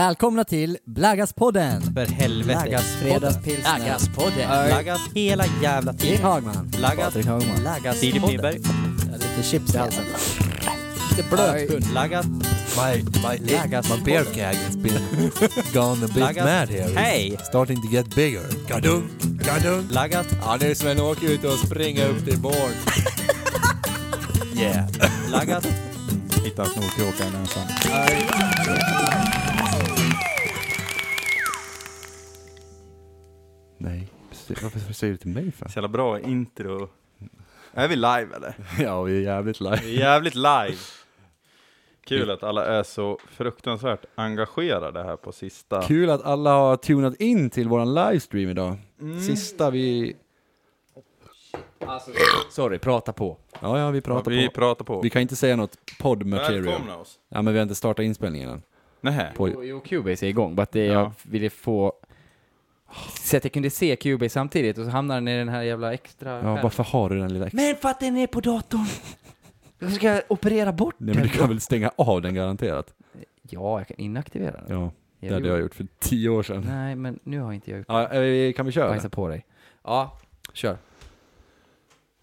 Välkomna till Blaggaspodden! För helvete. Laggas fredagspilsner. Blaggaspodden! Öl. Laggas hela jävla Kim tiden. Hagman. Laggas. Patrik Hagman. Laggas. Filip Nyberg. Lite chips i halsen. Lite blöt hund. Laggas. My, my, Lagas my beer keg has been gone a bit Lagas. mad here. It's Hej! Starting to get bigger. Gadunk, gadunk. Laggas. Ja, nu är Sven-Åke ute och springer upp till barn. yeah. Laggas. Mm, Hitta snorkråkan ensam. Nej, precis. varför säger du till mig för? Så jävla bra intro. Är vi live eller? Ja, vi är jävligt live. Vi är jävligt live. Kul att alla är så fruktansvärt engagerade här på sista. Kul att alla har tunat in till våran livestream idag. Sista vi... Sorry, prata på. Ja, ja, vi pratar vi på. pratar på. Vi kan inte säga något podd material. Välkomna oss. Ja, men vi har inte startat inspelningen än. Nähä. På... Jo, Cubase är igång, bara att det Ja. jag ville få... Så att jag kunde se Cubase samtidigt och så hamnade den i den här jävla extra... Ja, skärmen. varför har du den lilla extra? Men för att den är på datorn! Jag ska operera bort Nej, men den. du kan väl stänga av den garanterat? Ja, jag kan inaktivera den. Ja, Ja, det hade jo. jag gjort för tio år sedan. Nej, men nu har inte jag gjort Ja, eh, kan vi köra? Bajsa på dig. Ja, kör.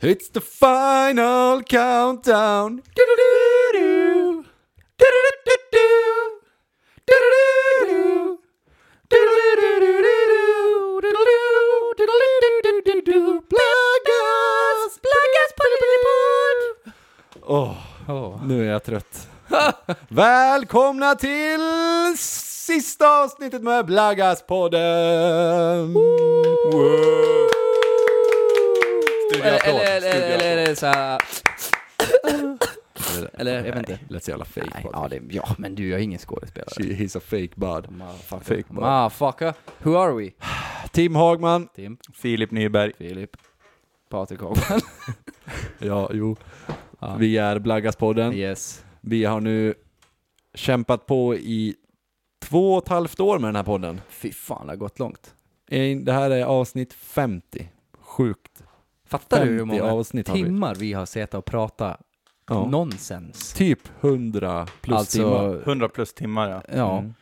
It's the final countdown. Du-du-du-du. Du-du-du-du-du. Du-du-du-du-du. Du-du-du-du-du-du. Du-du-du-du-du-du. Pluggas, pluggas, pulipulipul. Åh, nu är jag trött. Välkomna till sista avsnittet med Blaggaspodden! Studio Eller, Applåd. eller, eller, Studio eller, eller så här... Eller- Eller, jag vet inte. Lät så jävla fake Nej, Patrik. ja, det, ja, men du är ingen skådespelare. She, he's a fake bud. Motherfucker. Fake bud. Motherfucker. Who are we? Tim Hagman. Tim, Filip Nyberg. Filip, Patrik Hagman. Ja, jo. Ja. Vi är Blaggaspodden. yes. Vi har nu kämpat på i två och ett halvt år med den här podden. Fy fan, det har gått långt. En- Det här är avsnitt 50. Sjukt. Fattar du hur 50 många avsnitt har vi. timmar vi har suttit och pratat Ja. nonsens? Typ 100 plus alltså, timmar. 100 plus timmar ja. ja. Mm.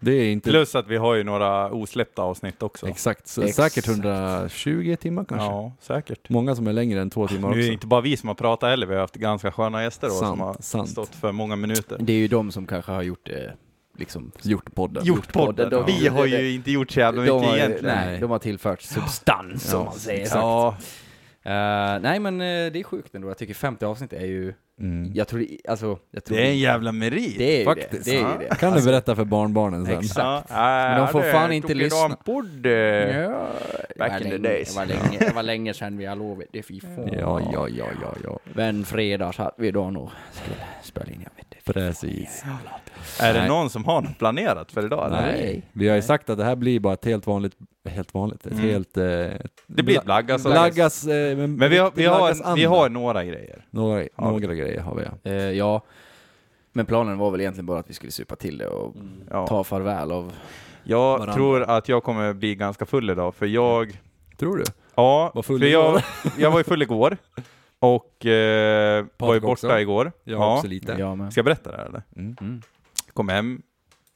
Det är inte Plus att vi har ju några osläppta avsnitt också. exakt, så Exakt. säkert 120 timmar kanske. Ja, säkert. Många som är längre än två timmar Nu är det också. inte bara vi som har pratat heller, vi har haft ganska sköna gäster då, som Sant, har sant. stått för många minuter. Det är ju de som kanske har gjort det, liksom. Gjort podden. Gjort podden. podden, de- Vi har ju inte gjort så jävla mycket har, egentligen. nej, alltså de har tillfört substans, som man säger. exakt. Ja. Eh, nej, men eh, det är sjukt ändå. Jag tycker 50 avsnitt är ju... Mm. Jag tror det, alltså, jag tror Det är en jävla merit. det är ju Faktiskt. det. Det är ju det. Kan du berätta för barnbarnen sen? Exakt. Men de får fan inte lyssna. Ja, Back det var in the länge- days. Det var länge, det var länge sedan vi har lovat det, fy fan. Ja, ja, ja, ja, ja. Men fredag satt vi då nog skulle spela in, jag vet inte. Precis. Är Nej. det någon som har något planerat för idag? eller? Nej. Vi har ju sagt att det här blir bara ett helt vanligt, helt vanligt, ett Mm. helt... Eh, Det blir ett blaggas. Blaggas, eh, men, Men vi har, vi, har blaggas en, vi andra. har några grejer. några, Ja. några grejer har vi ja. Eh, ja, men planen var väl egentligen bara att vi skulle supa till det och Ja. ta farväl av... Jag Varandra. tror att jag kommer bli ganska full idag, för jag... Tror du? Ja, Var full för igår. jag, jag var ju full igår. Och eh, var ju Patrik borta också. igår. Jag har Ja. också lite. Ja, men. Ska jag berätta det här eller? Mm. Mm. Kom hem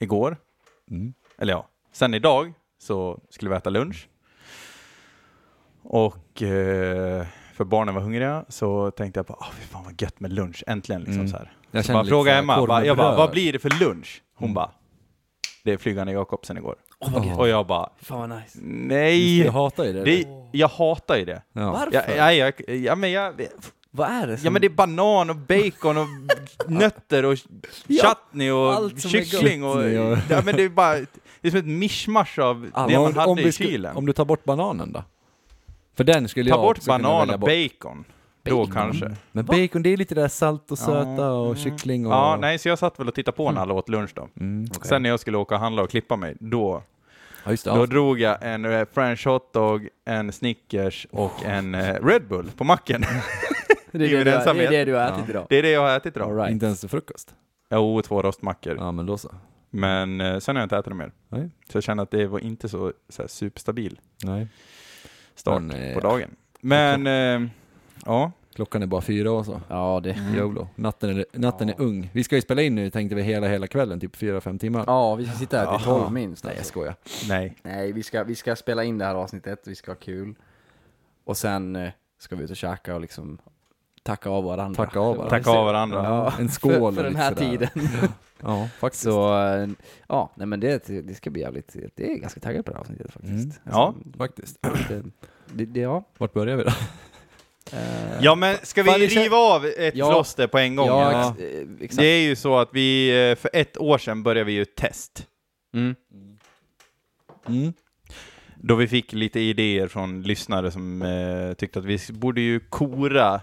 igår, Mm. eller ja, sen idag så skulle vi äta lunch. Och eh, för barnen var hungriga så tänkte jag bara, oh, fan vad gött med lunch, äntligen liksom Mm. så här. Jag Så bara lite fråga så här, Emma, korv bara, med jag bara, bröd. Mm. vad blir det för lunch? Hon bara, det är flygande Jakobsen igår. Och jag bara, Fan vad nice. Just det, nej! Jag hatar ju det. Det, jag hatar ju det. Ja. Jag, jag, jag, ja, men jag, Vad är det som... ja men det är banan och bacon och nötter och chutney och allt som är gott. kyckling och... Chutney och- Ja, men det är bara... Det är som ett mischmasch av Ja, det men man om, om, hade vi i skulle- kylen. om du tar bort bananen då? För den skulle Ta jag bort också kunna banan välja och bort. bacon. Då kanske. Men bacon, det är lite där salt och Ja. Mm. söta och kyckling och... Ja, nej, så jag satt väl och tittade Mm. på när alla åt lunch då. Sen när jag skulle åka och handla och klippa mig, då, Ja, just det. då Ja. drog jag en eh, french hotdog, en Snickers och en eh, Red Bull på macken. det, är det, ju du, har- det ensamhet. är det du har ätit idag. det är det jag har ätit idag. All right. Inte ens till frukost. Jo, två rostmackor. Ja, men då så. Men eh, sen har jag inte ätit det mer. Nej. Så jag kände att det var inte så, så här, superstabil Nej. start Men, eh, på dagen. Men eh, ja, Klockan är bara fyra och så. Ja, det... Mm. YOLO. Natten är, natten är ung. Vi ska ju spela in nu tänkte vi hela, hela kvällen, typ fyra, fem timmar. Ja, vi ska sitta här till Jaha. tolv minst. Nej, alltså. jag skojar. Nej. Nej, vi ska, vi ska spela in det här avsnittet, vi ska ha kul. Och sen eh, ska vi ut och käka och liksom tacka av varandra. Tacka av varandra. Tacka av varandra. Ja, en skål För, och för den lite här sådär. tiden. Ja, faktiskt. Så, eh, ja, nej men det, det ska bli jävligt, det är ganska taggad på det här avsnittet Mm. faktiskt. Ja. Faktiskt. Alltså, det, det, det, ja. Vart börjar vi då? Eh, Ja men ska Fan, vi det kän- riva av ett Ja. plåster på en gång? ja, eller? ex, eh, exakt. Det är ju så att vi, eh, för ett år sedan började vi ju ett test. Mm. Mm. Då vi fick lite idéer från lyssnare som eh, tyckte att vi borde ju kora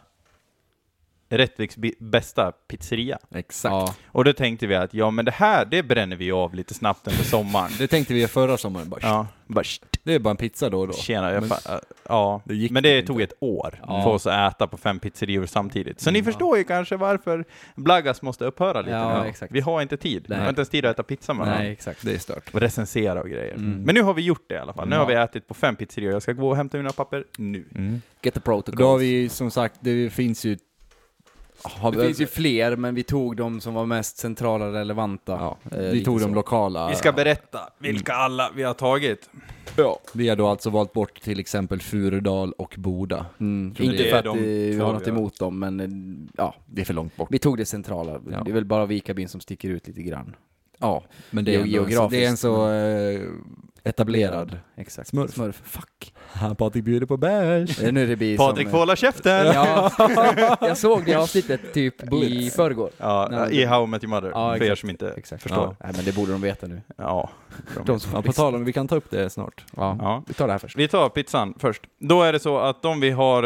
Rättviks bi- bästa pizzeria. Exakt. Ja. Och då tänkte vi att ja men det här, det bränner vi av lite snabbt under sommaren. Det tänkte vi göra förra sommaren. Bara, Ja, bara "Sh, Det är bara en pizza då och då. tjena. Jag Men- fa- ja. Det gick men det inte. tog ett år Ja. för oss att äta på fem pizzerior samtidigt. Så ni förstår ju kanske varför Blaggas måste upphöra lite Ja, nu. exakt. Vi har inte tid. Vi Nej. har inte ens tid att äta pizza med Nej, Mm. varandra. exakt. Det är stört. Och recensera och grejer. Men nu har vi gjort det i alla fall. Nu har vi ätit på fem pizzerior. Jag ska gå och hämta mina papper nu. Get the protocol. Då har vi ju som sagt, det finns ju... Har det finns ju fler, men vi tog de som var mest centrala och relevanta. ja, Eh, vi lite tog de så. lokala. Vi ska berätta vilka alla vi har tagit. Vi har då alltså valt bort till exempel Furudal och Boda. Mm, Tror inte det för är att de eh, vi två har vi något har. emot dem, men eh, ja, Det är för långt bort. vi tog det centrala. Ja. Det är väl bara Vikabyn som sticker ut lite grann. Ja, men det är, Ge- ändå, det är en så eh, etablerad. Exakt. Smurf. Fuck. Han Patrik bjuder på bärs. Eh, Nu är det bi Patrik som... eh, håller käften! Ja, Ja, jag såg det avsnittet typ i Bullets. förrgår. I How I Met Your Mother, Ja, för er exakt. som inte Exakt. förstår. Nej, men det borde de veta nu. Ja. De som Ja, på tal om, vi kan ta upp det snart. ja. ja. Vi tar det här först. Vi tar pizzan först. Då är det så att de vi har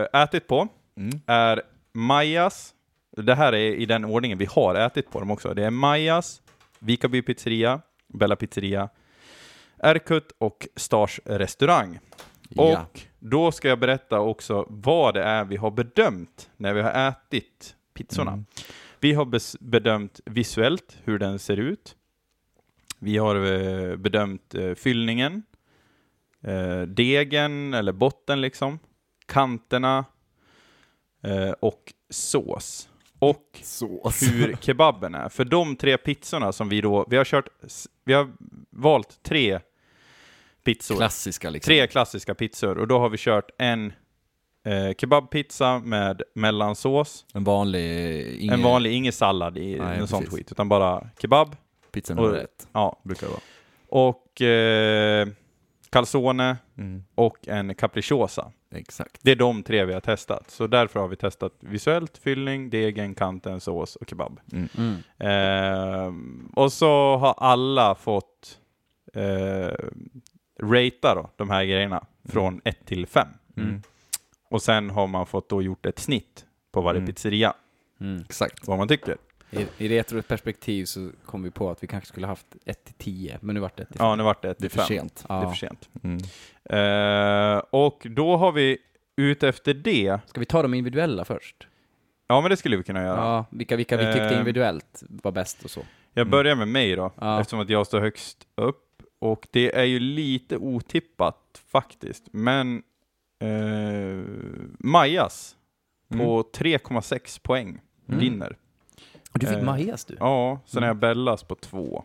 eh, ätit på Mm. är Majas, det här är i den ordningen vi har ätit på dem också. Det är Majas, Vikaby pizzeria, Bella pizzeria, Erkut och Stars restaurang. Ja. Och då ska jag berätta också vad det är vi har bedömt när vi har ätit pizzorna. Mm. Vi har bes- bedömt visuellt hur den ser ut. Vi har eh, bedömt eh, fyllningen, eh, degen eller botten liksom, kanterna eh, och sås. Och hur kebaben är. För de tre pizzorna som vi då, vi har kört, s- vi har valt tre pizzor. Klassiska liksom. Tre klassiska pizzor och då har vi kört en eh, kebabpizza med mellansås, En vanlig... eh, Ingen en vanlig, ingen sallad i Nej, något sånt precis. skit, utan bara kebab. Pizza nummer Och- ett. Ja. Brukar det vara. Och eh, calzone Mm. och en capricciosa. Exakt. Det är de tre vi har testat. Så därför har vi testat visuellt, fyllning, degen, kanten, sås och kebab. Mm. Ehm, och så har alla fått eh, ratea då, de här grejerna från 1 till 5. Mm. Och sen har man fått då gjort ett snitt på varje Mm. pizzeria, Exakt. vad man tycker. I, I retroperspektiv så kom vi på att vi kanske skulle haft 1 till 10, men nu vart det 1 till Ja, nu vart det 1 Det är till för 5. sent. Det är Ja. för sent. Mm. Ehm, och då har vi utefter det, Ska vi ta de individuella först? ja men det skulle vi kunna göra. Ja, vilka, vilka vi tyckte Ehm. individuellt var bäst och så. Jag börjar med mig då, Ja. eftersom att jag står högst upp. Och det är ju lite otippat faktiskt, men eh, Majas på 3,6 poäng vinner. Du fick Eh, Majas du? Ja, sen Mm. är jag Bellas på 2.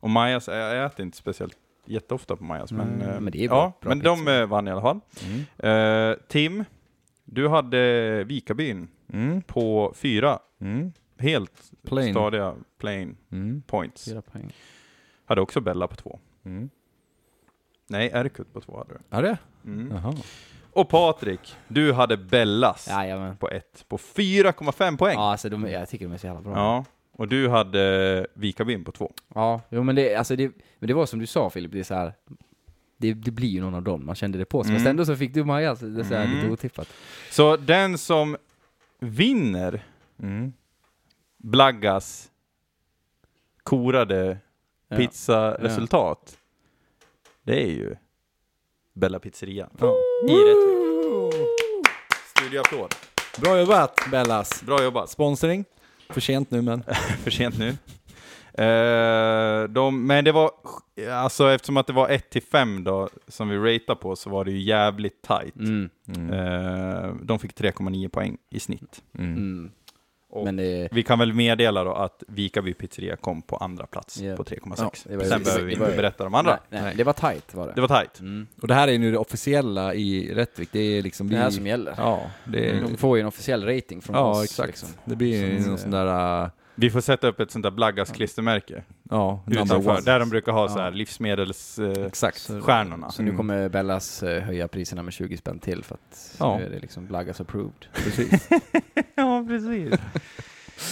Och Majas, jag jag äter inte speciellt jätteofta på Majas, men, Mm, eh, men det är bra- ja, bra men de eh, vann i alla fall. Mm. Eh, Tim, du hade Vikabyn Mm. på 4, Mm. helt Plain. stadiga plain Mm. points. Fyra poäng. Hade också Bella på två. Mm. Nej, Erkut på två hade du. Ja, det? Mm. Jaha. Och Patrik, du hade Bellas Jajamän. på ett, på 4,5 poäng. Ja. Ja, alltså de, jag tycker de är så jävla bra. Och du hade Vikabyn på två. Ja, jo, men, det, alltså det, men det var som du sa Filip, det är så här. Det, det blir ju någon av dem, man kände det på sig. Mm. Fast ändå så fick du Maja, så det är så här Mm. lite otippat. Så den som vinner Mm. Blaggas korade Ja. pizzaresultat, det är ju Bella Pizzeria. I Rättvik. Studioapplåd. Bra jobbat Bellas! Bra jobbat. Sponsring? För sent nu men. För sent nu. Eh, de, men det var, alltså eftersom att det var 1 till 5 då, som vi rateade på, så var det ju jävligt tight. Mm. Eh, de fick 3,9 poäng i snitt. Mm. Och- Men eh, det, Vi kan väl meddela då att Vikaby pizzeria kom på andra plats Ja. på 3,6. Ja, det var- Sen behöver vi det var- inte berätta de andra. nej, nej, det var tight var det. Mm. Det var tight. Och det här är nu det officiella i Rättvik. Det är liksom... Det här vi- som Mm. gäller. Ja, det är... De får ju en officiell rating från oss. Ja, exakt. liksom. Det blir ju Så- någon sån där... äh, Vi får sätta upp ett sånt där Blaggas klistermärke Ja, number utanför, one. där de brukar ha så Ja. här livsmedelsstjärnorna. Exakt. eh, Mm. Så nu kommer Bellas eh, höja priserna med 20 spänn till för att Ja. nu är det liksom Blaggas approved. Precis. Ja, precis.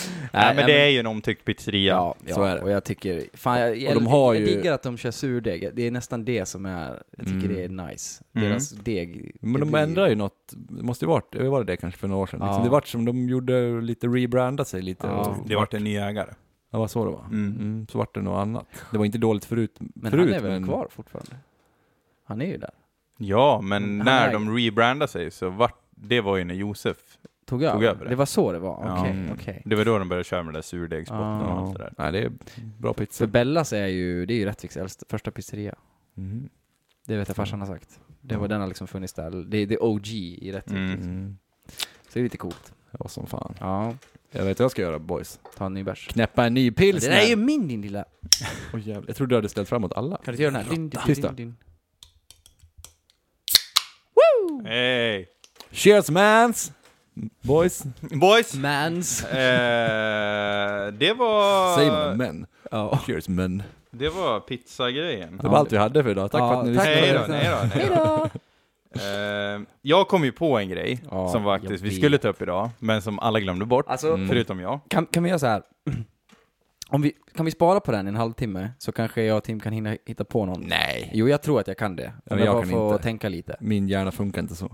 Nej, Nej, men det men- är ju en omtyckt pizzeria. Ja, ja, så är det. och jag tycker, fan jag, jag, de har jag ju- diggar att de kör surdeg, det är nästan det som är, jag tycker Mm. det är nice. Mm. Deras deg. Men det de blir- ändrar ju något, det måste ju varit, var det det kanske för några år sedan? Ja. Liksom det vart som de gjorde lite, rebrandade sig lite. Ja. och- Det vart en ny ägare. Ja, vad så det var. Mm. Mm. så vart det något annat. Det var inte dåligt förut. Men förut, han är väl kvar fortfarande? Han är ju där. Ja, men Mm, han när äger. de rebrandade sig så vart, det var ju när Josef, Tog över? Tog över det. Det var så det var? Okej, Ja. okej. Mm. det var då de började köra med det där surdegsbotten och Ah. allt det där. Nej, det är bra För pizza. Bellas är ju, det är ju Rättviks äldsta, första pizzeria. Mm. Det vet jag farsan har sagt. Det var, den har liksom funnits där. Det är, det är OG i Rättvik. Mm. Mm. Så det är lite coolt. Ja, som fan. Ja, Jag vet vad jag ska göra boys. ta en ny bärs. Knäppa en ny Det pilsner! där är ju min din lilla... Åh, jävlar. Jag trodde du hade ställt fram åt alla. Kan du inte göra den här? Din, din, Tyst då. din, din. Hey! Cheers mans! Boys! Boys! Mans. eh, det Ah. var... Säger man men? Cheers men. Det var pizzagrejen. Det var allt vi hade för idag. Tack Ja, för att ni tack. Nej lyssnade. då, nej då, nej då. Eh, jag kom ju på en grej Ja, som jag faktiskt vi vet. skulle ta upp idag, men som alla glömde bort, Alltså, Mm. förutom jag. kan, kan vi göra så här? Om vi, kan vi spara på den i en halvtimme så kanske jag och Tim kan hinna hitta på någon? Nej. Jo, jag tror att jag kan det. Om men jag, jag bara kan får inte. tänka lite. Min hjärna funkar inte så.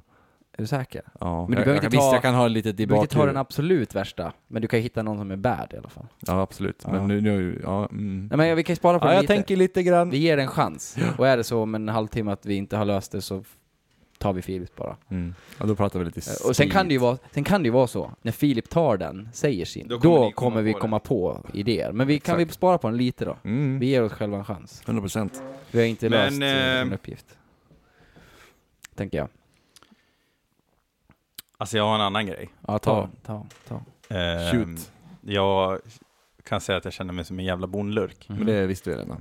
Är du säker? Ja, Men du jag, behöver jag, inte ta- Visst, jag kan ha lite i Du behöver inte ta den bakhuvudet. absolut värsta, men du kan ju hitta någon som är bad i alla fall. Ja, absolut. Ja. Men nu, nu ja. Mm. Nej men vi kan ju spara på Ja, den jag lite. tänker lite grann. Vi ger det en chans. Och är det så om en halvtimme att vi inte har löst det så f- tar vi Filip bara. Mm. Ja, då pratar vi lite Eh, Och sen kan, det ju vara, sen kan det ju vara så, när Filip tar den, säger sin, då Då kommer kommer, ni komma vi på det. komma på idéer. Men vi, kan vi Exakt. spara på den lite då? Mm. Vi ger oss själva en chans. 100 procent. Vi har inte Men, löst eh, en eh, uppgift. Tänker jag. Alltså jag har en annan grej. Ja, ta, ta, ta. Ehm, Eh, Shoot. Jag kan säga att jag känner mig som en jävla bondlurk. mhm. Men det visste du redan. Mm.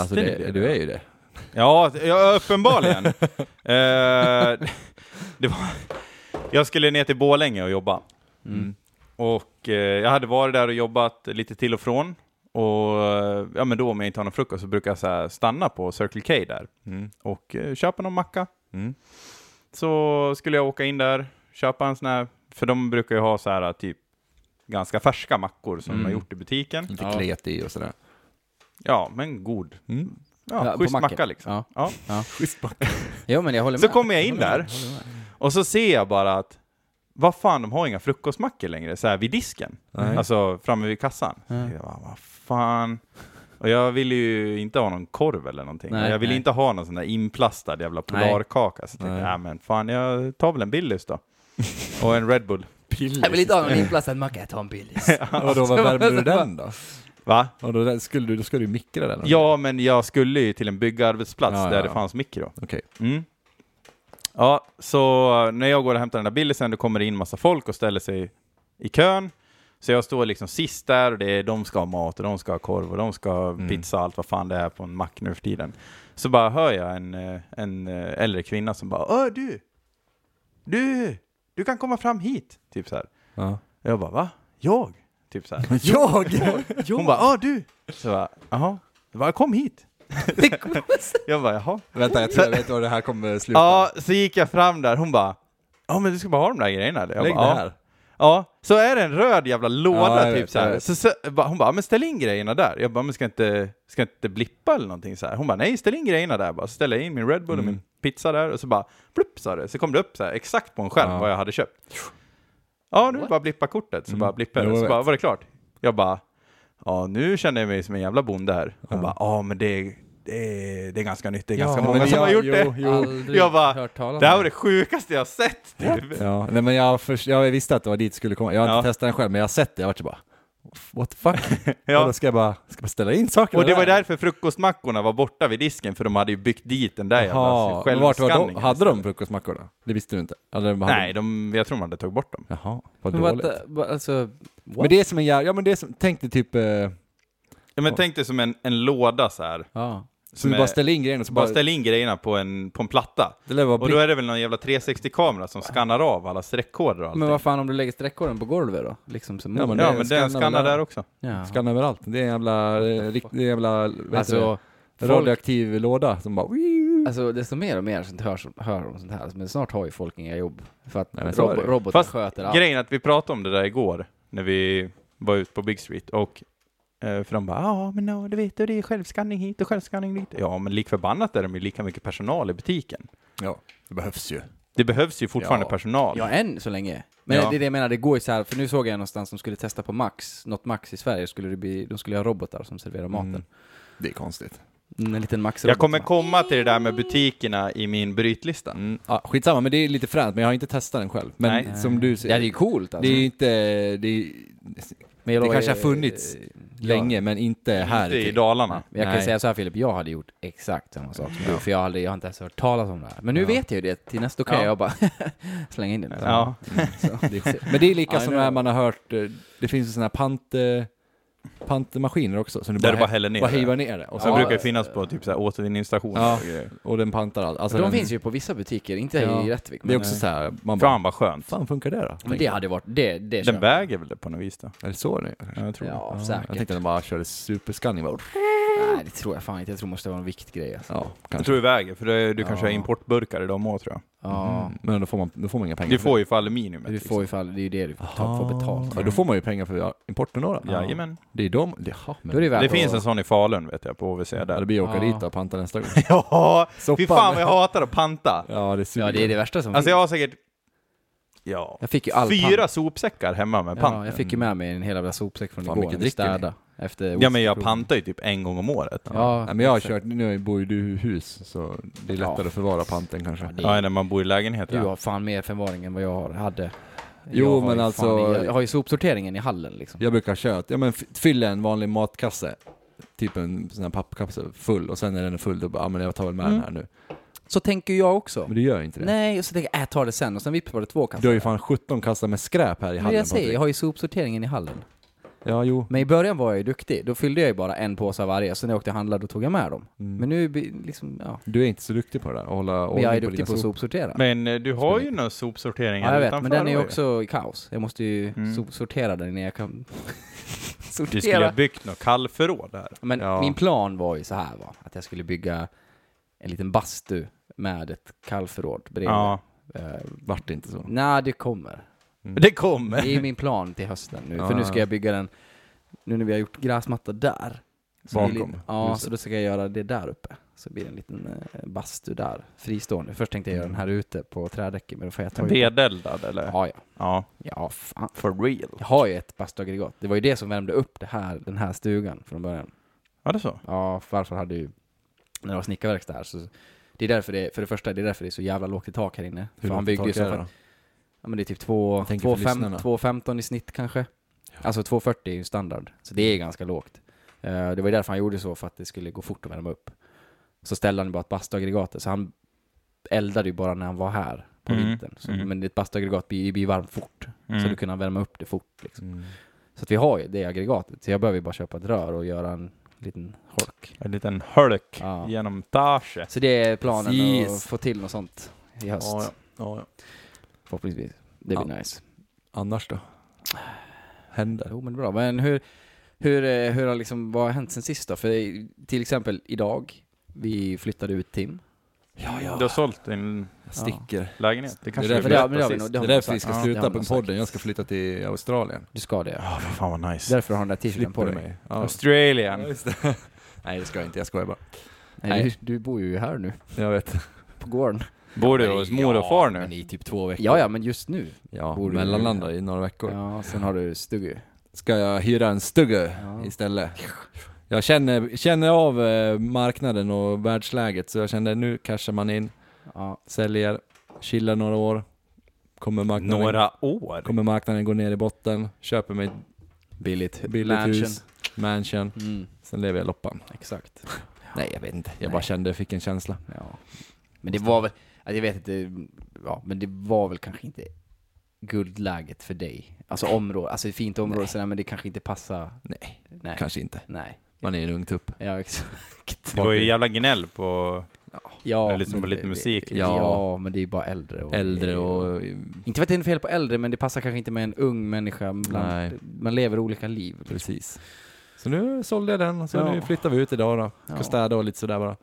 Visste alltså, ni det, det? du är ju det. Ja, ja uppenbarligen. eh, det var, jag skulle ner till Borlänge och jobba. Mm. Och eh, jag hade varit där och jobbat lite till och från. Och eh, ja, men då om jag inte har någon frukost så brukar jag så här stanna på Circle K där Mm. och eh, köpa någon macka. Mm. Så skulle jag åka in där, köpa en sån här, för de brukar ju ha så här typ ganska färska mackor som de Mm. har gjort i butiken. Lite Ja. klet i och sådär. Ja, men god. Mm. Ja, Ja, på schysst macken. macka liksom. Ja. Ja. Jo men jag håller Så med. kommer jag in håller med, där. Och så ser jag bara att, vad fan, de har inga frukostmackor längre, så här vid disken. Nej. Alltså framme vid kassan. Mm. Jag bara, vad fan. Och jag ville ju inte ha någon korv eller någonting. Nej, och jag ville nej. inte ha någon sån där inplastad jävla polarkaka. Så jag tänkte, Nej. nej men fan, jag tar väl en Billys då. och en Red Bull. Jag vill inte ha någon inplastad macka, jag tar en Billys. Och då, Alltså, vad värmer du den då? Va? Och då, den skulle du, då ska du ju mikra den? eller? Ja, men jag skulle ju till en byggarbetsplats Ja, ja, där det ja. fanns mikro. Okej. Mm. Ja, så när jag går och hämtar den där Billisen, då kommer det in massa folk och ställer sig i kön. Så jag står liksom sist där och det är, de ska ha mat och de ska ha korv och de ska ha Mm. pizza och allt vad fan det är på en mack nu för tiden. Så bara hör jag en, eh, en eh, äldre kvinna som bara Åh du! Du! Du kan komma fram hit! Typ så här. Ja. Jag bara va? Jag? Typ så här. Jag! Hon bara, ja du! Så jag bara, jaha. Jag bara, kom hit! jag bara, jaha. Vänta, jag tror jag vet var det här kommer sluta. Ja, så gick jag fram där, hon bara, ja men du ska bara ha de där grejerna eller? Jag Lägg det bara, ja. här. Ja, så är det en röd jävla låda Ja, jag typ vet, så jag här. vet. Så, så, bara- hon bara, men ställ in grejerna där. Jag bara, men ska jag inte, ska jag inte blippa eller någonting så här? Hon bara, nej ställ in grejerna där. Bara, så ställer jag in min Red Bull Mm. och min pizza där och så bara, plupp sa det. Så kom det upp så här, exakt på en skärm Ja. vad jag hade köpt. Ja, nu bara blippa kortet. Så bara blippade Mm. Jo, det. jag Så vet. bara, var det klart? Jag bara, ja nu känner jag mig som en jävla bonde här. Hon bara, ja men det är, det, är, det är ganska nytt. Det är ganska Ja, många men som jag- har gjort jo, det. jo. Aldrig Jag bara, hört talas om Det här var det sjukaste jag har sett. Typ. Ja, nej men jag, först, jag visste att det var dit det skulle komma. Jag har Ja. inte testat den själv, men jag har sett det. Jag har varit så bara, What the fuck? Och då Ja. ska jag bara, ska jag bara ställa in saker Och det var därför frukostmackorna var borta vid disken, för de hade ju byggt dit den där jävla Jaha, men vart var de? självskanningen. Hade de frukostmackor då? Det visste du inte? Eller de hade... Nej, de, jag tror man hade tagit bort dem. Jaha, vad Men dåligt. vad- vad- alltså, Men det är som en jävla, ja men det är som, tänk dig typ, eh, Ja, men tänk dig som en, en låda så här. ja. Så Som du bara är- ställer in grejerna och så Bara bara, ställ in grejerna på en, på en platta. det lär vara Och då är det väl någon jävla 360-kamera som skannar av alla streckkoder och allting. Men vad fan om du lägger streckkoden på golvet då? Liksom som Ja, men ja, det men den skannar där också. Ja. skann överallt. Det är en jävla, eh, rikt- det är en jävla, vad alltså, Alltså, det? folk- radioaktiv låda som bara, Alltså desto mer och mer sånt hör, hör om sånt här. Alltså, Men snart har ju folk inga jobb. För att Nej, men så är rob- det ju. roboten Fast sköter allt. Grejen är att vi pratade om det där igår, när vi var ute på Big Street, och eh, för de bara ja men no, du vet du, det är självskanning hit och självskanning dit. Ja men lik förbannat är de ju lika mycket personal i butiken. ja, det behövs ju. Det behövs ju fortfarande Ja. personal. Ja, än så länge. Men Ja. det är det jag menar, det går ju så här, för nu såg jag någonstans som skulle testa på Max, något Max i Sverige, skulle det bli, de skulle ha robotar som serverar maten. Det är konstigt. Mm, en liten Max-robot. Jag kommer va? komma till det där med butikerna i min brytlista. Ja, skitsamma, men det är lite fränt, men jag har inte testat den själv. Men Nej. som du säger, Ja, det är ju coolt det alltså. är ju inte, det, är, Men jag det lovar, kanske har eh, funnits länge, men inte här. Inte i typ. Dalarna. Men jag kan ju Nej. säga så här Filip, jag hade gjort exakt samma sak som du, för jag, hade, jag har inte ens hört talas om det här. Men nu vet jag ju det, till nästa kan Ja. jag bara slänga in det. lite. Ja. Det är sjukt. Men det är lika Ja, som nu- när man har hört, eh, det finns ju sådana här pant, eh, pantmaskiner också. Som du Där bara, du bara hä- häller ner bara det. hivar ner det. Och, Sen så, brukar det finnas på typ så här återvinningsstationer Ja. och grejer. och den pantar allt. Alltså De den- finns ju på vissa butiker, inte Ja. i Rättvik. Det är Men, eh, också så här, man bara, Fan vad skönt. fan funkar det då? men det hade varit, det, det Den köper jag. väger väl det på något vis då? Är det så det är? Ja, jag tror det. Ja, Jag säkert. tänkte att de bara körde superskanning. Bara, Nej, det tror jag fan inte. Jag tror det måste vara en viktgrej alltså. ja, Jag kanske. tror det väger, för det, du kanske Ja. har importburkar i dem också tror Ja. Mm. Men då får, man, då får man inga jag. pengar Du för får ju för typ. aluminiumet. Du får ju fall, det är ju det du får, ta, får betalt det. Ah. Ja, då får man ju pengar för ja, importen då. då. liksom. Jajamän. Det är de, det, ja, men, Då är det, värt Det att- finns en sån i Falun vet jag, på OVC ja, det där. blir att åka Ja. dit och panta nästa gång. Ja, fy Soppan. fan vad jag hatar att panta. Ja, det är Ja, det är det värsta som Alltså jag finns. har säkert, ja, Jag fick ju all fyra pant. sopsäckar hemma med Ja, pant. jag fick ju med mig en hel jävla sopsäck från Fan, igår. mycket när vi dricker ni. städade efter Ja men jag ostprovningen. pantar ju typ en gång om året. Ja, Nej, men jag har exakt. kört, nu bor ju du i hus så det är Ja. lättare att förvara panten kanske. Ja, det- Ja, när man bor i lägenhet Du ja. har fan mer förvaring än vad jag har- hade. Jo, Jag har ju men fan- alltså- Jag jag har ju sopsorteringen i hallen liksom. Jag brukar köra, att- ja men f- fylla en vanlig matkasse, typ en sån här pappkasse full och sen när den är full då bara, ja men jag tar väl med den här nu. Så tänker jag också. Men du gör ju inte det. Mm. Nej, och så tänker jag, äh, jag tar det sen. Och sen vippar det två kassar. Du har ju fan 17 kassar med skräp här i Men det hallen jag säger, jag har ju sopsorteringen i hallen. Ja, jo. Men i början var jag ju duktig. Då fyllde jag ju bara en påse av varje. Så när jag åkte och handlade, då tog jag med dem. Men nu, blir- liksom, ja. Du är inte så duktig på det där, att hålla Men jag är ordning duktig på att sopsortera. Men eh, du har ju någon sopsortering Ja, jag här vet, men den är ju var också i kaos. Jag måste ju so- sortera den innan jag kan... Du skulle ha sortera. byggt något kallförråd där. Men Ja. min plan var ju så här va, att jag skulle bygga en liten bastu med ett kallförråd bredvid. Ja, Eh, Vart inte så. Mm. Nej, det kommer. det kommer. Det är min plan till hösten nu, Ja, för nu ja. ska jag bygga den, nu när vi har gjort gräsmatta där. Så blir det Bakom. lite- Ja, Just så då ska jag göra det där uppe. Så blir det en liten eh, bastu där, fristående. Först tänkte jag Mm. göra den här ute på trädäcket, men då får jag ta ju- Vedeldad eller? Ja, ja. Ja. Ja, fan. For real. Jag har ju ett bastuaggregat. Det var ju det som värmde upp det här, den här stugan från början. Var det så? Ja, farfar hade ju, när det var snickarverkstad här, så det är därför det, för det första, det är därför det är så jävla lågt i tak här inne. Hur för han långt byggde ju tak är så det för, då? ja men det är typ två- tänker två för fem- lyssnarna. 2,15 i snitt kanske. Alltså 2,40 är ju standard, så det är ganska lågt. Eh, det var ju därför han gjorde så, för att det skulle gå fort att värma upp. Så ställde han ju bara ett bastuaggregat, där, så han eldade ju bara när han var här på Mm, vintern. Så, mm. Men ett bastuaggregat blir blir ju varmt fort, så Mm. du kunde värma upp det fort liksom. Mm. Så att vi har ju det aggregatet, så jag behöver ju bara köpa ett rör och göra en liten holk. En liten hölk Ja. genom taget. Så det är planen att Precis. få till något sånt i höst. Ja, ja. Ja, ja. Förhoppningsvis. Det blir Ja. nice. Annars då? Händer? Jo men bra. Men hur, hur, eh, hur har liksom, vad har hänt sen sist då? För i- till exempel idag, vi flyttade ut Tim. Ja, ja. Du har sålt din Sticker. lägenhet. Det kanske Det är du därför- berättade men det har vi sist. nog- Det har är hon därför vi sagt. ska Ja, det sluta har på hon podden. sagt. Jag ska flytta till Australien. Du ska det. Ja, för fan vad nice. Därför har hon den där t-shirten på Slipper du dig. mig? Ja. Ja, Australien. just det. Nej, det ska jag inte. Jag skojar bara. Nej, du, du bor ju här nu, Jag vet. på gården. Bor du hos mor och far nu? Men i typ två veckor. Ja, ja, men just nu. Ja, Bor du- mellanlandar i några veckor. Ja, sen har du stugu. Ska jag hyra en stuga Ja. istället? Jag känner, känner av eh, marknaden och världsläget så jag kände nu cashar man in, Ja. säljer, chillar några år. Kommer marknaden, Några år? kommer marknaden gå ner i botten, köper mig Billigt. Billigt Mansion. hus. Mansion. Mm, Sen lever jag loppan. exakt. Nej, jag vet inte. Jag Nej. bara kände, jag fick en känsla. Ja. Men det var väl, ja, jag vet inte, ja, men det var väl kanske inte guldläget för dig. Alltså område, alltså ett fint område sådär, men det kanske inte passar. Nej, Nej. kanske inte. Nej. Man är en ung tupp. Ja, exakt. Det var ju jävla gnäll på Ja, Det är liksom men- lite musik. Ja, Ja. men det är ju bara äldre. Och, Äldre och... Inte för att det är något fel på äldre, men det passar kanske inte med en ung människa. Bland, Nej. Man lever olika liv. Precis. Så nu sålde jag den, så Ja. nu flyttar vi ut idag då. Ska Ja. städa och lite sådär bara.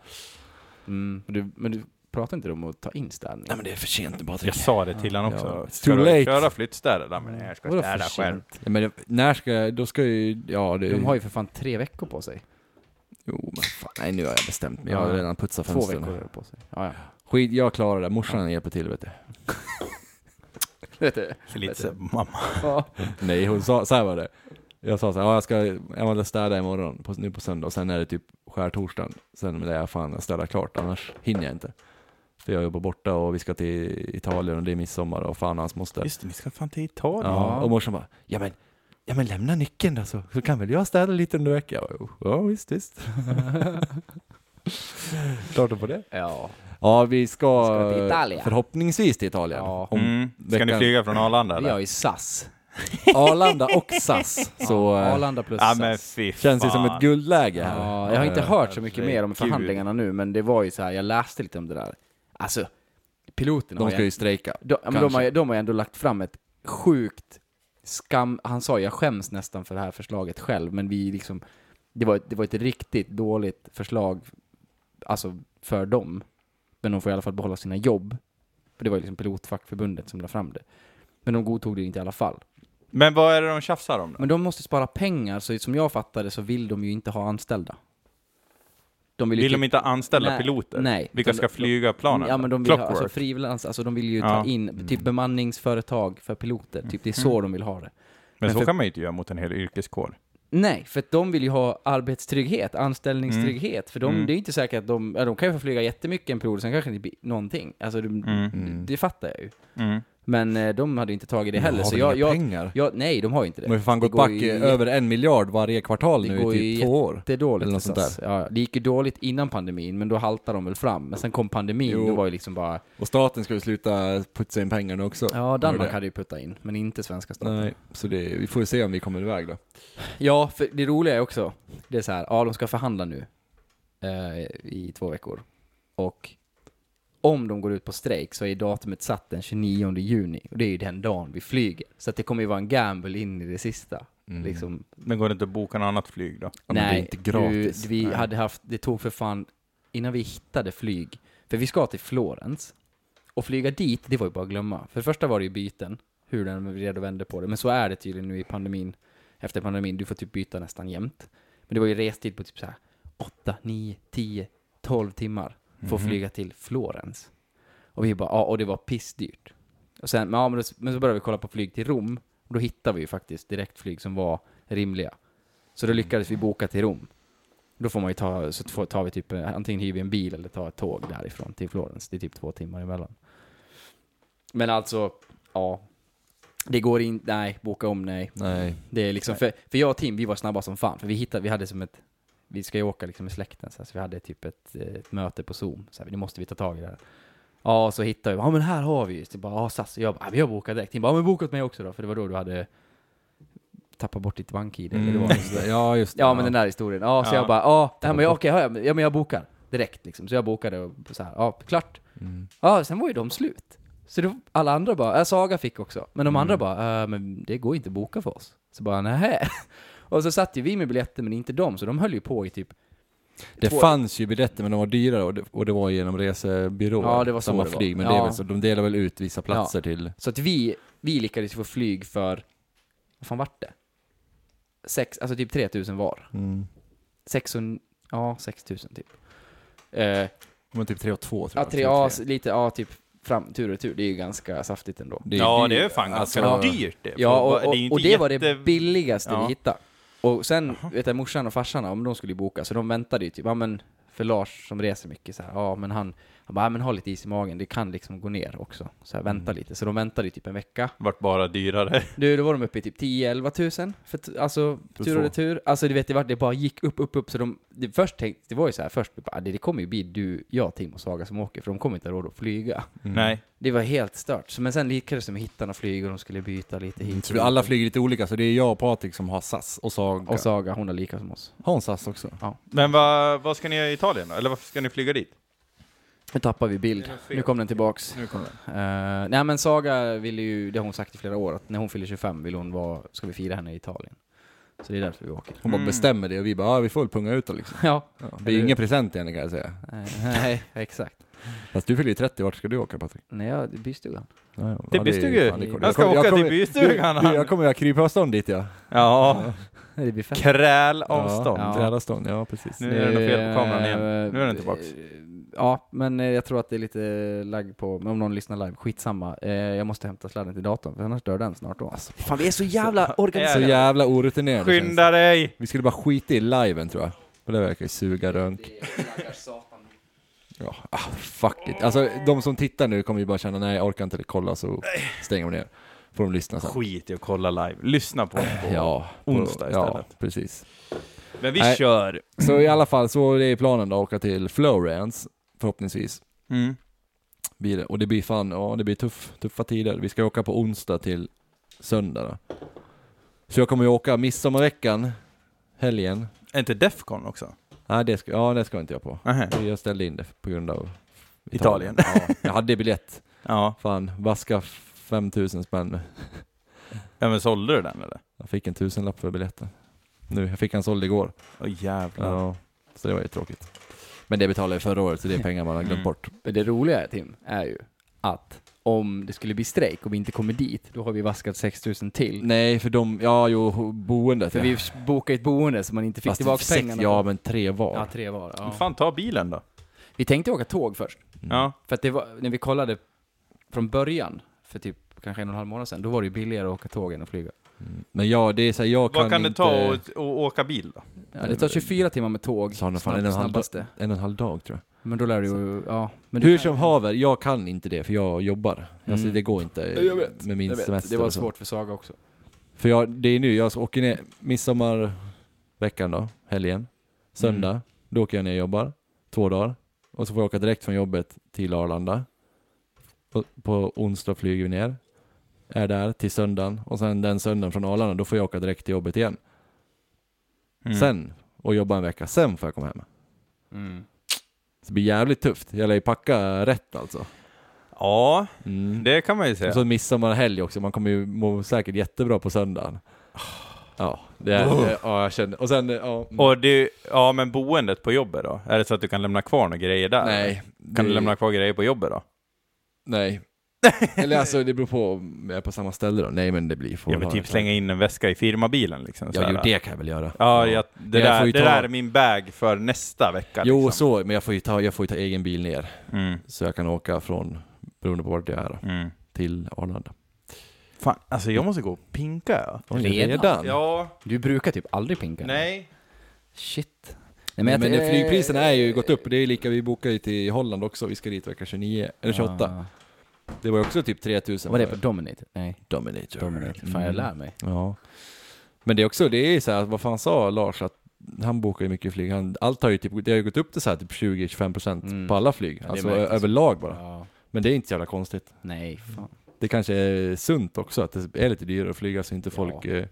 Mm. Men, du, men du pratar inte om att ta in städning? men det är för sent nu Patrik. Jag sa det till honom Ja. också. It's Ska too du late. köra flyttstäder? Ja, men jag ska Vadå för städa sent? själv. Ja, men det, när ska jag, då ska ju, ja det... De har ju för fan tre veckor på sig. Jo men fan, nej nu har jag bestämt mig. Jag har Ja. redan putsat Två fönstren. veckor är det på sig. Ja, ja. Skit, jag klarar det. Morsan hjälper till vet du. Vet du? Lite så, mamma. Ja. Nej, hon sa, så här var det. Jag sa så här, ja, jag ska, jag måste städa imorgon, på, nu på söndag, och sen är det typ skärtorsdagen. Sen är jag fan städa klart, annars hinner jag inte. För jag jobbar borta och vi ska till Italien och det är midsommar och fan och hans moster. Just det, ni ska fan till Italien. Ja, och morsan bara, ja men, ja men lämna nyckeln då så, så kan väl jag städa lite under veckan? Jag bara, Ja visst, visst. Klart du på det. ja. Ja, vi ska, Ska till Italien. förhoppningsvis till Italien. Ja. Om Mm. Ska ni veckan- flyga från Arlanda Vi eller? har ju SAS. Arlanda och SAS. Så ja, eh, Arlanda plus Ja SAS. men fy känns det som fan. ett guldläge här. Eh, Ja, jag har inte hört så mycket mer om herregud. förhandlingarna nu, men det var ju så här, jag läste lite om det där. Alltså, piloterna har De ju- ska ju strejka. De, ja, men de, har, ju- de har ju ändå lagt fram ett sjukt skam... Han sa ju, jag skäms nästan för det här förslaget själv, men vi liksom... Det var, ett- det var ett riktigt dåligt förslag, alltså för dem. Men de får i alla fall behålla sina jobb. För det var ju liksom pilotfackförbundet som la fram det. Men de godtog det inte i alla fall. Men vad är det de tjafsar om då? Men de måste spara pengar, så som jag fattade så vill de ju inte ha anställda. De ju Vill de typ- inte anställa Nej, piloter? nej. Vilka Utan ska de- flyga planen? Ja men de vill ha, Clockwork. alltså frilans, alltså de vill ju ta Ja. Mm. in, typ bemanningsföretag för piloter, typ det är så de vill ha det. men men så för- kan man ju inte göra mot en hel yrkeskår. Nej, för att de vill ju ha arbetstrygghet, anställningstrygghet, Mm. för de, det är ju inte säkert att de, ja, de kan ju få flyga jättemycket en period, sen kanske det inte blir någonting. Alltså det, det fattar jag ju. Mm. Men eh, de hade inte tagit det heller, har så väl jag, inga jag, pengar? jag, nej de har ju inte det. De har ju fan Det gått går back ju i jätte- över en miljard varje kvartal Det nu i går typ ju två år. Det är Eller dåligt något för sånt SAS. Ja, det gick ju dåligt innan pandemin, men då haltade de väl fram. Men sen kom pandemin, Jo. då var ju liksom bara... Och staten ska ju sluta putsa in pengar nu också. Ja, Var Danmark det? hade ju puttat in, men inte svenska staten. Nej, så det, vi får ju se om vi kommer iväg då. Ja, för det roliga är också, det är så här, ja de ska förhandla nu eh, i två veckor. Och om de går ut på strejk så är datumet satt den 29 juni. Och det är ju den dagen vi flyger. Så att det kommer ju vara en gamble in i det sista. Mm. Liksom, Men går det inte att boka något annat flyg då? men det är inte gratis. Du, vi hade haft, det tog för fan, innan vi hittade flyg, för vi ska till Florens. Och flyga dit, det var ju bara att glömma. För det första var det ju byten, hur den vred och vände på det. Men så är det tydligen nu i pandemin, efter pandemin, du får typ byta nästan jämt. Men det var ju restid på typ så här 8, 9, 10, 12 timmar för Mhm. att flyga till Florens. Och vi bara, ja, och det var pissdyrt. Och sen, men, ja, men, då, men så började vi kolla på flyg till Rom, och då hittade vi ju faktiskt direktflyg som var rimliga. Så då lyckades vi boka till Rom. Då får man ju ta, så får- tar vi typ, eh, antingen hyr vi en bil eller tar ett tåg därifrån till Florens. Det är typ två timmar emellan. Men alltså, ja. Det går inte, nej, boka om, nej. Nej. Det är liksom, för, för jag och Tim, vi var snabba som fan. För vi hittade, vi hade som ett, vi ska ju åka liksom med släkten, så, här, så vi hade typ ett, eh, ett möte på Zoom. Så här, nu måste vi ta tag i det här. Ja, och så hittade vi, ja men här har vi ju. Så bara, ja SAS. Jag bara, ja, men jag bokar direkt. Tim bara, ja men boka åt mig också då. För det var då du hade tappat bort ditt bank-id. Eller det var något sånt där. Mm. Ja, just det. Ja, men den där historien. Ja, så Ja. jag bara, ja, nej, men jag, okej, ja, men- ja, men jag bokar direkt liksom. Så jag bokade och så här, ja, klart. Ja, sen var ju de slut. Så då, alla andra bara, ja, Saga fick också. Men de andra bara, äh, men det går inte att boka för oss. Så bara, nej. Och så satt ju vi med biljetter men inte de, så de höll ju på i typ, Det två- fanns ju biljetter men de var dyrare och det, och det var genom resebyråer. Ja, det var så som var det var. flyg, men det är Ja. väl så, de delar väl ut vissa platser till... så att vi, vi lyckades få flyg för, vad fan vart det? Sex, alltså typ 3000 var. Sex och, ja, 6000 typ. Eh, Men typ 3 och 2 tror ja, jag. tre, ja, lite, ja, typ fram, tur och tur. Det är ju ganska saftigt ändå. Det ja, dyrt. det är ju fan ganska Alltså, dyrt det. Ja, och, För och, är ju det, inte och det var jätte- det billigaste Ja. vi hittade. Och sen, vet jag, morsan och farsan, om de skulle ju boka, så de väntade ju typ, ja men För Lars som reser mycket så här, ja men han, han bara, ja, men ha lite is i magen, det kan liksom gå ner också. Så här, vänta lite. Så de väntade ju typ en vecka. Vart bara dyrare. Du, då var de uppe i typ 10-11 tusen, för t- alltså tur och retur. Alltså du vet, det, var, det bara gick upp, upp, upp. Så de, det, först tänkte, det var ju så här, först, vi bara, "Ah, det, det kommer ju bli du, jag, Tim och Saga som åker, för de kommer inte ha råd att flyga. Nej. Det var helt stört. Så, men sen lyckades de hitta några flyg och de skulle byta lite hit. Så vi alla flyger lite olika, så det är jag och Patrik som har SAS och Saga. Och Saga, hon är lika som oss. Har hon SAS också? Men vad vad ska ni göra i Italien då? Eller varför ska ni flyga dit? Nu tappar vi bild. Det är fel. Nu kom den tillbaks. Nu kommer Eh, nej men Saga ville ju, det har hon sagt i flera år, att när hon fyller 25 vill hon vara, ska vi fira henne i Italien. Så det är därför vi åker. Hon bara Mm. bestämmer det och vi bara, ja, vi får väl punga ut då liksom. Ja, Ja, det är ju ingen present egentligen kan jag säga. eh, nej, exakt. Fast du fyller ju 30, vart ska du åka Patrik? Nej, ja, det är bystugan. Ja, ja, Till ja, bystugan. fan, är- Jag ska kommer- åka till kommer- bystugan, Du, du, han. jag kommer ju ha krypavstånd dit ja. Ja, Det blir fett. kräl avstånd. Ja, trädavstånd, ja precis. Nu är det något fel på kameran igen. Nu är den tillbaks. Ja, men eh, jag tror att det är lite lagg på, men om någon lyssnar live, skitsamma. Eh, Jag måste hämta sladden till datorn, för annars dör den snart då. Alltså, fan, vi är så jävla Så Ja, ja. jävla orutinerad det känns. Skynda dig! Vi skulle bara skita i liven tror jag. Men det verkar ju suga rök. Ja, ah, fuck it. Alltså de som tittar nu kommer ju bara känna nej jag orkar inte kolla så stänger de ner. Får de lyssna sen. Skit i att kolla live. Lyssna på oss på Ja, på- onsdag Ja, istället. precis. Men vi Nej. kör! Så i alla fall så är planen då att åka till Florence förhoppningsvis. Mm. Blir det. Och det blir fan, ja det blir tuff, tuffa tider. Vi ska åka på onsdag till söndag då. Så jag kommer ju åka midsommarveckan, helgen. Är inte Defcon också? Nej, det ska, ja, det ska inte jag på. Nähä. Jag ställde in det på grund av Italien. Ja, jag hade biljett. Ja. Fan, vaska 5000 spänn. ja, men sålde du den eller? Jag fick en tusenlapp för biljetten. Nu, jag fick en såld igår. Åh jävlar. Ja. Så det var ju tråkigt. Men det betalade jag förra året, så det är pengar man har glömt Mm. bort. Men det roliga Tim, är ju att om det skulle bli strejk och vi inte kommer dit, då har vi vaskat 6000 till. Nej, för de, ja jo, boendet. För ja. vi bokade ett boende så man inte fick Fast tillbaka sex- pengarna. Ja, men tre var. ja, tre var. Ja. Fan, ta bilen Mm. då. Vi tänkte åka tåg först. Ja. För att det var, när vi kollade från början, för typ kanske en och en halv månad sedan, då var det ju billigare att åka tåg än att flyga. Men ja, det är så här, jag kan, Vad kan det inte... ta att att åka bil då? Ja, det tar 24 timmar med tåg, Sa han fan, snabb, en och en halv snabbaste. En och en halv dag tror jag. Men då lär du ju, ja. Men Hur kan- Mm. som haver, jag kan inte det för jag jobbar. Alltså det går inte Jag vet, med min jag vet, semester Det var och så. svårt för Saga också. För jag, det är nu, jag åker ner midsommarveckan då, helgen, söndag, då åker jag ner och jobbar, två dagar. Och så får jag åka direkt från jobbet till Arlanda. På, på onsdag flyger vi ner, är där till söndagen och sen den söndagen från Arlanda, då får jag åka direkt till jobbet igen. Sen, och jobba en vecka, sen får jag komma hem. Så det blir jävligt tufft, jag lär ju packa rätt alltså. Ja, Mm. det kan man ju Och säga. så midsommarhelg också, man kommer ju må säkert jättebra på söndagen. Ja, det är, det- ja jag känner. Och sen, ja. mm. Och det, Oh. ja, men boendet på jobbet då? Är det så att du kan lämna kvar några grejer där? nej. Kan det- du lämna kvar grejer på jobbet då? Nej. Eller alltså det beror på om jag är på samma ställe då. Nej men det blir får Ja, men ha typ det. slänga in en väska i firmabilen liksom. Ja, sådär. jo, det kan jag väl göra. Ja, jag, det, jag där, får ju det ta- där är min bag för nästa vecka. Jo, liksom. så, men jag får ju ta, jag får ju ta egen bil ner. Mm, Så jag kan åka från, beroende på vart jag är då, mm. till Arlanda. Fan, alltså jag måste gå och pinka. Ja. Oj, Redan? Ja, Du brukar typ aldrig pinka. nej. Shit. Nej, Men, jag- men flygpriserna är ju gått upp, det är lika, vi bokar ju till Holland också, vi ska dit vecka 29, eller 28. Det var ju också typ 3000 Vad Ah. var det för för Dominator? Nej, Dominator. Dominator. Mm. Fan, jag lär mig. Ja. Men det är också, det är ju så här, vad fan sa Lars att han bokar ju mycket flyg. Han, allt har ju typ, det har ju gått upp till så här typ 20-25% Mm. på alla flyg. Ja, det alltså märks. överlag bara. Ja. Men det är inte så jävla konstigt. Nej, fan. Det kanske är sunt också att det är lite dyrare att flyga så inte Ja, folk... eh,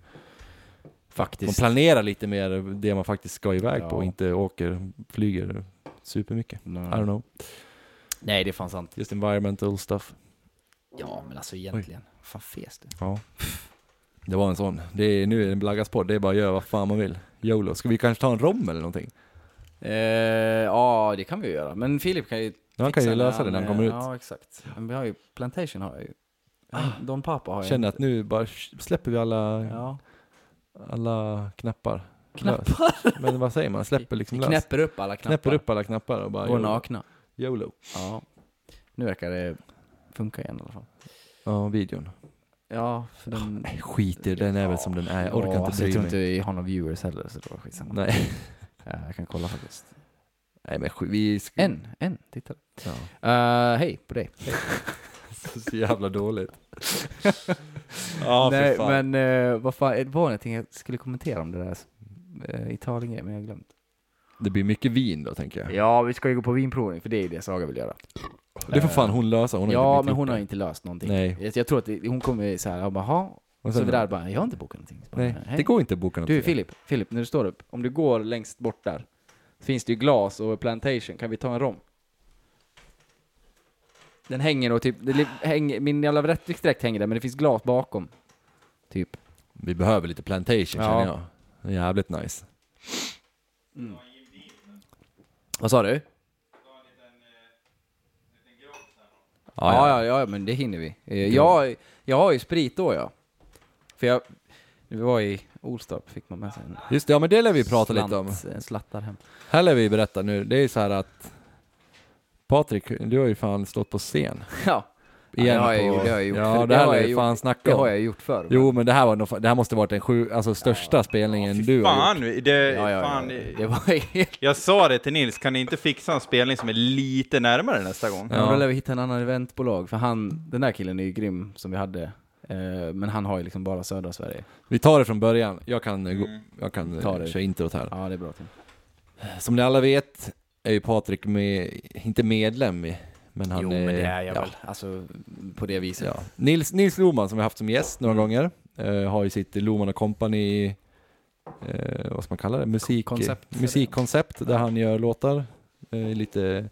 man Faktiskt. planerar lite mer det man faktiskt ska iväg Ja. på och inte åker, flyger supermycket. I don't know. Nej, det är fan sant. Just environmental stuff. Ja, men alltså egentligen. Fan fes du. Ja. Det var en sån. Det är, nu är det en blaggaspodd. Det är bara att göra vad fan man vill. YOLO. Ska vi kanske ta en rom eller någonting? Eh, ja, det kan vi ju göra. Men Filip kan ju Han kan fixa ju lösa det när han kommer ut. Ja, exakt. Men vi har ju, Plantation har jag ju. Eh, Don Papa har jag. Känner att nu bara sh- släpper vi alla, Ja. alla knappar. Lös. Men vad säger man? Släpper liksom Vi lös. knäpper upp alla knappar. Knäpper upp alla knappar och bara Och nakna. YOLO. Ja. Nu verkar det funka igen i alla fall. Ja, videon. Ja, för den... Nej, skit i det. Den är väl som den är. Jag orkar Ja, inte alltså, Jag bry tror mig. inte vi har några viewers heller, så det var skitsamma. Nej. Ja, jag kan kolla faktiskt. Nej men sju- vi... sk- En, en tittare. Ja. Eh, hej på dig. Så jävla dåligt. Ja, för Nej, fan. men eh, vad fan, det var någonting jag skulle kommentera om det där uh, Italien men jag har glömt. Det blir mycket vin då tänker jag. Ja, vi ska ju gå på vinprovning för det är ju det Saga vill göra. Det får fan hon lösa. Hon har ja, inte men gjort hon det. har inte löst någonting. Nej. Jag, jag tror att det, hon kommer så här, jag bara, "Jaha." Och sen och så vi då? där bara, jag har inte bokat någonting. Så bara, Nej, "Nej." det går inte att boka något. Du Filip, Filip, när du står upp, om du går längst bort där, så finns det ju glas och plantation, kan vi ta en rom? Den hänger och typ, det li- hänger, min jävla rättviksdräkt hänger där, men det finns glas bakom. Typ. Vi behöver lite plantation känner jag. Det är jävligt nice. Vad sa du? Ja, Ja, ja, ja, men det hinner vi. Eh, Jag, jag har ju sprit då, ja. För jag, vi var i Olstorp, fick man med sig en Just det, ja men det lär vi prata lite om. En slattar hem. Här lär vi berätta nu, det är ju så här att Patrik, du har ju fan stått på scen. Ja, Ja, det har jag gjort, det har jag gjort. Ja, Det det här har lär jag vi gjort. fan det snacka har om. jag gjort förr. Jo men det här, var nog, det här måste varit den sju, alltså största spelningen du har gjort. Fan, det, ja, ja, fan, ja. Det var helt... Jag sa det till Nils, kan ni inte fixa en spelning som är lite närmare nästa gång? Ja. Då lär vi hitta en annan eventbolag, för han, den där killen är ju grym som vi hade. eh, Men han har ju liksom bara södra Sverige. Vi tar det från början, jag kan, eh, gå- Mm. jag kan eh, Mm. Ta det. köra introt här. Ja, det är bra Tim. Som ni alla vet är ju Patrik med, inte medlem i, men han är... ja, Alltså, på det viset. Ja. Nils, Nils Loman som vi haft som gäst Mm. några gånger eh, har ju sitt Loman Company, eh, vad ska man kalla det, Musik, Koncept. musikkoncept där han gör låtar. Eh, lite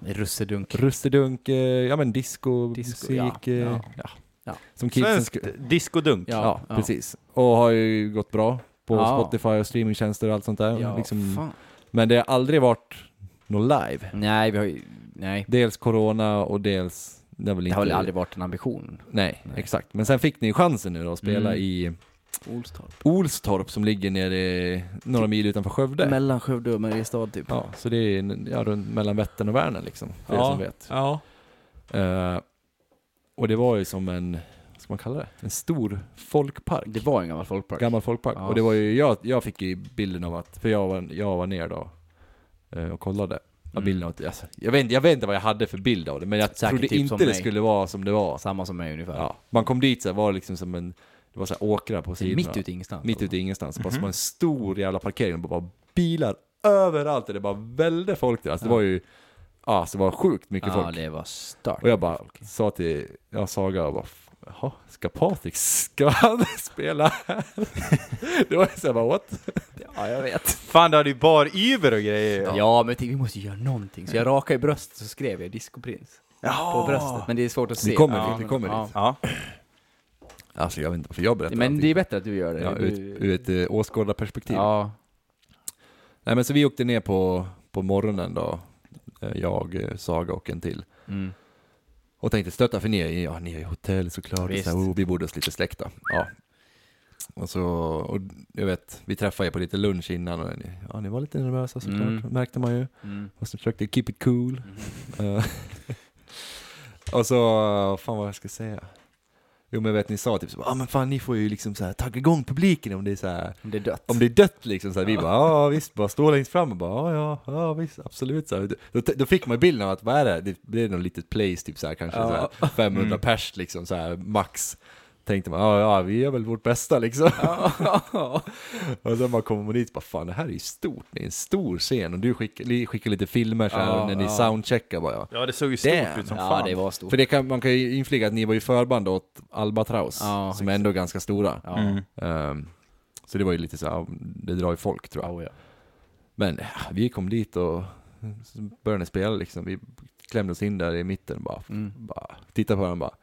Russedunk. rustedunk, eh, ja men disco, Disco, ja. musik. eh, Ja. Ja. Som kidsen Svenskt skulle... discodunk. Ja, precis. Och har ju gått bra på Ja. Spotify och streamingtjänster och allt sånt där. Ja, liksom, fan. men det har aldrig varit något live. Nej, vi har ju... Nej. Dels corona och dels... Det har väl Det inte... har väl aldrig varit en ambition. Nej, exakt. Men sen fick ni ju chansen nu då att spela Mm. i Olstorp. Olstorp som ligger nere några mil utanför Skövde. Mellan Skövde och Mariestad typ. ja, så det är en- ja, runt mellan Vättern och Vänern liksom, för er Ja. som vet. Eh, och det var ju som en, vad ska man kalla det? En stor folkpark. Det var en gammal folkpark. Gammal folkpark. Ja. Och det var ju, jag, jag fick ju bilden av att, för jag var, jag var ner då eh, och kollade. Ja, Mm. bilden av, att- alltså, jag, vet, inte- jag vet inte vad jag hade för bild av det, men jag Säkert trodde typ inte som det mig. skulle vara som det var. Samma som mig ungefär. Ja. Man kom dit så här, var det liksom som en, det var så här åkrar på Det är sidorna. Typ mitt ute i ingenstans. Mitt ute i ingenstans. Bara som en stor jävla parkering. Det bara bilar överallt och det bara välde folk där. Alltså, Det var ju, ja, alltså, det var sjukt mycket Ja, folk. det var stört. Och jag bara sa till, jag Saga och bara, jaha, ska Patrik, ska han spela här? det var ju såhär bara what? Ja, jag vet. Fan, du hade ju bar Uber och grejer. Ja, men jag tänkte vi måste göra någonting. Så jag rakade i bröstet så skrev jag discoprins. På bröstet. Men det är svårt att se. Vi kommer ja. dit, vi kommer ja. dit. Ja. Alltså jag vet inte varför jag berättar Men det allting. är bättre att du gör det. ja, du... ur, ett- ur ett eh, åskådarperspektiv. ja. Nej men så vi åkte ner på, på morgonen då, eh, jag, eh, Saga och en till. Mm. Och tänkte stötta för ni är ju, ja, ni är ju hotell såklart, och Visst. så här, oh, vi borde oss lite släkta. Ja. Och så, och jag vet, vi träffade er på lite lunch innan och ni, ja, ni var lite nervösa såklart, Mm. märkte man ju. Mm. Och så försökte keep it cool. Eh, och så, fan vad jag ska säga. Jo men jag vet ni sa typ så, ah, men fan ni får ju liksom så här tagga igång publiken om det är så här Om det är dött. om det är dött liksom, så här, vi bara ja visst, bara stå längst fram och bara ja ja, ja visst, absolut. Så här, då, då fick man bilden av att vad är det? Det, det är någon litet place, typ så här, kanske så här, 500 pers liksom, så här, max. Tänkte man ja ja, vi gör väl vårt bästa liksom. och sen bara kommer man dit och bara fan det här är ju stort, det är en stor scen och du skickar, li- skickar lite filmer så här, när ni soundcheckar bara. Ja. ja, det såg ju stort Damn. ut som ja, fan. det var stort. För det kan, man kan ju inflika att ni var ju förband åt Albatraus, Ja, som är ändå ganska stora. Ja. Mm. Ehm, så det var ju lite så här, det drar ju folk tror jag. Oh, ja. Men ja, vi kom dit och så började ni spela liksom. Vi klämde oss in där i mitten och bara, Mm. bara tittade på varandra och bara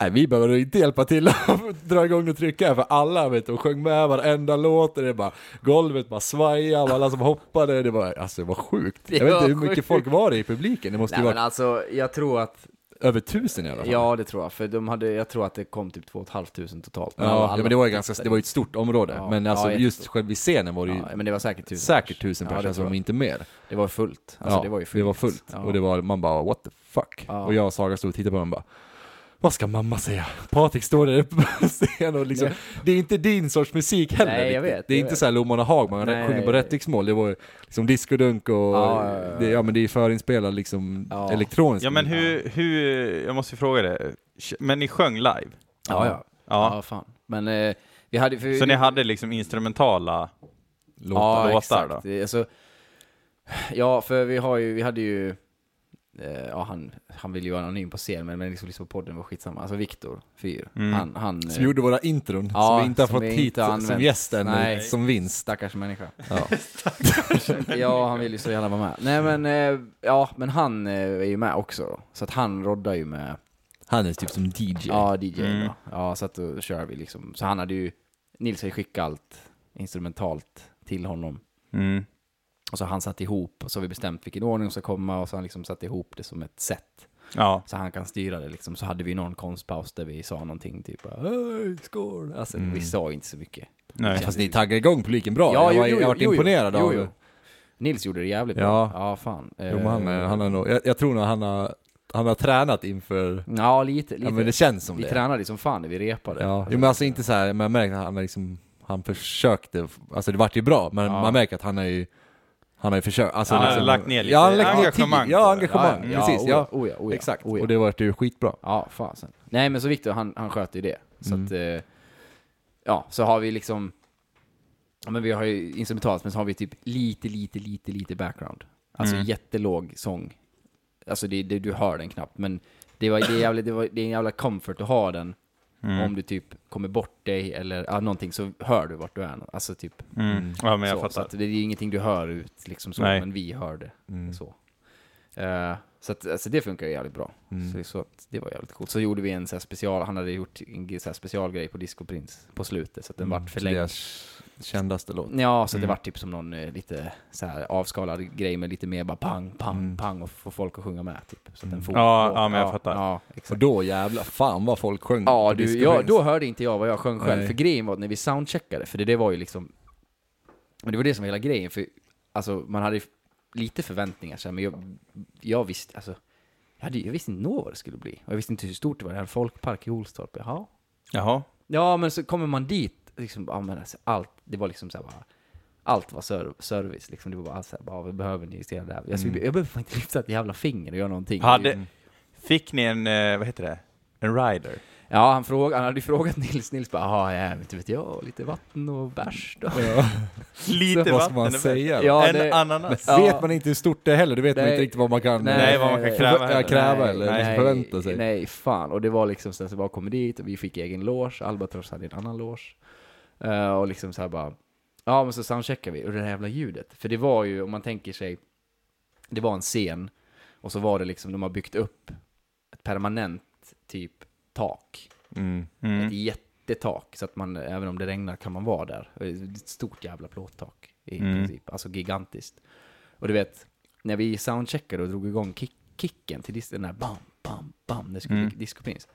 Nej, vi behöver inte hjälpa till att dra igång och trycka här för alla vet du, och sjöng med varenda låt och det bara Golvet bara svajade och alla som hoppade, det var, alltså, det var sjukt Jag Det vet inte var hur mycket sjukt. folk var det i publiken, det måste Nej ju men vara alltså, jag tror att, över tusen i alla fall ja det tror jag, för de hade, jag tror att det kom typ 2 500 totalt. Ja, alla- ja, alla- men det var ju ganska, det var ju ett stort område Ja, Men alltså ja, just själv vid scenen var det ju Ja, men det var säkert tusen. säkert tusen Ja, det personer, alltså, tror om jag. inte mer Det var fullt. Alltså, det var ju fullt. Det var fullt. Ja. Och det var, man bara what the fuck. Ja. Och jag och Saga stod och tittade på honom och bara Vad ska mamma säga? Patrik står där uppe på scenen och liksom, det är inte din sorts musik heller. Nej, jag riktigt. vet, Det är jag inte vet. såhär Lommarna Hagman, Nej, han sjunger nej, på nej. rätt riksmål. Det var liksom discodunk och, Ja, ja, ja. Det, ja men det är förinspelad liksom Ja. elektronisk Ja men musik. hur, hur, jag måste fråga det. Men ni sjöng live? Ja, ja. Ja. Ja, fan. Men eh, vi hade... För, Så ni hade liksom instrumentala? ja, låtar exakt. Alltså, ja, för vi har ju, vi hade ju... Eh, ja, han, han ville ju vara anonym på scen, men, men liksom, liksom på podden var skitsamma. Alltså Viktor Fyr, Mm. han, han eh, Som gjorde våra intron, Ja, som vi inte har som fått vi hit inte har som använt. gäst ännu, Nej. som vinst. stackars människa. Ja. ja, han vill ju så gärna vara med. Nej, men, eh, ja, men han eh, är ju med också. då. Så att han roddar ju med Han är typ som DJ. Ja, DJ Mm. då. Ja, så att då kör vi liksom. Så han hade ju, Nils hade ju skickat allt instrumentalt till honom. Mm. Och så har han satt ihop, och så har vi bestämt vilken ordning de ska komma, och så har han liksom satt ihop det som ett sätt. Ja. Så han kan styra det liksom. Så hade vi någon konstpaus där vi sa någonting typ Hej, skål! Alltså vi sa inte så mycket. Nej. Fast ni taggade igång publiken bra, Mm. jag, var, jag varit imponerad jo, av jo. Nils gjorde det jävligt Ja. bra. Ja, fan. Eh, Jo, men han, är- han är nog, jag, jag tror nog han har, han har tränat inför, Ja, lite. lite. ja men det känns som vi det. tränade som fan när vi repade. Ja, jo, men alltså inte så här, men jag märker att han har liksom, han försökte, alltså det vart ju bra, men Ja. man märker att han har ju, han har ju försökt. Alltså, Han har liksom, lagt ner lite ja, han har lagt ner engagemang tid, Ja, på det. engagemang, Ja, precis. oja, Ja, oja, oja, exakt. oja. Och det vart ju skitbra. Ja, fasen. Nej, men så Viktor, han, han sköter ju det. Så Mm. att, eh, ja, så har vi liksom, ja men vi har ju instrumentalt, men så har vi typ lite, lite, lite, lite background. Alltså Mm. jättelåg sång. Alltså det, det, du hör den knappt, men det, var, det, är jävla, det, var, det är en jävla comfort att ha den. Om du typ kommer bort dig eller ja, någonting så hör du vart du är. Alltså typ Mm. Ja men jag så. Så fattar. att det är ju ingenting du hör ut liksom så, Nej. Mm. men vi hör det. Så, Eh, så att, alltså det funkar ju jävligt bra. Mm. Så, det är så att det var jävligt coolt. Så gjorde vi en så här special, han hade gjort en g- så här specialgrej på Disco Prince på slutet, så att den Mm. vart Mm. Så det är förlängd. hans kändaste låt. Ja, så det vart typ som någon eh, lite så här avskalad grej med lite mer bara pang, pang, pang och få folk att sjunga med typ. Så att den fortgår. Mm. Ja, ja, men jag fattar. Ja, exakt. Och då jävlar, fan vad folk sjöng Ja, på du, Disco ja, Prince. då hörde inte jag vad jag sjöng själv. Nej. För grejen var att när vi soundcheckade, för det, det var ju liksom... Men det var det som var hela grejen, för alltså, man hade ju lite förväntningar så här, men jag, jag visste, alltså... Jag, hade, jag visste inte nå vad det skulle bli. Och jag visste inte hur stort det var. Det här folkpark i Olstorp, jaha. Jaha. Ja, men så kommer man dit, liksom, ja, men alltså, allt, det var liksom så här bara... Allt var ser- service, liksom. Det var bara så här, bara, vi behöver ni justera det här. Jag, skulle, Alltså, jag behöver fan inte lyfta ett jävla finger och göra någonting. Hade, fick ni en, eh, vad heter det? En rider? Ja, han, fråga, han hade ju frågat Nils. Nils bara, "Jaha, ja, inte vet jag, lite vatten och bärs då. Lite Vad ska vatten man är säga? bäst. Ja, en det- ananas? Ja. Vet man inte hur stort det är heller, då vet man Nej. inte riktigt vad man kan... Nej, Nej, vad man kan kräva Ja, heller. kräva eller liksom förvänta sig. Nej, fan. Och det var liksom, sen så bara kom vi dit och vi fick egen loge. Albatross hade en annan loge. Eh, och liksom så här bara, ja men så soundcheckar vi. Och det här jävla ljudet. För det var ju, om man tänker sig, det var en scen. Och så var det liksom, de har byggt upp ett permanent typ tak. Mm. Mm. Ett jättetak. Så att man, även om det regnar kan man vara där. Och det är Ett stort jävla plåttak i Mm. princip. Alltså gigantiskt. Och du vet, när vi soundcheckade och drog igång kick, kicken till dis- den där bam, bam, bam, det skulle Mm. mm. Disco Prince.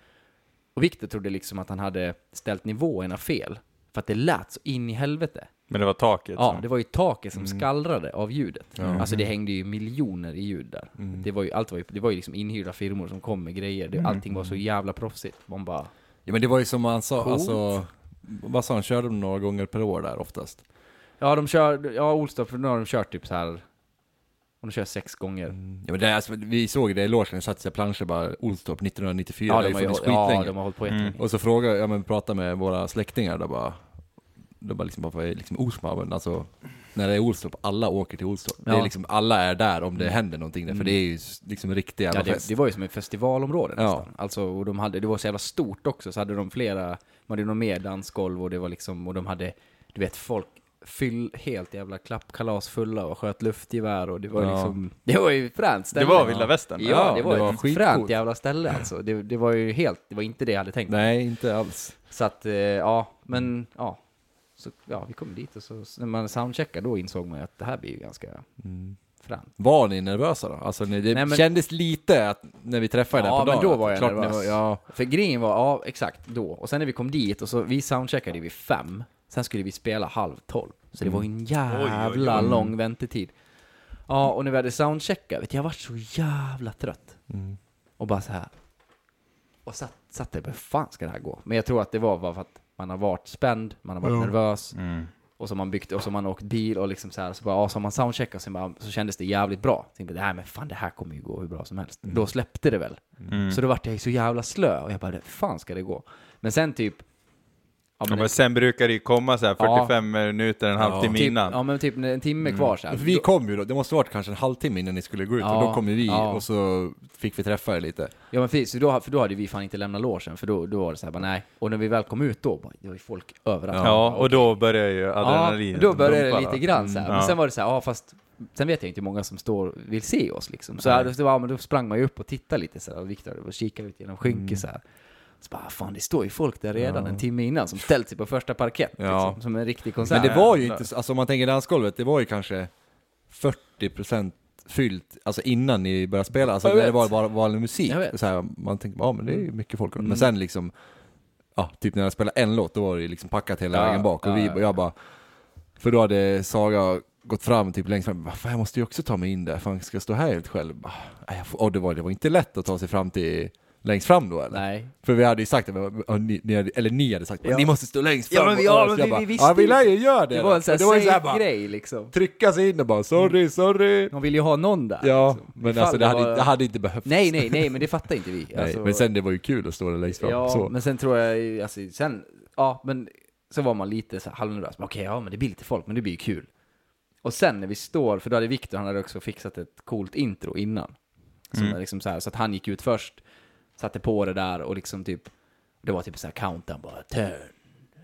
Och Victor trodde liksom att han hade ställt nivåerna fel. För att det lät så in i helvete. Men det Mm. var taket? Ja, som- det var ju taket som skallrade av ljudet. Alltså Mm. det hängde ju miljoner i ljud där. Det var ju, allt var ju, det var ju liksom inhyrda firmor som kom med grejer. Mm. Det, allting var så jävla proffsigt. Man bara... Ja men det var ju som han sa, Coolt. alltså, vad sa han, körde de några gånger per år där oftast? Ja, de kör, ja Olstorp, nu har de kört typ så här. Om de kör sex gånger. Ja, men det, är alltså, vi såg ju det i logen, satt sig planscher bara Olstorp 1994, ja, det har ju ju funnits håll- ja, skitlänge. de har hållit på jättelänge. Och så frågade jag, men pratade med våra släktingar, då bara, då bara liksom, bara, vad är liksom Olstorp? Men Alltså, när det är Olstorp, alla åker till Olstorp. Det är Ja. Mm. liksom, alla är där om det händer någonting där, för det är ju s- liksom en riktig jävla Ja, det, fest. det var ju som ett festivalområde Ja. nästan. Alltså, och de hade, det var så jävla stort också, så hade de flera, man hade nog mer dansgolv och det var liksom, och de hade, du vet folk, fyll, helt jävla klappkalas fulla och sköt luftgevär och det var Ja. liksom, det var ju fränt det ställe. var vilda västern? Ja, Ja, det var, det var ett skitcoolt. fränt jävla ställe alltså. Det, det var ju helt, det var inte det jag hade tänkt. Nej, inte alls. Så att, eh, ja, men ja. Så, ja, vi kom dit och så, så när man soundcheckade då insåg man ju att det här blir ju ganska fränt. Var ni nervösa då? Alltså, ni, det Nej, men- kändes lite att, när vi träffade Ja, där på men dagen. då att var jag klart ni nervös. var- ja, För grejen var, ja exakt då. Och sen när vi kom dit och så, vi soundcheckade vid fem. Sen skulle vi spela halv tolv. Så det var ju en jävla lång väntetid. Ja, och när Mm. vi hade soundcheckat, vet du, jag var så jävla trött. Och bara så här. Och satt, satt där, hur fan ska det här gå? Men jag tror att det var bara för att man har varit spänd, man har varit nervös, Mm. och så har man byggt, och så har man åkt bil och liksom så här, så bara, ja, så har man soundcheckat och sen bara, så kändes det jävligt bra. Tänkte, nej men fan det här kommer ju gå hur bra som helst. Då släppte det väl. Mm. Så då vart jag ju så jävla slö och jag bara, hur fan ska det gå? Men sen typ, ja, Ja, men sen brukar det ju komma så här Ja. 45 minuter, en halvtimme typ, innan. ja men typ en timme Mm. kvar så här. För vi kom ju då, det måste varit kanske en halvtimme innan ni skulle gå ut Ja, och då kom ju vi ja. och så fick vi träffa er lite. Ja men precis, för då, för då hade vi fan inte lämnat logen, för då, då var det så här, bara, nej. Och när vi väl kom ut då, bara, det var ju folk överallt. Ja, och då börjar ju adrenalinet Ja, då började det pumpa, va? lite grann Mm, så här. Men Ja. sen var det så här, ja fast sen vet jag inte hur många som står vill se oss liksom. Så här, då, ja, men då sprang man ju upp och tittade lite så här, och Viktor och kikade ut genom skynket Mm. så här. Så bara, fan det står ju folk där redan en timme innan som ställt sig på första parkett Ja. liksom, som en riktig Men konsert. det var ju inte, så- alltså om man tänker dansgolvet, det var ju kanske 40% fyllt, alltså innan ni började spela, alltså Jag när det vet. var bara vanlig musik. Jag vet. Mm. Så här, man tänkte, ja men det är ju mycket folk Men sen liksom, ja, typ när jag spelade en låt, då var det ju liksom packat hela Ja, vägen bak och ja, vi, ja. och jag bara, för då hade Saga gått fram typ längst fram, "Va fan jag måste ju också ta mig in där, fan ska jag stå här helt själv? Bara, "Nej, jag får- Och det var, det var inte lätt att ta sig fram till längst fram då eller? Nej. För vi hade ju sagt, det, och ni, ni hade, eller ni hade sagt, ni måste stå längst Ja, fram. men- och- ja, och men jag vi- bara, vi visste ja, vi lär ju göra det. Det var en sån Och det var här ju så här safe bara, grej liksom. trycka sig in och bara, sorry, sorry. De vill ju ha någon där. Ja, liksom. men Ifall alltså det hade, var- det hade inte behövts. Nej, nej, nej, men det fattar inte vi. Nej, Alltså- men sen det var ju kul att stå där längst fram. Ja, så. men sen tror jag, ju- alltså, sen, ja, men så var man lite så här halvnervös. Men Okej, ja, men det blir lite folk, men det blir ju kul. Och sen när vi står, för då hade Viktor, han hade också fixat ett coolt intro innan. Som är liksom så, här, så att han gick ut först, satte på det där och liksom typ, det var typ så här countdown bara, turn,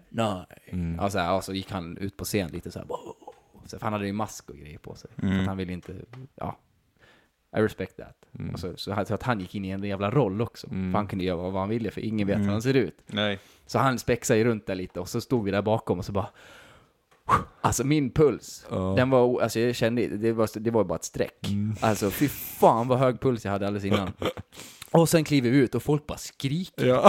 nine. Och, så här, och så gick han ut på scen lite så här, wow. så för han hade ju mask och grejer på sig. För att han ville inte, ja. I respect that. Mm. Och så, så, han- så att han gick in i en jävla roll också. För han kunde göra vad han ville, för ingen vet Mm. hur han ser ut. Nej. Så han spexade ju runt där lite och så stod vi där bakom och så bara... Alltså min puls, den var, o- alltså jag kände, det var, det var bara ett streck. Mm. Alltså fy fan vad hög puls jag hade alldeles innan. Och sen kliver vi ut och folk bara skriker.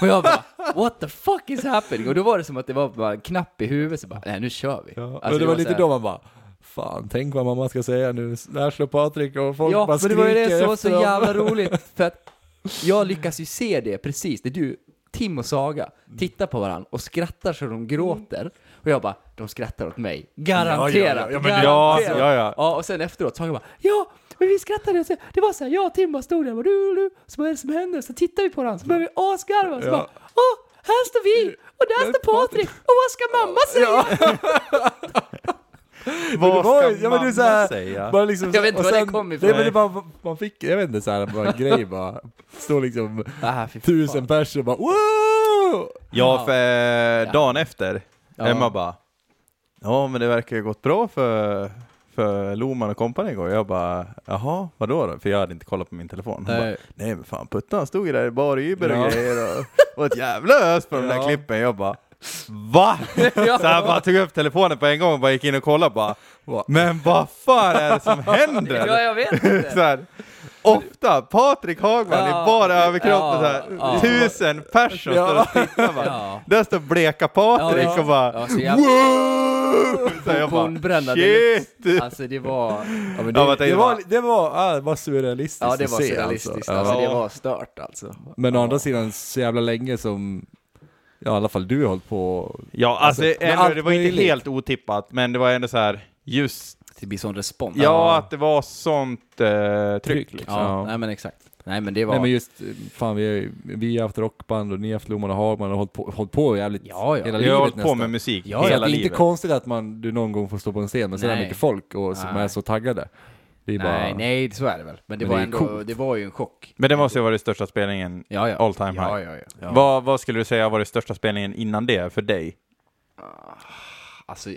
Och jag bara, what the fuck is happening? Och då var det som att det var bara en knapp i huvudet, så bara, nej nu kör vi. Ja, Alltså, men det var lite såhär- då man bara, fan tänk vad mamma ska säga nu, där slår Patrik och folk Ja, bara men det skriker var ju det som var så efter dem. jävla roligt. För att jag lyckas ju se det precis, det du, Tim och Saga, Mm. tittar på varandra och skrattar så de gråter. Och jag bara, de skrattar åt mig. Garanterat! Ja, ja, ja, garanterat. Ja, ja, ja. och sen efteråt, Saga bara, ja, men vi skrattade. och så- Det var så här, jag och Tim bara stod där och bara, du, du, så vad är det som händer? Så tittar vi på varandra, så börjar vi asgarva. Så bara, åh, här står vi! Och där står Patrik! Och vad ska mamma säga? Vad Det var ska ju- ja, men det är mamma så här- säga? Bara liksom, Jag vet inte och var det kom ifrån. Nej, men det bara, man fick, jag vet inte, så här, bara en grej bara. Står liksom Ah, fy fan. tusen personer bara wow! Ja, för eh, dagen efter, Ja. Emma bara Ja, men det verkar ju gått bra för, för Loman och kompani igår. Jag bara, jaha, vadå då? För jag hade inte kollat på min telefon. Hon bara, Nej. Nej men fan Puttan stod ju där i bar och Uber Ja. och grejer och, och ett jävla ös på de där klippen. Jag bara VA? Ja. Så jag bara tog upp telefonen på en gång och bara gick in och kollade bara Men vad fan är det som händer? Ja, jag vet inte. så här, ofta Patrik Hagman Ja. i bara överkropp och så här, Ja, ja. tusen personer står och tittar bara. Ja. Där står bleka Patrik Ja, ja. och bara Ja, så jävla- Wow! Så jag Hornbränna bara deluxe. shit! Alltså det var... Ja, men Ja, det, vad det, tänkte var, man? det, var, ah, det var surrealistiskt Ja, det var att se, surrealistiskt. alltså. Ja. Alltså, Ja. det var stört alltså. Men å andra sidan så jävla länge som, ja i alla fall du har hållit på. Ja, alltså, Alltså, med ändå, allt det var inte möjligt. helt otippat, men det var ändå så här just Det blir sån respons. Ja, att det var sånt eh, tryck. liksom. Ja, nej men exakt. Nej men det var... Nej men just, eh, fan vi har, ju- vi har haft rockband och ni har haft Loman och Hagman och hållit på, hållit på jävligt Ja, ja. hela Jag har livet hållit på nästan. med musik Ja, Så hela att det är livet. inte konstigt att man, du någon gång får stå på en scen med sådär Nej. mycket folk och som Nej. är så taggade. Det är nej, bara, nej, så är det väl. Men det Men var det är ändå, coolt. det var ju en chock. Men det måste ju ha varit största spelningen Ja, ja. all time ja, high. ja, ja. Vad, vad skulle du säga var den största spelningen innan det för dig? Alltså,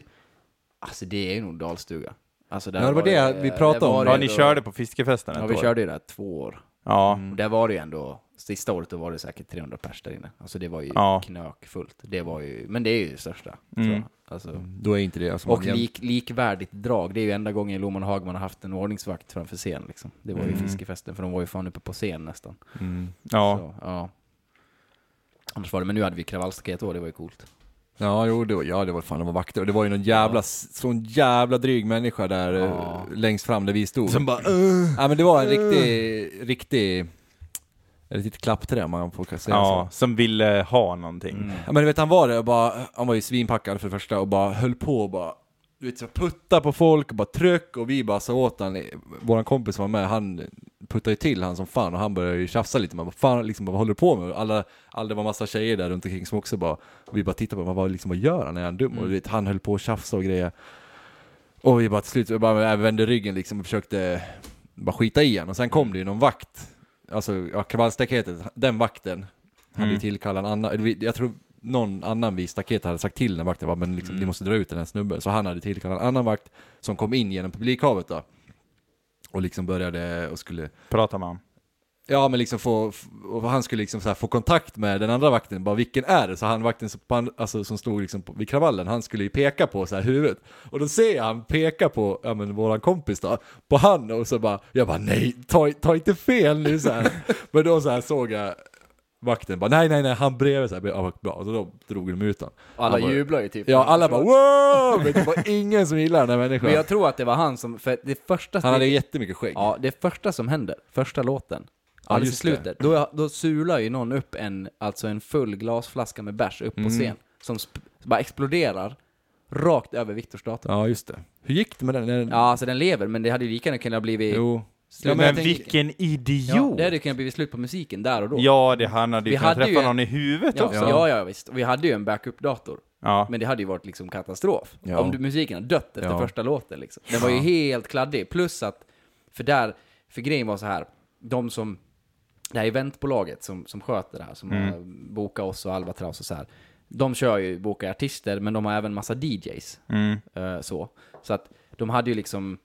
alltså det är nog Dalstuga. Alltså, där Ja, det var det vi pratade där om. var det Ja, ni ändå- körde på fiskefesten Ja, ett vi år. körde Mm. ju där två år. Ja. Och där var det ju ändå, sista året då var det säkert 300 pers där inne. Alltså det var ju Ja. knökfullt. Det var ju, men det är ju det största. Mm. Tror jag. Alltså, då är inte det alltså, Och man- lik, likvärdigt drag, det är ju enda gången Loman och Hagman har haft en ordningsvakt framför scen. Liksom. Det var ju Mm. fiskefesten, för de var ju fan uppe på scen nästan. ja. Så, ja. Annars var det, men nu hade vi kravallstaket då, det var ju coolt. Ja, jo, det var, ja, det var fan, de var vakter. Och det var ju någon jävla, sån jävla dryg människa där eh, längst fram där vi stod. Som bara, Ja, men det var en riktig, riktig Ett litet klappträ om man får säga så. Ja, som ville ha någonting. Mm. Ja, men du vet han var det och bara, han var ju svinpackad för det första och bara höll på och bara du vet, så putta på folk och bara tryck och vi bara sa åt han, våran kompis som var med, han puttade ju till han som fan och han började ju tjafsa lite man bara, fan liksom, vad håller du på med? Och Alla, alla, det var massa tjejer där runt omkring som också bara, och vi bara tittade på honom, vad, liksom, vad gör han? Är han dum? Och du vet, han höll på och tjafsa och grejer. Och vi bara till slut, vi bara vände ryggen liksom och försökte bara skita i han. Och sen kom det ju någon vakt, alltså ja, kravallstaketet, den vakten hade ju Mm. tillkallat en annan, vi- jag tror någon annan vid staketet hade sagt till den vakten, bara, men liksom, ni måste dra ut den här snubben. Så han hade tillkallat en annan vakt som kom in genom publikhavet då. Och liksom började och skulle, Pratar man. ja men liksom få, f- och han skulle liksom så här få kontakt med den andra vakten, bara vilken är det? Så han vakten som, på and- alltså, som stod liksom på, vid kravallen, han skulle ju peka på så här huvudet. Och då ser jag han peka på, ja men våran kompis då, på han och så bara, jag bara nej, ta, ta inte fel nu så här. men då så här såg jag vakten bara nej nej nej, han bredvid så här, ja, vad bra, och då drog de ut honom. Alla Han bara- jublar ju typ. Ja, alla bara "Oh, wow! Men det var ingen som gillade den här människan. Men jag tror att det var han som, för det första... Han hade jättemycket skägg. Ja, det första som händer, första låten, Ja, alldeles i just slutet, då, då sular ju någon upp en, alltså en full glasflaska med bärs upp Mm. på scen, som sp- bara exploderar rakt över Viktors dator. Ja, just det. Hur gick det med den? den... Ja, alltså den lever, men det hade ju lika gärna kunnat blivit... Jo. Slut. men jag tänker- vilken idiot! Ja, det hade ju kunnat blivit slut på musiken där och då. Ja, det, han hade ju Vi kunnat hade ju träffa en- någon i huvudet ja, också. ja, ja, visst. Och vi hade ju en backup-dator. Ja. Men det hade ju varit liksom katastrof. Ja. Om du, musiken hade dött efter Ja. första låten liksom. Den var ju helt kladdig. Plus att, för där, för grejen var så här, de som, det här eventbolaget som, som sköter det här, som Mm. har bokat oss och Albatraus och så här. De kör ju, bokar artister, men de har även massa DJs. Mm. eh, så. så att de hade ju liksom,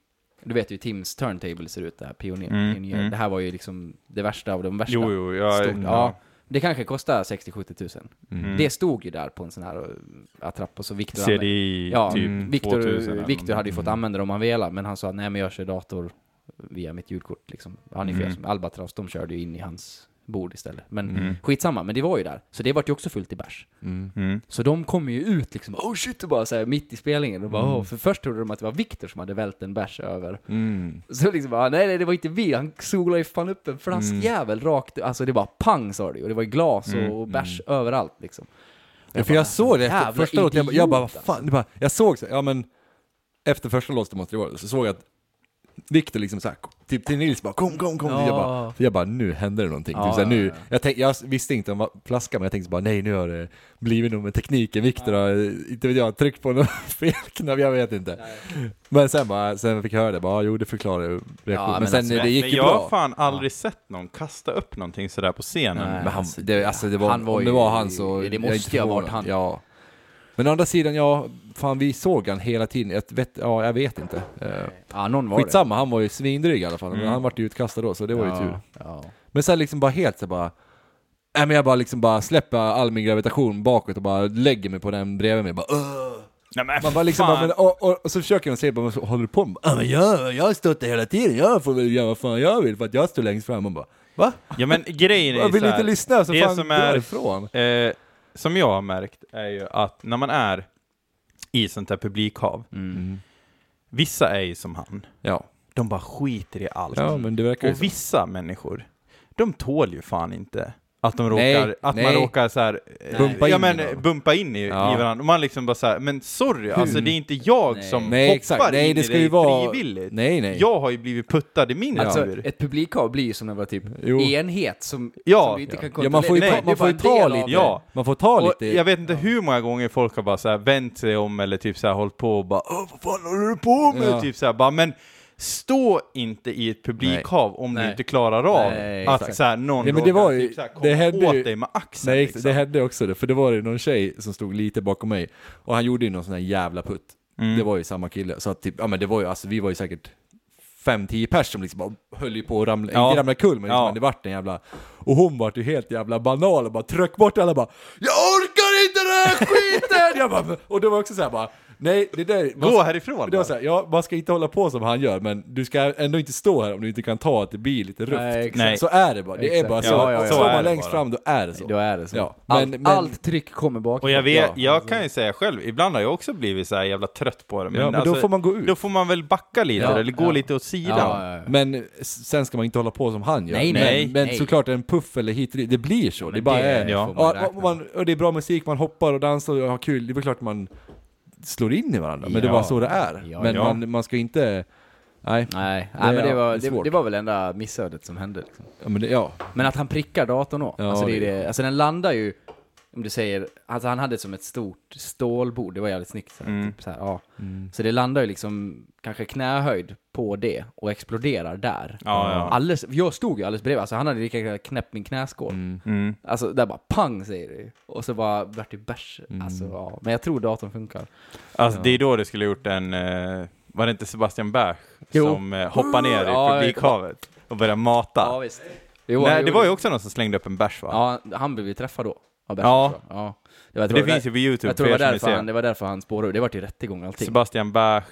du vet ju hur Tims turntable ser ut, det här pionjär. Mm, pionjär. mm. Det här var ju liksom det värsta av de värsta. Jo, jo, jag, Stort, ja. Det kanske kostar 60-70 tusen. Mm. Det stod ju där på en sån här eh, attrapp och så Victor använde- CDI ja, mm. mm, typ Victor, 2000 eller Mm. Victor något. hade ju fått använda det om han velat, men han sa nej men jag kör dator via mitt ljudkort liksom. Han är Mm. fel som Albatross, de körde ju in i hans bord istället. Men skitsamma, men det var ju där. Så det vart ju också fullt i bärs. Mm. Så de kom ju ut liksom, oh shit, och bara så här, mitt i spelningen. Och bara, Mm. "Åh", för först trodde de att det var Victor som hade vält en bärs över. Mm. Så liksom bara, nej nej det var inte vi, han solade ju fan upp en flaskjävel Mm. rakt, alltså det bara pang sa det ju. och det var ju glas och, och bärs överallt liksom. Ja, för jag såg det efter jävla första låten, jag, bara- jag bara vad idiot, fan, det bara, jag såg så här, ja men efter första låten måste det vara det, så såg jag att Victor liksom såhär, typ till Nils bara kom, kom, kom, jag, bara, jag bara nu händer det någonting, typ, så här, nu, jag, tänk, jag visste inte om flaskan men jag tänkte bara nej nu har det blivit något med tekniken, Victor har, inte vet jag, tryckt på någon fel knapp, jag vet inte. Men sen bara, sen fick jag höra det, bara ja, jo det förklarar ju reaktionen, men, men sen alltså, det gick Men ju jag har bra. fan aldrig sett någon kasta upp någonting sådär på scenen. Nej. Men han, det, alltså det var, Han var om det ju- var han så... det jag är måste inte ju ha varit förvånad. han. Ja. Men å andra sidan, ja, fan vi såg han hela tiden. Jag vet, ja, jag vet inte. Eh, Ja, någon var Skitsamma, han var ju svindryg i alla fall. Men han vart ju utkastad då, så det det. var ju Ja, tur. Ja. Men sen liksom bara helt så bara... Nej men jag bara liksom bara släpper all min gravitation bakåt och bara lägger mig på den bredvid mig. Bara, "Åh!" Nej, men man bara liksom, bara, fan. men, och, och, och så försöker man säga bara, "Men så håller du på med? Ja men jag, jag har stått där hela tiden, jag får väl göra vad fan jag vill för att jag står längst fram. Man bara, va? Ja men grejen är Jag ju vill så här, inte lyssna, så det fan som dra är- ifrån. eh, Som jag har märkt är ju att när man är i sånt här publikhav, Mm. vissa är ju som han, Ja. de bara skiter i allt. Ja, men det verkar ju Och så. vissa människor, de tål ju fan inte att, de råkar, Nej, att man nej. råkar så här, eh, Bumpa ja, in men, i eh, någon. bumpa in i, Ja. i varandra. Och Man liksom bara så här, men sorry, alltså det är inte jag som Nej, hoppar exakt. Nej, in det i ska dig ju vara- frivilligt. Nej, nej. Jag har ju blivit puttad i min Alltså, tur. ett publikhav blir ju som en typ Jo. enhet som, Ja. som du inte Ja. kan Ja, man får ju kontrollera. ta, Det är man får ju bara en ta del av lite. det. Ja. Man får ta Och lite. jag vet inte hur många gånger folk har bara så här vänt sig om eller typ så här hållit på och bara Åh, vad fan håller du på med? Ja. Typ så här, bara, men stå inte i ett publikhav om Nej. du inte klarar av Nej, exakt. att så här, någon Ja, men det råkar var ju- typ så här, komma det hände åt ju- dig med axeln. Nej, liksom. det hände också det, för det var ju någon tjej som stod lite bakom mig och han gjorde ju någon sån här jävla putt. Mm. Det var ju samma kille, så att typ, ja men det var ju, alltså vi var ju säkert 5-10 pers som liksom bara höll ju på att ramla, Ja. inte ramla kul men liksom, Ja. det vart en jävla, och hon vart ju helt jävla banal och bara tryck bort alla bara Jag orkar inte den här skiten! jag bara, och det var också så här bara Nej, det där... man- Gå härifrån! Det var så här, ja, man ska inte hålla på som han gör, men du ska ändå inte stå här om du inte kan ta att det blir lite rufft. Nej, exakt. Nej. Så är det bara, det är Exakt. bara så. Ja, ja, ja. Står Så är det man längst bara. fram då är det så. Då är det så. Ja, allt, men- men- allt tryck kommer bak. Och jag, vet, Ja. jag kan ju säga själv, ibland har jag också blivit så här jävla trött på det. Men, ja, men då alltså, får man gå ut. då får man väl backa lite, Ja, eller gå ja. lite åt sidan. ja, ja, ja. Men eh, s- sen ska man inte hålla på som han gör. äh. Nej, men nej, men nej. såklart en puff eller hit och dit, det blir så. Det bara är... ja. får man Ja, räkna och, man, och det är bra musik, man hoppar och dansar och har kul. Det är väl klart man slår in i varandra, men det är Ja. bara så det är. Ja, men ja. Man, man ska inte... Nej, Nej, Det är- nej men det ja, var, det är det, svårt. det var väl enda missödet som hände. Liksom. ja, men det, ja. Men att han prickar datorn då. Ja, alltså, det är det- det, alltså den landar ju, om du säger, alltså han hade som ett stort stålbord, det var jävligt snyggt. Så här, Mm. typ, så, här, ja. så det landar ju liksom kanske knähöjd på det och exploderar där. Ja, ja. Alldeles, jag stod ju alldeles bredvid, alltså han hade lika gärna knäppt min knäskål. Mm. Alltså där bara pang säger det ju. Och så bara vart det bärs. Mm. Alltså, ja. Men jag tror datorn funkar. Alltså det är då du skulle ha gjort en, eh, var det inte Sebastian Bach Jo. som eh, hoppar ner i Ja, jag- publikhavet och börjar mata? visst. Jo, han Nej, det gjorde- var ju också någon som slängde upp en bärs va? Ja, han blev ju träffad då. av bärsen, Ja. tror jag. ja. Det, var, det finns ju på Youtube, jag tror det var, för er Typ som vill därför se. han, det var därför han spårade ur. Det var till rättegång och allting. Sebastian Bach,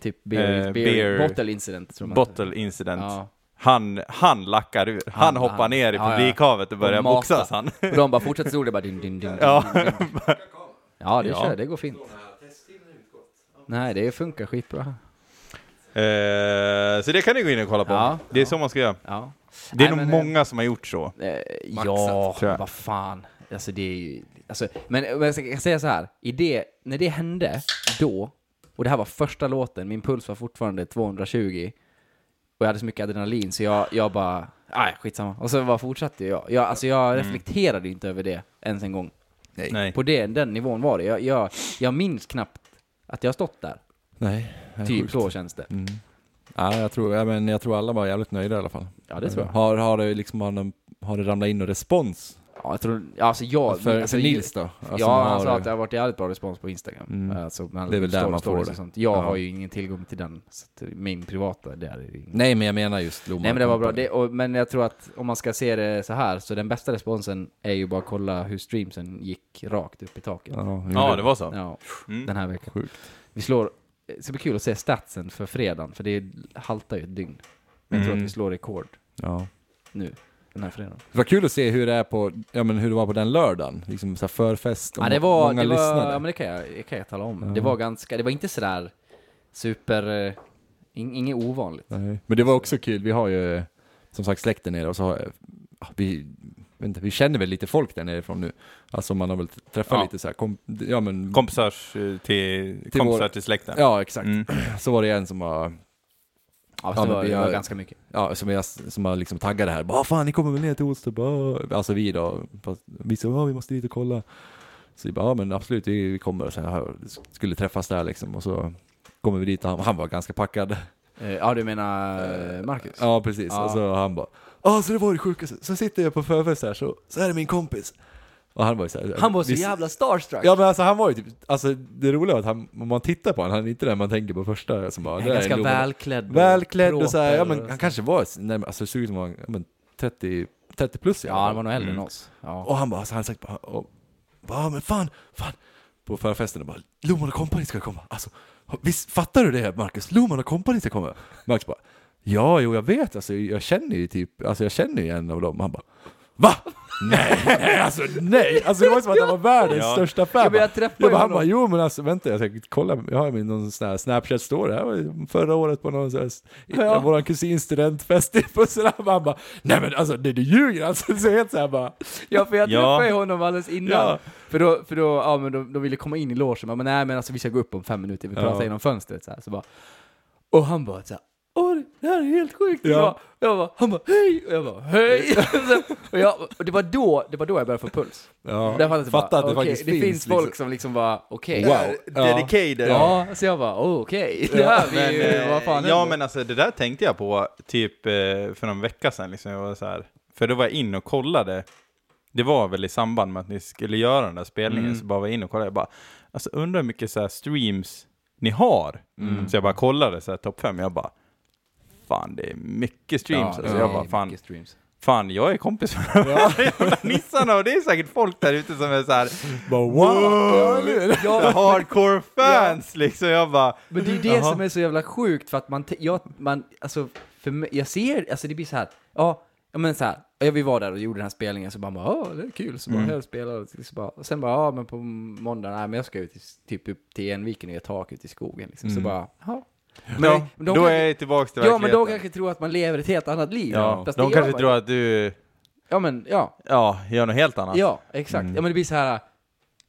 typ beer, eh, beer, beer- bottle incident. Tror man bottle incident. Ja. Han, han lackar ur, han, Han- hoppar han- ner i ja, ja. publikhavet och börjar mata. boxas han. Och Mm. de bara fortsätter så det bara din, din, din, din, Ja. din, din. Ja, det Ja. kör. Det går fint. Nej, det funkar skitbra. Eh, så det kan ni gå in och kolla på. Ja. det är så man ska göra. Ja. Det är Nej, nog men, eh, många som har gjort så. Eh, Maxat, ja, tror jag. vad fan. Alltså det är ju... Alltså, men men jag kan säga så här. I det, när det hände då, och det här var första låten, min puls var fortfarande 220 och jag hade så mycket adrenalin så jag, jag bara, nej skitsamma. Och så bara fortsatte jag. jag alltså jag reflekterade ju inte över det ens en gång. Mm. Nej. På det, den nivån var det. Jag, jag, jag minns knappt att jag har stått där. Nej. det är Typ sjukt. så känns det. Mm. Ja, jag tror, ja, men jag tror alla var jävligt nöjda i alla fall. Ja, det tror jag. Har, har, det, liksom, har, de, har det ramlat in någon respons? Ja, jag tror, ja, alltså jag, för, alltså, för Nils då? Alltså, ja, har- han sa att det har varit jävligt bra respons på Instagram. Mm. Alltså, man, Det är väl där man får stories det. och Sånt. Jag Ja. har ju ingen tillgång till den, så att min privata, där är det ingen. Nej, men jag menar just Lomma Nej men det var bra, Company. det, och, men jag tror att om man ska se det så här, så den bästa responsen är ju bara att kolla hur streamsen gick rakt upp i taket. Ja, Ja, Ja, det var så. Mm. den här veckan. Sjukt. Vi slår, det ska bli kul att se statsen för fredagen, för det haltar ju ett dygn. Men jag tror Mm. att vi slår rekord ja. nu, den här fredagen. Det var kul att se hur det, är på, ja, men hur det var på den lördagen. Liksom så här förfest och Ja, det var, många det var, lyssnade. Ja, men det kan jag, det kan jag tala om. Det var ganska, det var inte sådär super, eh, in, inget ovanligt. Nej. Men det var också kul, vi har ju som sagt släkten nere och så har jag- ja, vi, vet inte, vi känner väl lite folk där nerifrån nu. Alltså man har väl träffat Ja. lite så här, kom, ja men... Kompisar eh, till, Till kompisar vår- till släkten. Ja exakt. Mm. Så var det en som var, Ja, så Ja, det men var, vi det har- var ganska mycket. ja som, jag, som har liksom taggade här, bara fan ni kommer väl ner till Olstorp? Ah." Alltså vi då, fast vi sa ja vi måste dit och kolla. Så vi bara, ja men absolut vi, vi kommer och så här, skulle träffas där liksom och så kommer vi dit och han, han var ganska packad. Eh, Ja, du menar eh, Marcus? Ja precis, Ja. och så han bara Ja så det var det sjukaste, så sitter jag på förfest här så, så här är min kompis Och han var ju så här, Han var så visst- jävla starstruck! Ja men alltså han var ju typ, alltså det roliga var att han, om man tittar på honom, han är inte den man tänker på första som bara, Han "Det där är ganska en lomma." välklädd. och Välklädd och så här, ja proper och men han kanske var, närmare, alltså det såg ut som han var, ja, men 30, 30 plus i alla Ja, han fall. var nog äldre än oss. Ja. Och han bara, så han sagt bara, och, bara, men fan, fan. På förfesten och bara, Loman och Company ska komma. Alltså, visst fattar du det Marcus? Loman och Company ska komma. Marcus bara, ja, jo, jag vet, alltså jag känner ju typ, alltså jag känner ju en av dem. Han bara, va? Nej, nej, alltså nej. Alltså det var som att han var världens Ja. största fan. Ja, men jag träffade Jag bara, ju han honom. bara, jo men alltså vänta, jag ska kolla, jag har min någon sån här Snapchat-story, här var ju förra året på någon sån här, Ja. våran kusins studentfest, och sådär, han bara, nej men alltså det du ljuger alltså, så helt såhär bara, ja, för jag Ja. träffade ju honom alldeles innan. Ja. För då, för då, ja men de, de ville komma in i logen, men nej men alltså vi ska gå upp om fem minuter, vi pratar Ja. genom fönstret så här, så bara. Och han bara så här, åh det här är helt sjukt. Ja. Jag, bara, jag bara, han bara hej, och jag bara hej. Så- och, jag, och det var då, det var då jag började få puls. Ja, Därför att det, bara, fatta att det okej, faktiskt det finns, finns, folk liksom. som liksom bara, okej. Wow. Dedicated. Ja, så jag bara, "Oh, okej, det här blir Men, ju, eh, vad fan ja, händer? men alltså det där tänkte jag på typ eh, för någon vecka sedan. Liksom. Jag var så här, för då var jag inne och kollade. Det var väl i samband med att ni skulle göra den där spelningen, Mm. så bara var jag inne och kollade. Jag bara, alltså undrar hur mycket så här streams ni har? Mm. Så jag bara kollade så här topp fem, jag bara, fan det är mycket streams. Ja, alltså, det jag är bara, fan, mycket streams. Fan, jag är kompis med de här jävla nissarna och det är säkert folk där ute som är så här, Bara wow, så här hardcore fans liksom. Jag bara, Men det är ju det Jaha. som är så jävla sjukt för att man, te- jag, man alltså, för mig, jag ser, alltså det blir så här, ja, ja, men så här, ja, vi var där och gjorde den här spelningen så bara, ja, det är kul, så bara, mm. jag spelar och så bara, och sen bara, ja, men på måndag, nej, men jag ska ut i, typ upp till Enviken och göra tak ute i skogen liksom, så bara, ja. Men, Mm. ja, men då kanske- är jag tillbaka till Ja, men de verkligheten. kanske tror att man lever ett helt annat liv. Ja, Fast det de gör kanske man. tror att du, Ja, men ja, ja, Mm. gör något helt annat. ja, exakt. Ja, men det blir så här,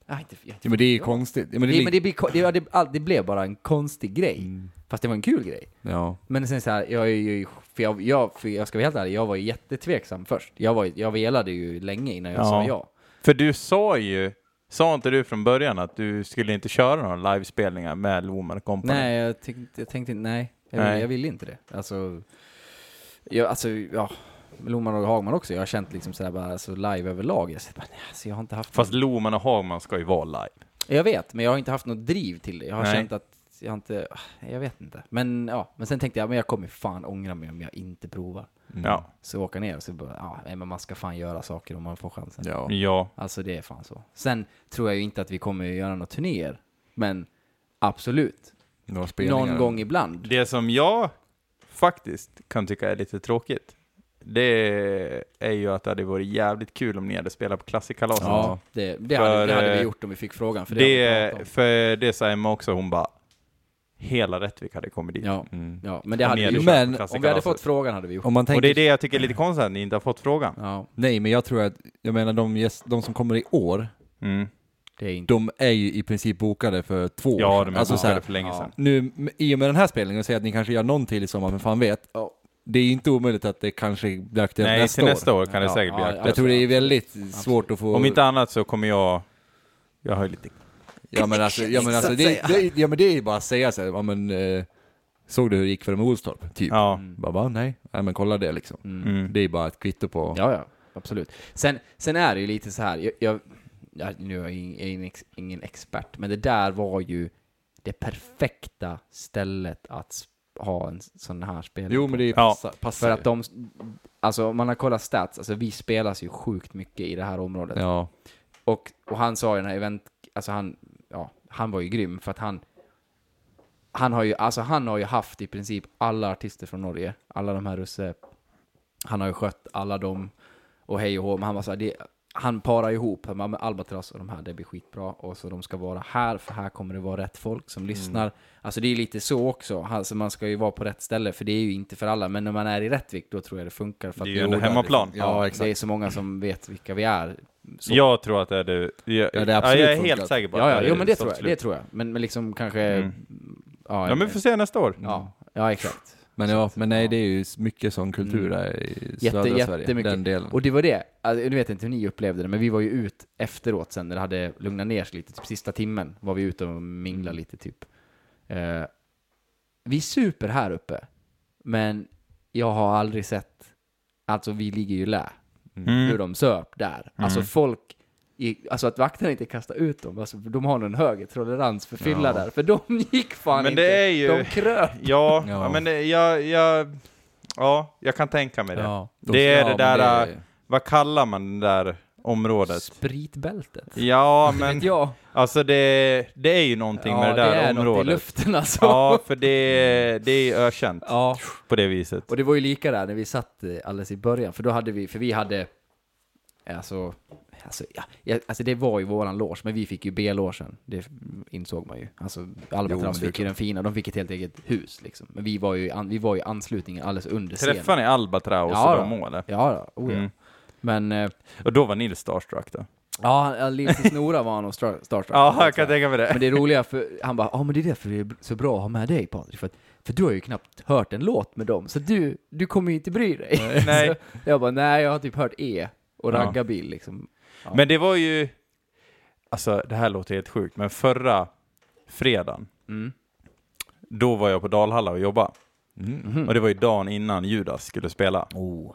ja, inte, jag, Ja, men det är ju konstigt. Ja, men det det, är men li- det, blir, ko- det, ja, det, all- det blev bara en konstig grej. Mm. Fast det var en kul grej. ja. Men sen så här, jag är ju, för jag, jag, för jag ska vara helt ärlig, jag var ju jättetveksam först. Jag, var, ju- jag velade ju länge innan jag Ja. sa ja. För du sa ju, sa inte du från början att du skulle inte köra några livespelningar med Loomer Company? Nej, jag tänkte, jag tänkte nej, jag, Nej. Vill, jag ville inte det. Alltså, jag, alltså ja, Loman och Hagman också, jag har känt liksom sådär bara, alltså live överlag, jag, bara, nej, alltså, jag har inte haft Fast Loman och Hagman ska ju vara live. Jag vet, men jag har inte haft något driv till det. Jag har Nej. känt att jag inte, jag vet inte. Men ja, men sen tänkte jag, men jag kommer fan ångra mig om jag inte provar. Ja. Så åka ner och så bara, ja, nej, men man ska fan göra saker om man får chansen. Ja. ja. Alltså det är fan så. Sen tror jag ju inte att vi kommer göra några turnéer, men absolut. Några spelningar. Någon gång ibland. Det som jag faktiskt kan tycka är lite tråkigt, det är ju att det hade varit jävligt kul om ni hade spelat på Klassikalaset. Ja, det, det, För, hade, det hade eh, vi gjort om vi fick frågan. För För det, har vi pratat det, om. för det sa Emma också, hon bara, hela Rättvik hade kommit dit. Ja, Mm. ja, men det hade ni vi hade kört på Men om vi gjort. Om vi hade Klassikalaset. fått frågan hade vi gjort. Om man tänker Och det är det jag tycker är lite konstigt, att ni inte har fått frågan. Ja, Nej, men jag tror att, jag menar de, gäst, de som kommer i år, Mm. det är inte... de är ju i princip bokade för två år Ja, sedan. de är alltså, så bokade här, för länge sedan. nu, I och med den här spelningen, och säger att ni kanske gör någon till i sommar, men fan vet. Det är ju inte omöjligt att det kanske blir aktuellt Nej, nästa, till nästa år. år kan det Ja, säkert bli ja, aktuellt. Jag tror det är väldigt svårt att få... Om inte annat så kommer jag, jag har ju lite Ja men alltså, ja, men alltså det, det, ja, men det är ju bara att säga så här, ja, men, eh, såg du hur det gick för dem i Olstorp? Typ. Ja. Bara, va? nej. nej, men kolla det liksom. Mm. Det är bara ett kvitto på... Ja, ja, absolut. Sen, sen är det ju lite så här, jag, jag, ja, nu är jag ing- jag är ingen ex- ingen expert, men det där var ju det perfekta stället att s- ha en sån här spelning Jo på. men det är ju Ja. passa, passar För att de, alltså om man har kollat stats, alltså vi spelas ju sjukt mycket i det här området. ju. Ja. Och, och han sa ju den här event, alltså han, ja, han var ju grym för att han, han har ju, alltså han har ju haft i princip alla artister från Norge, alla de här russe, han har ju skött alla dem och hej och hå, men han var så här, det, han parar ihop han bara, med Albatross och de här, det blir skitbra och så de ska vara här för här kommer det vara rätt folk Mm. som lyssnar. Alltså det är lite så också, alltså man ska ju vara på rätt ställe för det är ju inte för alla, men när man är i Rättvik då tror jag det funkar. För Det att är ju vi ändå ordnar- hemmaplan. Ja, det är så många som vet vilka vi är. Så Jag tror att det är du. Jag, det är ja, jag absolut är funkat. helt säker på Ja, att ja, det är jo, men det så tror, jag, slut. det tror jag. Men, men liksom kanske... Mm. Ja, Ja, men vi får se nästa år. ja, ja, exakt. Men, ja, men nej, det är ju mycket sån kultur där i södra Mm. Jätte, Sverige. jättemycket. Den delen. Och det var det, alltså, nu vet jag inte hur ni upplevde det, men vi var ju ut efteråt sen när det hade lugnat ner sig lite, typ sista timmen var vi ute och minglade lite typ. Eh, vi super här uppe, men jag har aldrig sett, alltså vi ligger ju lä, hur de söp där. Alltså folk, i, alltså att vakterna inte kastar ut dem, alltså, de har någon högre tolerans för fylla där, för de gick fan Men inte, det är ju- de kröp. Ja, Ja. ja, men det, jag, jag, ja, jag kan tänka mig det. Det är Ja, det men där, det är- vad kallar man det där området? Spritbältet. Ja, men Vet jag. alltså det, det är ju någonting med det där är något området. i luften alltså. Ja, för det, det är ju ökänt Ja. på det viset. Och det var ju lika där när vi satt eh, alldeles i början, för då hade vi, för vi hade, alltså, alltså, ja, ja, alltså det var ju våran loge, men vi fick ju B-logen, det insåg man ju. Alltså Albatross fick ju den fina, de fick ett helt eget hus liksom. Men vi var ju, i an, vi var ju i anslutningen alldeles under scenen. Träffade ni Albatraus Ja, och de då. målen? Ja, då, oh, ja. Mm. Men, eh, Och då var ni starstruck då? ja, han- Liv till Snora var han och Star- Starstruck. Ja, jag kan tänka mig det. Men det roliga, för, han bara, ja men det är därför det är så bra att ha med dig Patrik, för, att, för du har ju knappt hört en låt med dem, så du, du kommer ju inte bry dig. Nej. Så jag bara, nej jag har typ hört E och Ja. Raggarbil liksom. Men det var ju, alltså det här låter helt sjukt, men förra fredagen, Mm. då var jag på Dalhalla och jobbade. Mm. Och det var ju dagen innan Judas skulle spela. Oh.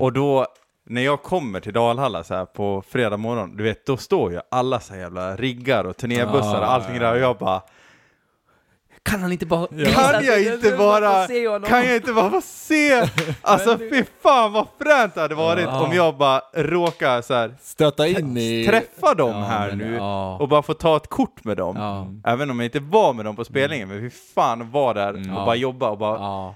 Och då, när jag kommer till Dalhalla så här på fredag morgon, du vet, då står ju alla så här jävla riggar och turnébussar och allting där och jag bara Kan han inte bara... Ja. Kan jag inte bara... Kan jag inte bara få se? Alltså fy fan vad fränt det hade varit om jag bara råkar så här, Stöta in i... träffa dem Ja, här men- nu ja. och bara få ta ett kort med dem. Ja. Även om jag inte var med dem på spelningen, men fy fan var där och Mm. Ja. bara jobba och bara Ja.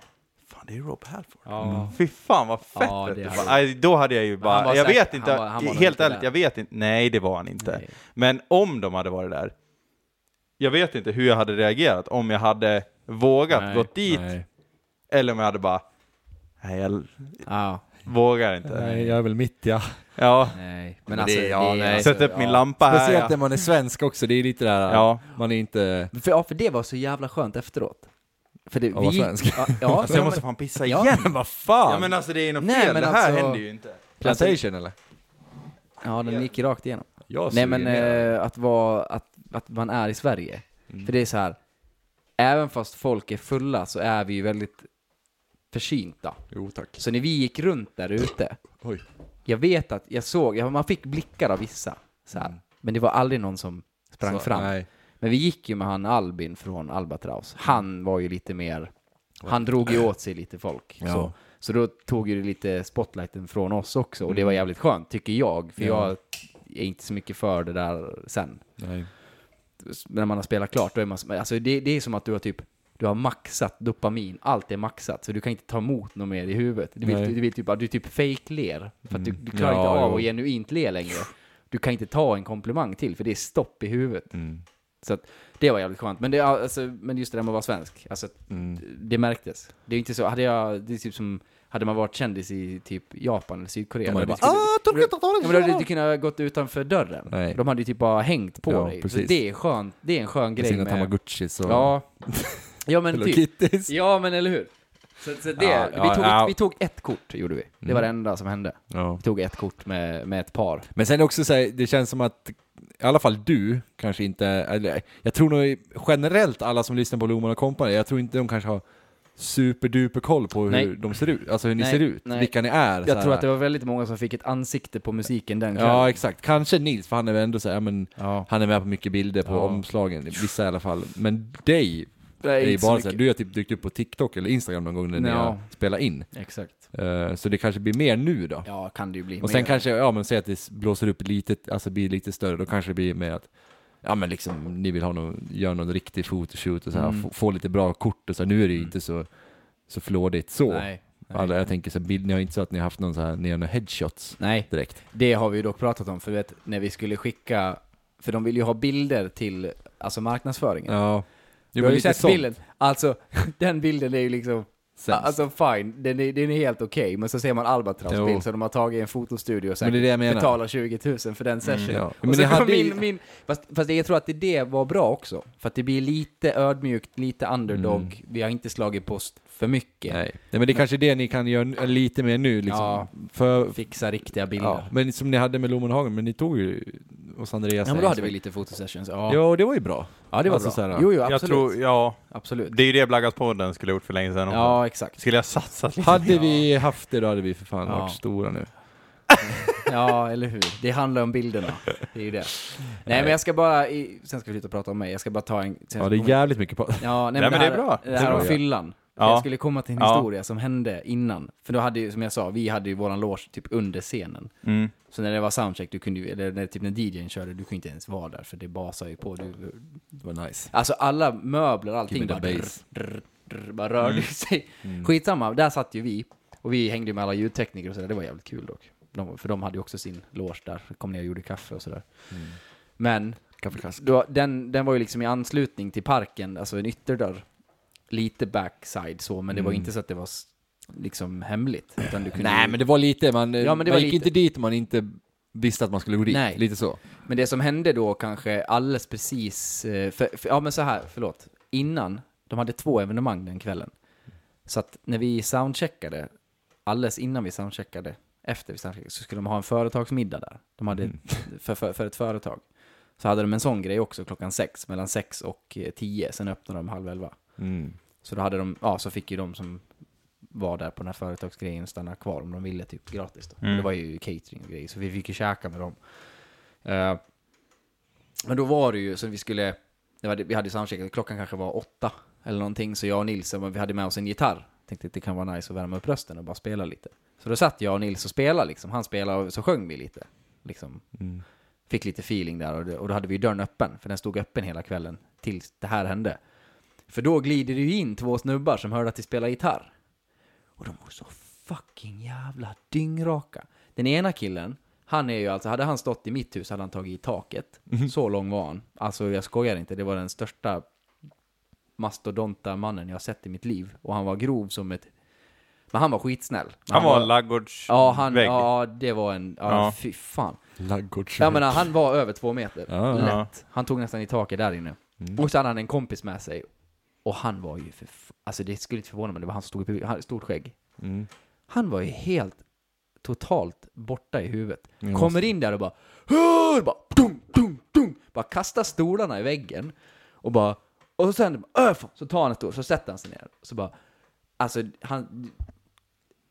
Fan det är Rob Halford. Ja. Fy fan vad fett! Ja, det det hade var. Nej, då hade jag ju bara, han var jag säkert- vet inte, han var- han var nog helt inte ärligt, där. jag vet inte, nej det var han inte. Nej. Men om de hade varit där, jag vet inte hur jag hade reagerat, om jag hade vågat Nej, gått dit, Nej. eller om jag hade bara, nej jag l- Ja. vågar inte. Nej, jag är väl mitt ja. Ja, Nej. Men Men alltså... det, ja, det, nej. alltså, sätt upp min Ah, ja. lampa här. Speciellt Ja. när man är svensk också, det är lite det här... Ja. Man är inte... För, ja, för det var så jävla skönt efteråt. För det, Att vara svensk. Ja, ja, Så jag måste fan pissa Ja. igen! Vad fan! Ja men alltså det är något Nej, fel, men det här alltså- händer ju inte. Plantation eller? ja, den gick rakt igenom. Jag Nej suger men mer. eh, att, vara, att, att man är i Sverige. För det är så här, även fast folk är fulla så är vi ju väldigt försynta. Jo tack. Så när vi gick runt där ute, Oj. jag vet att jag såg, ja, man fick blickar av vissa. Så här. Men det var aldrig någon som sprang Mm. Så, fram. Nej. Mm. Men vi gick ju med han Albin från Albatraus. Han var ju lite mer, han drog ju åt sig lite folk. Så. så då tog ju det lite spotlighten från oss också och det Mm. var jävligt skönt tycker jag. För jag är inte så mycket för det där sen. Nej. S- När man har spelat klart, då är man, som- alltså det, det är som att du har typ du har maxat dopamin, allt är maxat, så du kan inte ta emot något mer i huvudet. Du vill, Nej. Mm. du vill typ, du typ fake-ler, för att du, du klarar Ja, inte av jo. att genuint le längre. Du kan inte ta en komplimang till, för det är stopp i huvudet. Mm. Så att det var jävligt skönt. Men, det, alltså, men just det där med att vara svensk, alltså, att Mm. det märktes. Det är inte så, hade jag, det är typ som, hade man varit kändis i typ Japan eller Sydkorea, då hade, bara, skulle, ah, ja, men då hade du inte kunnat gått utanför dörren. Nej. De hade ju typ bara hängt på Ja, dig. Så precis. det är skönt, det är en skön Med grej sina med... tamagotchis och Ja. ja, men Hello typ. Kitties. Ja, men eller hur? Så, så det, Ja, vi, ja, tog, ja. vi tog ett kort, gjorde vi. Det var det Mm. enda som hände. Vi tog ett kort med, med ett par. Men sen också så här, det känns som att i alla fall du kanske inte, eller jag tror nog generellt alla som lyssnar på Loman och Company, jag tror inte de kanske har superduper koll på hur Nej. de ser ut, alltså hur ni Nej, ser ut, nej. vilka ni är. så Jag här. tror att det var väldigt många som fick ett ansikte på musiken den kvällen. Ja exakt, kanske Nils för han är väl ändå så här, ja, men Ja. han är med på mycket bilder på Ja. omslagen, vissa i alla fall. Men dig, det är ju inte så bara så här, mycket. du har typ dykt upp på TikTok eller Instagram någon gång när ni Ja. har spelat in. Exakt. Eh, så det kanske blir mer nu då. Ja, kan det ju bli. Och sen kanske, ja men säg att det blåser upp lite, alltså blir lite större, då kanske det blir mer att Ja men liksom, ni vill ha någon, göra någon riktig fotoshoot och så här, Mm. få, få lite bra kort och så här, nu är det ju inte så, så flådigt så. Nej. nej. Alltså, jag tänker så här, bild, ni har inte så att ni har haft någon så här, ni har några headshots nej, direkt. det har vi ju dock pratat om. För vet, när vi skulle skicka... För de vill ju ha bilder till alltså marknadsföringen. Ja. du har ju sett bilden. Alltså, den bilden är ju liksom... Alltså fine, den är, den är helt okej. Men så ser man Albatross Jo. bild som de har tagit i en fotostudio och Men det är det jag menar. Mm, betalar 20 000 för den sessionen. ja. Och Men så ni kom hade ju- min, min, fast, fast jag tror att det, det var bra också. För att det blir lite ödmjukt, lite underdog. Vi har inte slagit post för mycket. Mm. Nej. Nej men det är kanske är det ni kan göra n- lite mer nu liksom. Ja. För, Fixa riktiga bilder. ja. Men som ni hade med Lomenhagen, men ni tog ju hos Andreas. Ja, men då hade vi lite fotosessions. Ja, Ja och det var ju bra. ja det var alltså så bra. här, Jo, jo, absolut. Jag tror, ja, absolut. det är ju det Blaggaspodden skulle ha gjort för länge sedan också. Ja, exakt. Skulle jag satsat lite? Hade vi haft det då hade vi för fan Ja. varit stora nu. Ja, eller hur. Det handlar om bilderna. Det är ju det. Nej, men jag ska bara... I, sen ska vi sluta prata om mig. Jag ska bara ta en... Sen Ja det är jävligt mycket på. Ja, nej, Nej, men det, men det är här, bra. Det här om ja. fyllan. Ja. Jag skulle komma till en Ja. historia som hände innan. För då hade ju, som jag sa, vi hade ju våran loge typ under scenen. Mm. Så när det var soundcheck, du kunde ju, eller när, typ när DJn körde, du kunde inte ens vara där för det basar ju på. Du, Det var nice. Alltså alla möbler och Give me allting bara, the Mm. drr, bass. drr, drr, bara rörde sig. Skitsamma, där satt ju vi. Och vi hängde ju med alla ljudtekniker och sådär. Det var jävligt kul dock. De, för de hade ju också sin loge där. Kom ner och gjorde kaffe och sådär. Mm. Men då, den, den var ju liksom i anslutning till parken, alltså en ytterdörr. Lite backside så, men det var ju inte så att det var s- liksom hemligt. Utan du kunde Mm. Nej ju- men det var lite, man, Ja, men det man var gick lite- inte dit om man inte visste att man skulle gå dit. Nej. Lite så. Men det som hände då kanske alldeles precis, eh, för, för, ja men så här, förlåt, innan, de hade två evenemang den kvällen. Så att när vi soundcheckade, alldeles innan vi soundcheckade, efter vi soundcheckade, så skulle de ha en företagsmiddag där. De hade, för, för, för ett företag. Så hade de en sån grej också klockan sex, mellan sex och eh, tio, sen öppnade de halv elva. Mm. Så då hade de, ja så fick ju de som var där på den här företagsgrejen stanna kvar om de ville typ gratis då. Det var ju catering och grejer, så vi fick ju käka med dem. Eh, men då var det ju, så vi skulle, det var, vi hade ju soundcheck, klockan kanske var åtta eller någonting, så jag och Nils, vi hade med oss en gitarr. Tänkte att det kan vara nice att värma upp rösten och bara spela lite. Så då satt jag och Nils och spelade liksom. Han spelade och så sjöng vi lite. Liksom. Fick lite feeling där och, det, och då hade vi ju dörren öppen, för den stod öppen hela kvällen tills det här hände. För då glider det ju in två snubbar som hörde att vi spelar gitarr. Och de var så fucking jävla dyngraka. Den ena killen, han är ju alltså, hade han stått i mitt hus hade han tagit i taket. Mhm. Så lång var han. Alltså jag skojar inte, det var den största mastodonta mannen jag sett i mitt liv. Och han var grov som ett... Men han var skitsnäll. Men Han var en laggårdsvägg. Ja, han, ja, det var en... Ja, Ja. fy fan. Laggårds... Jag menar, han var över två meter. Ja, Lätt. ja. Mm. Han tog nästan i taket där inne. Och så hade han en kompis med sig. Och han var ju för... f- Alltså det skulle inte förvåna mig, det var han som stod i publiken. Han hade stort skägg. Mm. Han var ju helt totalt borta i huvudet. Jag Kommer in där och bara... Hör! Bara, dum, dum, dum, bara kastar stolarna i väggen. Och bara... Och sen... Öh, fan, så tar han ett stol, så sätter han sig ner. Så bara... Alltså han...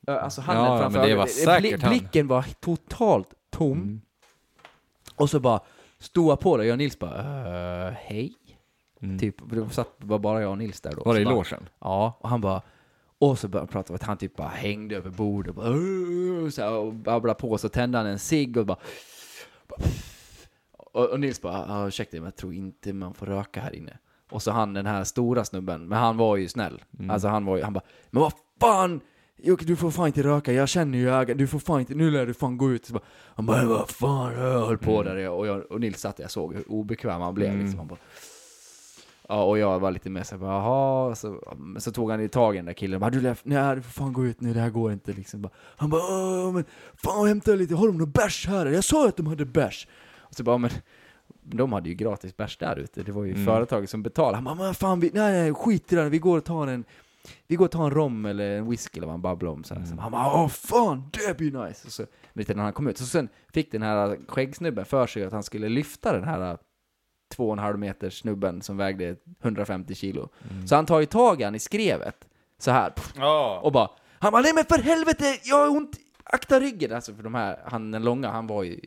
Ö, Alltså han Ja, ja, är framför men det var ögonen. säkert han. Mm. Blicken var totalt tom. Och så bara... Stod jag på det, jag och Nils bara... "Eh, hej? Typ, det satt, var bara jag och Nils där då. Mm. Var det i Så bara- logen? Ja, och han bara... Och så började han prata om att han typ bara hängde över bordet och, bara, "Åh", så här, och babblade på. Så tände han en cigg och bara... Och, och Nils bara, "Ja, ursäkta men jag tror inte man får röka här inne. Och så han den här stora snubben, men han var ju snäll. Mm. Alltså han var ju, han bara, men vad fan! Jocke du får fan inte röka, jag känner ju ägaren, du får fan inte, nu lär du fan gå ut. Så bara, han bara, "Men vad fan, jag höll Mm. på där. Och, jag, och Nils satt där, jag såg hur obekväm han blev liksom. Han bara, Ja, och jag var lite mer såhär, bara, jaha, så, men så tog han i tag i den där killen och bara, du, lär- nej, du får fan gå ut nu, det här går inte liksom. Bara, Han bara, "Åh, men fan hämta lite, har de någon bärs här? Jag sa ju att de hade bärs. Och så bara, men de hade ju gratis bärs där ute, det var ju företaget som betalade. Han bara, men fan, vi, nej, nej, skit i det, här. vi går och tar en vi går och tar en rom eller en whisky eller vad han babblar om. Så här. Så han bara åh fan, det blir nice! Och så, vet du, när han kom ut. Så sen fick den här skäggsnubben för sig att han skulle lyfta den här två och en halv meter snubben som vägde 150 kilo. Mm. Så han tar ju tag i han i skrevet, så här, pff, och bara Han bara nej men för helvete, jag har ont, akta ryggen! Alltså för de här, han den långa, han var ju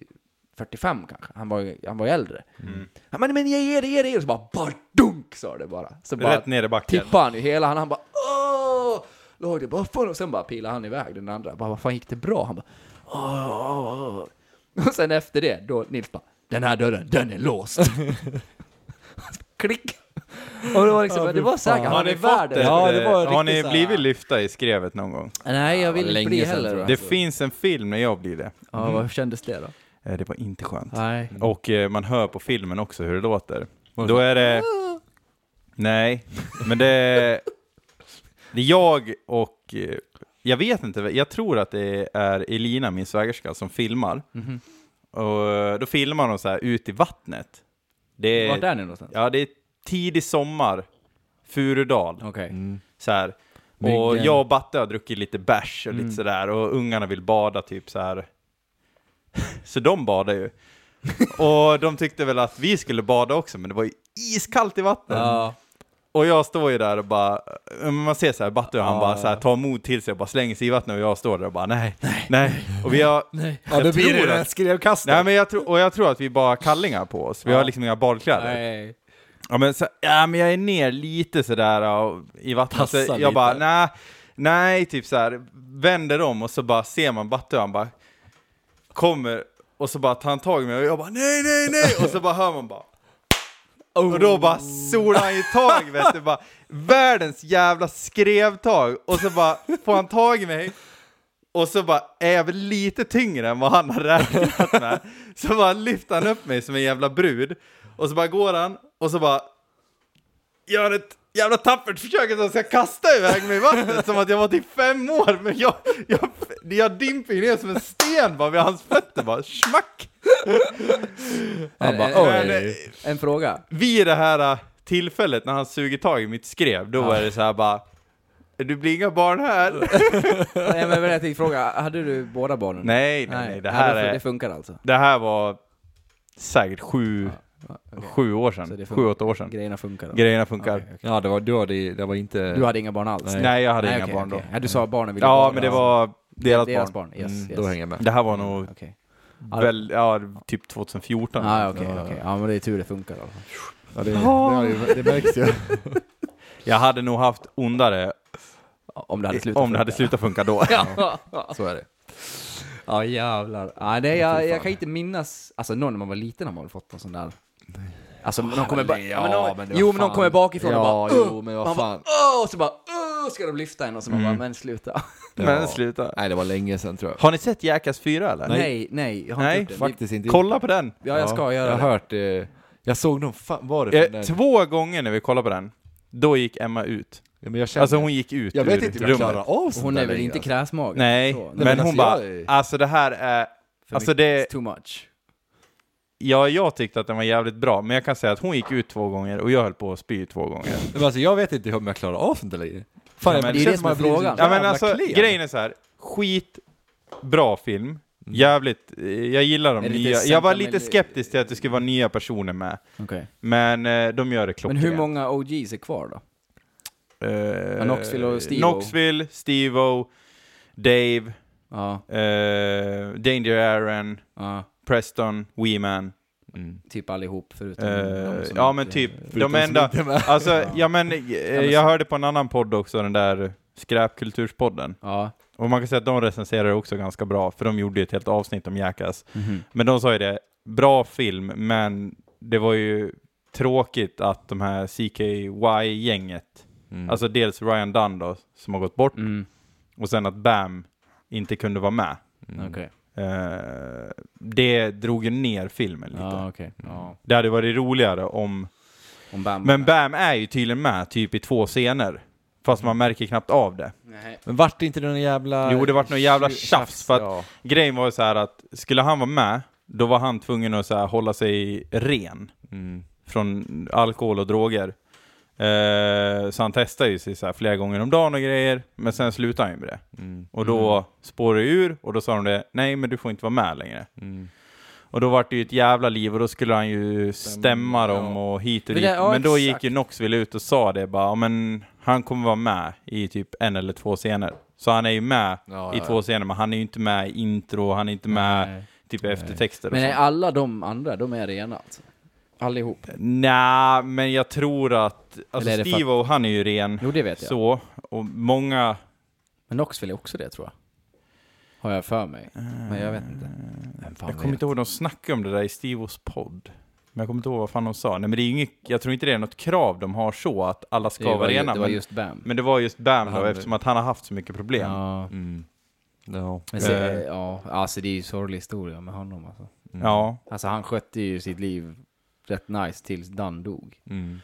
45 kanske, han var ju, han var ju äldre. Mm. Han bara nej men jag ger det, ger det, ger det! Så bara, bara dunk sa det bara. Så bara Rätt ner i backen. tippade han ju hela, han, han bara åh! Låg det bara fan och sen bara pilade han iväg den andra. Bara, vad fan gick det bra? Han bara åh, åh, åh. Och sen efter det, då Nils bara den här dörren, den är låst. Klick! Och det var liksom, det var säkert, Har han är ni värd fått det. ett, Ja, det var eh, Har ni riktigt så här- blivit lyfta i skrevet någon gång? Nej, jag vill inte bli sedan, heller. tror jag. Det finns en film när jag blir det. Ja, Mm. vad kändes det då? Eh, Det var inte skönt. Nej. Och eh, man hör på filmen också hur det låter. Då är det... Nej, men det... Det är jag och... eh, Jag vet inte, jag tror att det är Elina, min svägerska, som filmar. Och eh, då filmar de så här ut i vattnet. Det Vart är, är ni någonstans? ja, det är tidig sommar, Furudal. Okej. Så här. Och jag och Batte har druckit lite bärs och Mm. lite sådär och ungarna vill bada typ så här. Så de badar ju. och de tyckte väl att vi skulle bada också men det var ju iskallt i vattnet. Och jag står ju där och bara, men man ser så här Batte och han bara så här, tar mod till sig och bara slänger sig i vattnet och jag står där och bara nej, nej, Och vi har, Ja, då blir tror det den här att- skrevkastet. nej men jag tror, och jag tror att vi bara har kallingar på oss. Vi har liksom inga badkläder. Nej. Ja men, så, ja, men jag är ner lite sådär ja, i vattnet. Så Passa jag lite. bara, nej, nej, typ så här vänder om och så bara ser man Batte och han bara kommer och så bara tar han tag i mig och jag bara nej, nej, nej och så bara hör man bara Och då bara solar han i tag vet du, bara världens jävla skrevtag och så bara får han tag i mig och så bara är jag väl lite tyngre än vad han har räknat med. Så bara lyfter han upp mig som en jävla brud. Och så bara går han och så bara gör ett jävla tappert försök att han ska kasta iväg mig i vattnet som att jag var typ fem år. Men jag, jag, jag dimper ju ner som en sten bara vid hans fötter bara smack. Han bara, Men, eh, En fråga. vid det här eh, tillfället när han suger tag i mitt skrev, då var det så här bara du blir inga barn här. Nej, men jag tänkte fråga, hade du båda barnen? Nej, nej, nej. Det här, det, fun- är, det funkar alltså? det här var säkert sju, sju år Så det sedan. funkar. Sju, åtta år sedan. Grejerna funkar? alltså. då? Grejerna funkar. Ja, det var, du hade, det var inte... Du hade inga barn alls? Nej, jag hade Nej, inga okej, barn okej. Ja, du sa att barnen då. ville Ja, båda. men det var deras, deras barn. barn. Yes, Mm, yes. Mm. Då hänger jag med. Det här var nog Okej. väl, ja, typ 2014. Ah, okej, okej. Ja, men det är tur det funkar då. Ja, det, det, har ju, det märks ju. Jag hade nog haft ondare Om det hade slutat om det hade slutat funka då. Så är det. Ja jävlar. Ja, nej, jag, jag kan inte minnas, alltså någon när man var liten har man väl fått någon sån där. Alltså men de kommer bara, ja, men de, jo men de kommer bakifrån och bara, "Åh!" jo, men man vad bara, fan. åh, och så bara, åh, ska de lyfta en och så man bara, men sluta. Men sluta. Nej, det var länge sedan tror jag. Har ni sett Jackass 4 eller? Nej, nej, jag har Nej, inte gjort det. Faktiskt inte. Kolla på den! Vi- Ja, jag ska göra Jag det. har hört, eh, jag såg någon, fan var det för Eh, den? två gånger när vi kollade på den, då gick Emma ut. Ja, men jag kände, Alltså hon gick ut Jag vet ur inte om jag rummet. klarar av sånt Hon där är väl längre, inte alltså. kräsmagen? Nej, Så, men, men hon alltså, bara, jag är- alltså det här är, alltså det, It's too much. ja jag tyckte att den var jävligt bra, men jag kan säga att hon gick ut två gånger och jag höll på att spy två gånger. men alltså, jag vet inte om jag klarar av sånt där längre. Fan, Ja, jag- men det är känns det som är att jag blir så frågan. Ja men jävla alltså klen. grejen är så här. skit bra film, jävligt, eh, jag gillar de Mm. Är det lite nya, jag var sentimental- lite skeptisk till att det skulle vara nya personer med, Okej. men eh, de gör det Men klockrent. hur många OGs är kvar då? Eh, Knoxville och Steve-O. Knoxville, Steve-O, Dave, Ja, eh, Danger Aaron, ja, Preston, Weeman. Mm, typ allihop förutom Eh, de som ja men inte- typ, de enda, alltså ja men, eh, jag hörde på en annan podd också, den där skräpkulturspodden. Ja. Och man kan säga att de recenserar också ganska bra, för de gjorde ju ett helt avsnitt om Jackass. Mhm. Men de sa ju det, bra film, men det var ju tråkigt att de här CKY-gänget, Mm. alltså dels Ryan Dunn då, som har gått bort, Mm. och sen att Bam inte kunde vara med. Mm. Okej. Eh, det drog ju ner filmen lite. Ja, okej. Ja. Det hade varit roligare om... Om Bam. Men Bam är ju tydligen med typ i två scener. Fast man märker knappt av det. Nej. Men vart det inte någon jävla... Jo, det vart någon jävla tjafs för att ja. grejen var ju så här att skulle han vara med, då var han tvungen att så här, hålla sig ren Mm. från alkohol och droger. Eh, så han testade ju sig så här flera gånger om dagen och grejer, men sen slutade han ju med det. Mm. Och då spårade det ur och då sa de det, nej men du får inte vara med längre. Mm. Och då vart det ju ett jävla liv och då skulle han ju stämma dem och hit och Det dit. där- ja, men då gick exakt. ju Knoxville ut och sa det bara, "Ja, men han kommer vara med i typ en eller två scener. Så han är ju med Ja, i ja, två scener, men han är ju inte med i intro, han är inte med Nej. typ eftertexter och Men är sånt. alla de andra, de är rena alltså? Allihop? Nej, men jag tror att, alltså Eller är det för Steve och han är ju ren, Jo, det vet jag. så, och många, Men Knoxville är också det tror jag. Har jag för mig. Men jag vet inte. Eh, jag kommer inte ihåg, de snackade om det där i Stevos podd. Men jag kommer inte ihåg vad fan de sa. Nej men det är ju inget, jag tror inte det är något krav de har så, att alla Det ska var, vara ju, rena. det var Men, just Bam. men det var just Bam då, Han- eftersom att han har haft så mycket problem. Ja, Ja, Mm. Ja. men se, Eh. ja, alltså det är ju sorglig historia med honom alltså. ja. Alltså han skötte ju sitt liv rätt nice tills Dan dog. Mm.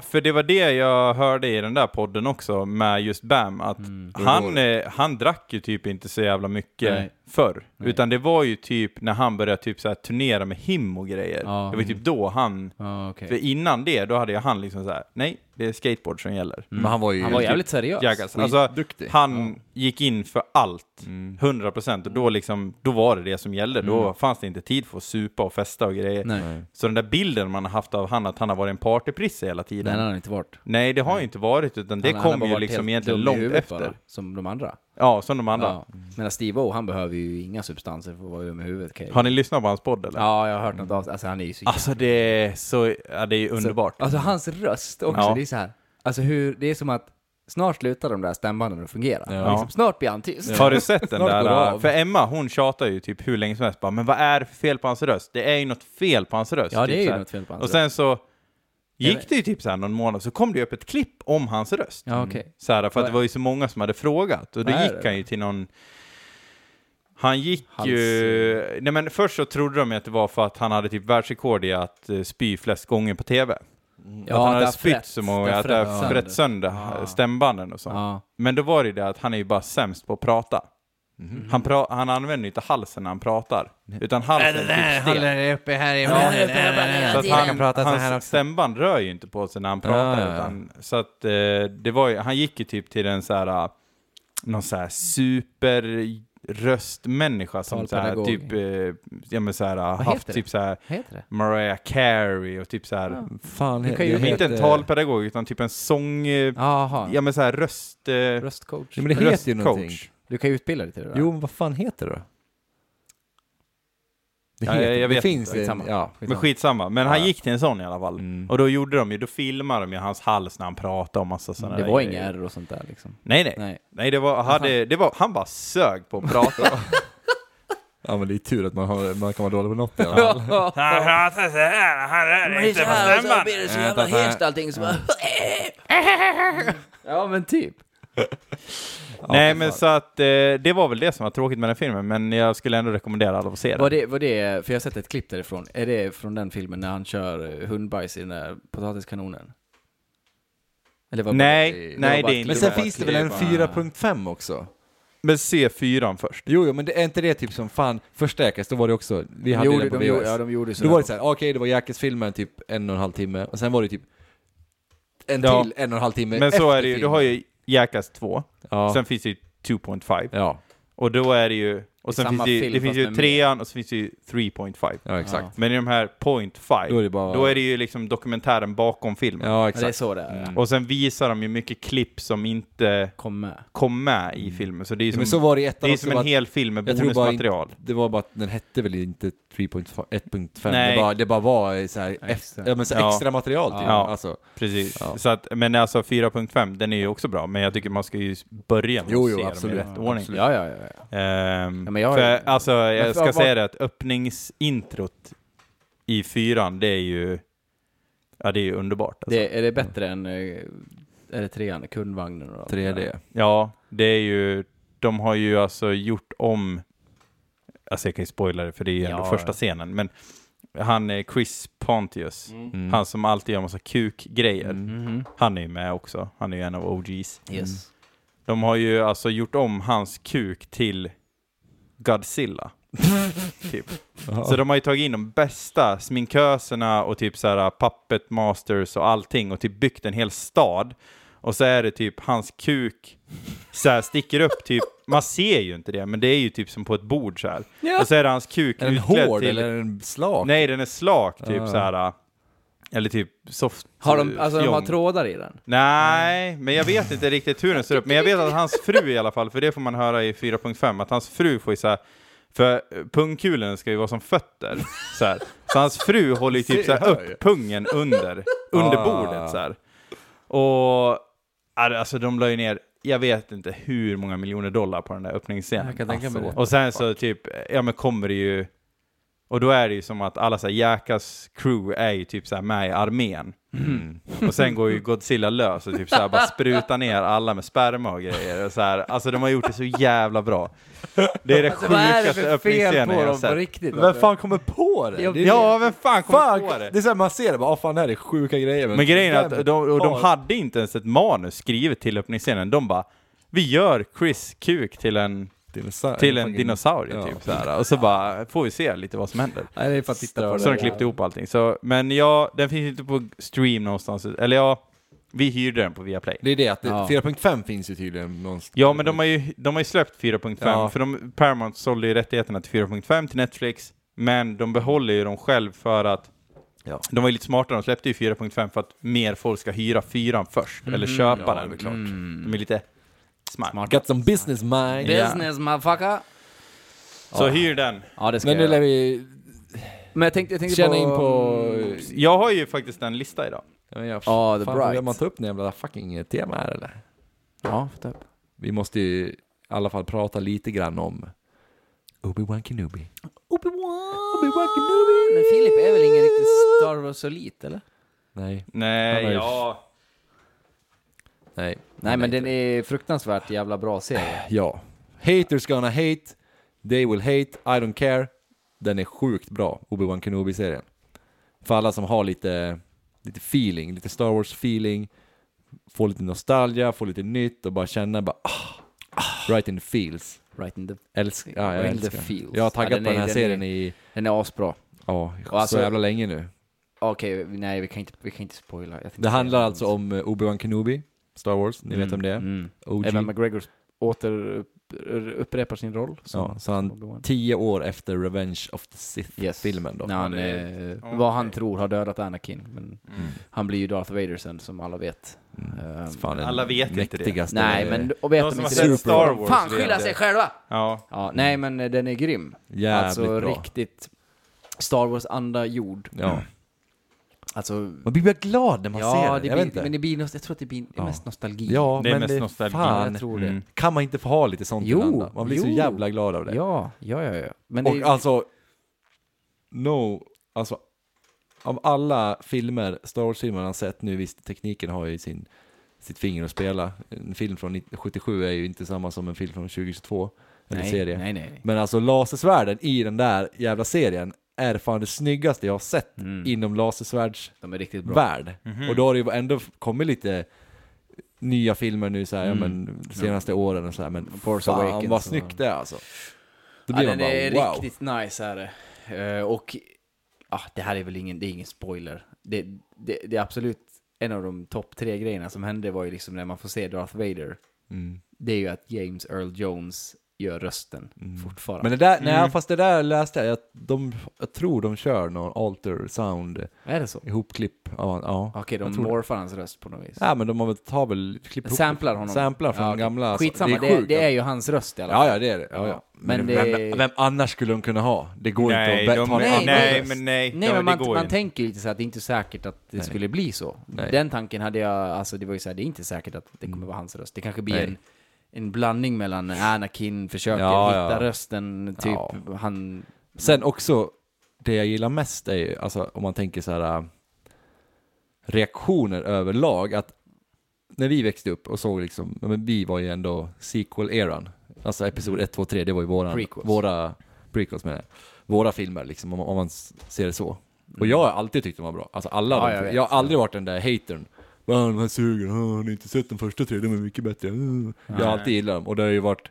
för det var det jag hörde i den där podden också, med just Bam, att Mm. Han, eh, han drack ju typ inte så jävla mycket Nej. förr. Nej. Utan det var ju typ när han började typ så här turnera med him och grejer. Ja. Det var ju typ då han... Ja, okej. För innan det, då hade ju han liksom så här: nej, det är skateboard som gäller. Mm. Men han var ju... Han var jävligt seriös. Jackass. Alltså, duktig. han gick in för allt, Mm. 100%, och då liksom, då var det det som gällde. Då fanns det inte tid för att supa och festa och grejer. Mm. Nej. Nej. Så den där bilden man har haft av han, att han har varit en partyprisse hela tiden. Den Nej, har inte varit. det har ju inte varit, utan det Han- han har kom bara ju varit liksom helt egentligen dum i långt huvudet efter. Bara, som de andra. Ja, som de andra. Ja. Medan Steve-O, han behöver ju inga substanser för att vara med huvudet. kan jag- Har ni lyssnat på hans podd eller? Ja, jag har hört något av Alltså han är ju så Alltså det är så, ja, det är underbart. Alltså hans röst också, Ja. det är så här. Alltså hur, det är som att snart slutar de där stämbanden att fungera. Ja. Liksom, snart blir han tyst. Har du sett den Snart går det där? äh, av. För Emma hon tjatar ju typ hur länge som helst bara, men vad är det för fel på hans röst? Det är ju något fel på hans röst. Ja, typ det är så ju här. något fel på hans Och röst. sen så men- gick det ju typ så här någon månad, så kom det ju upp ett klipp om hans röst. Ja, okej. Så här, för att Vad det är- var ju så många som hade frågat. Och då Vad är gick det han ju till någon... Han gick Hals- ju... Nej men först så trodde de ju att det var för att han hade typ världsrekord i att eh, spy flest gånger på TV. Mm. Ja, att han det hade har spytt frätt. så många, Det har att det har frätt frätt sönder Ja. stämbanden och sånt. Ja. Men då var det ju det att han är ju bara sämst på att prata. Mhm. Han, pra han använder ju inte halsen när han pratar, utan halsen är typ stel. uppe här i Så munnen. att han, prata så hans här också. stämband rör ju inte på sig när han pratar. Ja, ja, ja. Utan, så att eh, det var ju, han gick ju typ till en så här, eh, någon så här superröstmänniska som så här, Talpedagog. typ, eh, ja men så här, haft heter det? typ så här Vad heter det? Mariah Carey och typ så här, Fan, Du kan ju- det inte en heter- talpedagog utan typ en sång, eh, Jaha, ja men så här röst... Eh, röstcoach. Ja, men det heter ju röstcoach. någonting. Du kan ju utbilda dig till det där. Jo, men vad fan heter det då? Det, Ja, heter, jag- jag det vet finns inte. en, Skitsamma. ja. liksom. Men skitsamma. Men han Ja. gick till en sån i alla fall. Mm. Och då gjorde de ju, då filmade de ju hans hals när han pratade och massa sådana Det där var grejer. inga R och sånt där liksom. Nej, nej. Nej. Nej, det var, hade, det var, han bara sög på att prata. ja, men det är tur att man, har, man kan vara dålig på något i alla fall. han pratar så här, han rör inte på stämman. blir det så jävla hest allting. Så Ja men typ. Nej, men så att eh, det var väl det som var tråkigt med den filmen, men jag skulle ändå rekommendera alla att se den. Var det, var det, för jag har sett ett klipp därifrån, är det från den filmen när han kör eh, hundbajs i den där potatiskanonen? Eller var Nej, var nej, bara det är inte Men klipp- Men sen sen bara finns det väl klipp, en bara- 4.5 också? Men se fyran först. Jo, jo, men det är inte det typ som fan, första Jackass, då var det också, vi hade gjorde, den på de, VHS. gjorde, ja, de gjorde så. Då var det såhär, okej det var Jackass-filmen typ en och en halv timme, och sen var det typ en Ja. till en och en halv timme Men så efter är det ju, du filmen. har ju Jackass 2, Ja, sen finns det ju 2.5, ja, och då är det ju, och sen finns samma det ju, film, det finns fast ju med trean och så finns det ju 3.5. ja exakt. Men i de här point five, Då är det bara... då är det ju liksom dokumentären bakom filmen. Ja, Ja, det är exakt. så det är. Mm. Och sen visar de ju mycket klipp som inte Kom med. kom med i filmen, så det är ju Mm. Ja, som, men så var det i det ettan är ju också, som en bara att- hel film med jag tror bara inte- bonusmaterial. det var bara att den hette väl inte 3.5, 1.5, Nej. det bara, det bara var såhär, Extra. extra. Ja, men så Ja. extra material typ. Ja. Alltså, Precis. Ja. Så att, men alltså 4.5, den är ju också bra, men jag tycker man ska ju börja med Jo, att jo, se absolut. dem i rätt ordning. Ja, ja, ja. ja. Ehm, Ja, men jag- för, alltså, för jag ska vad- säga det att öppningsintrot i fyran, det är ju ja, det är ju underbart. Alltså. Det, är det bättre än, eh, är det trean, kundvagnen och allt det där? 3D. Ja, det är ju, de har ju alltså gjort om, alltså jag kan ju spoila det för det är ju ändå Ja, första ja. scenen, men han är Chris Pontius, Mm. han som alltid gör massa kukgrejer, Mm. Mhm. han är ju med också, han är ju en av OGs. Yes. Mm. De har ju alltså gjort om hans kuk till Godzilla. typ. Så de har ju tagit in de bästa sminköserna och typ så här puppet masters och allting och typ byggt en hel stad. Och så är det typ hans kuk så här sticker upp typ, man ser ju inte det, men det är ju typ som på ett bord så här. Och så är det hans kuk Är den utklädd hård till... eller är den slak? Nej, den är slak typ Ah. så här. Eller typ soft... Har de, alltså de har fjong. trådar i den? Nej, men jag vet inte riktigt hur den ser upp. Men jag vet att hans fru i alla fall, för det får man höra i 4.5, att hans fru får ju så här, för eh, pungkulen ska ju vara som fötter. Så, här. så hans fru håller ju typ så här upp pungen under, under Ah. bordet så här. Och ja, alltså de la ju ner, jag vet inte hur många miljoner dollar på den där öppningsscenen. Jag kan tänka mig Alltså, det. Och sen så typ, ja men kommer det ju, och då är det ju som att alla så här Jackas crew är ju typ så här med i armén. Mm. Och sen går ju Godzilla lös och typ så här bara sprutar ner alla med sperma och grejer. Och så här. Alltså de har gjort det så jävla bra. Det är det Alltså, Vad är det sjukaste för fel öppningsscenen på jag har dem på sett. riktigt? Vem fan kommer på det? Ja, det är Ja, vem fan kom fan, på det? det är såhär man ser det bara, "Ah, fan det här är sjuka grejer. Men grejen är vem att de, och de har- hade inte ens ett manus skrivet till öppningsscenen. De bara, vi gör Chris kuk till en, Dinosaur- till en fucking- dinosaurie ja. typ så här. Och så bara, får vi se lite vad som händer. Nej, det är för att titta på Så de klippte ihop allting. Så, men ja, den finns ju inte på stream någonstans. Eller ja, vi hyrde den på Viaplay. Det är det att det- Ja. 4.5 finns ju tydligen någonstans. Ja, men de har ju, de har ju släppt 4.5, Ja. för de, Paramount sålde ju rättigheterna till 4.5 till Netflix, men de behåller ju dem själv för att Ja. de var ju lite smartare, de släppte ju 4.5 för att mer folk ska hyra 4 först, eller köpa Mhm. ja, den. Mm. det är klart. De är lite smart. Got some business mind. Business motherfucker! Så hyr den. Ja det ska Men nu jag lär göra. vi Men jag tänkte, jag tänkte känna på... in på... Jag har ju faktiskt en lista idag. Ja, men jag- Ja, The fan, Bright. Vill man ta upp den jävla fucking eh, tema här eller? Ja, typ. Vi måste ju i alla fall prata lite grann om Obi-Wan Kenobi. Obi-Wan Kenobi! Men Filip är väl ingen riktig Star Wars-elit eller? Nej, Nej, Han har ju- ja. nej. Nej men den är fruktansvärt jävla bra serie. Ja. Haters gonna hate, they will hate, I don't care. Den är sjukt bra, Obi-Wan Kenobi-serien. För alla som har lite, lite feeling, lite Star Wars-feeling, får lite nostalgia, får lite nytt och bara känna bara ah, right in the feels. Right in the... Älsk, ja, jag Right in älskar the den. feels. Jag har Ja, taggat den på är- den här den serien är- i Den är asbra. ja, så alltså- jävla länge nu. Okej, nej vi kan inte, vi kan inte spoila. Jag tänkte Det säga handlar något. alltså om eh, Obi-Wan Kenobi, Star Wars, ni vet vem det är. Mm. OG. Evan McGregor åter upprepar sin roll. Ja, så han Obi-Wan. tio år efter Revenge of the Sith-filmen då. När han, eh, vad han tror har dödat Anakin. Men Mm. han blir ju Darth Vader sen som alla vet. Ehm, Alltså, Fan, den Alla vet inte det. mäktigaste- nej men, och vet De de som har inte sett det? Star Wars Fan vet skylla det. sig själva! ja. Ja, nej men eh, den är grym. Jävligt alltså bra. riktigt Star Wars-anda gjord. Ja. Alltså, Man blir bara glad när man ser ja, det. det jag vet blir, inte. men det blir, nost- jag tror att det blir det är Ja. mest nostalgi. ja, Det är men mest det, nostalgi. Fan, jag tror det. Mm. kan man inte få ha lite sånt Jo, ibland? Man blir så jo. jävla glad av det. Ja, ja, ja. ja. Men Och det, alltså, no, alltså av alla filmer, Star Wars-filmer han sett nu, visst tekniken har ju sin, sitt finger att spela. En film från 1977 är ju inte samma som en film från 2022, eller nej, serie. nej, nej. Men alltså lasersvärden i den där jävla serien är fan det snyggaste jag har sett Mm. inom lasersvärds De är riktigt bra. Mhm. värld. Och då har det ju ändå kommit lite nya filmer nu så här, ja, men senaste åren och så här, men Mm. Force fan Awakens vad och- snyggt det är alltså. Då Ja, blir den man bara är wow. riktigt nice här. Eh, och ja, det här är väl ingen, det är ingen spoiler. Det, det, det är absolut en av de topp tre grejerna som hände var ju liksom när man får se Darth Vader. Mm. Det är ju att James Earl Jones gör rösten fortfarande. Mm. Men det där, Mm. nej fast det där läste jag, jag, de, jag tror de kör någon alter sound är det så? ihopklipp. Ja, ja. Okej, Jag de tror det. morfar hans röst på något vis. ja men de har väl, tar väl klipp ihop. Samplar honom. Samplar från Ja, okej. gamla. Skitsamma, det är, det, sjukt. alltså. är ju hans röst i alla fall. Ja, ja det är det. Ja, ja. Men Men det- vem, vem annars skulle de kunna ha? Det går Nej, inte att de, ta en nej, annan nej, röst. men nej. Nej, Ja, men det man, går ju man inte. tänker ju lite så att det är inte säkert att det skulle bli så. Nej. Den tanken hade jag, alltså det var ju så här, det är inte säkert att det Mm. kommer vara hans röst. Det kanske blir Nej. en, en blandning mellan Anakin försöker Ja, hitta ja. rösten, typ Ja. han... Sen också, det jag gillar mest är ju, alltså om man tänker så här äh, reaktioner överlag, att när vi växte upp och såg liksom, ja, men vi var ju ändå sequel-eran, alltså episod 1, 2, 3, det var ju våran, Prequels. våra, prequels menar jag, våra filmer liksom, om, om man s- ser det så. Och jag har alltid tyckt de var bra, alltså alla, Mm. Ja, de, jag jag, vet. har aldrig varit den där hatern. "Fan, de här suger, Ah, har ni inte sett den första tre, de är mycket bättre. Ah." Jag har alltid gillat dem, och det har ju varit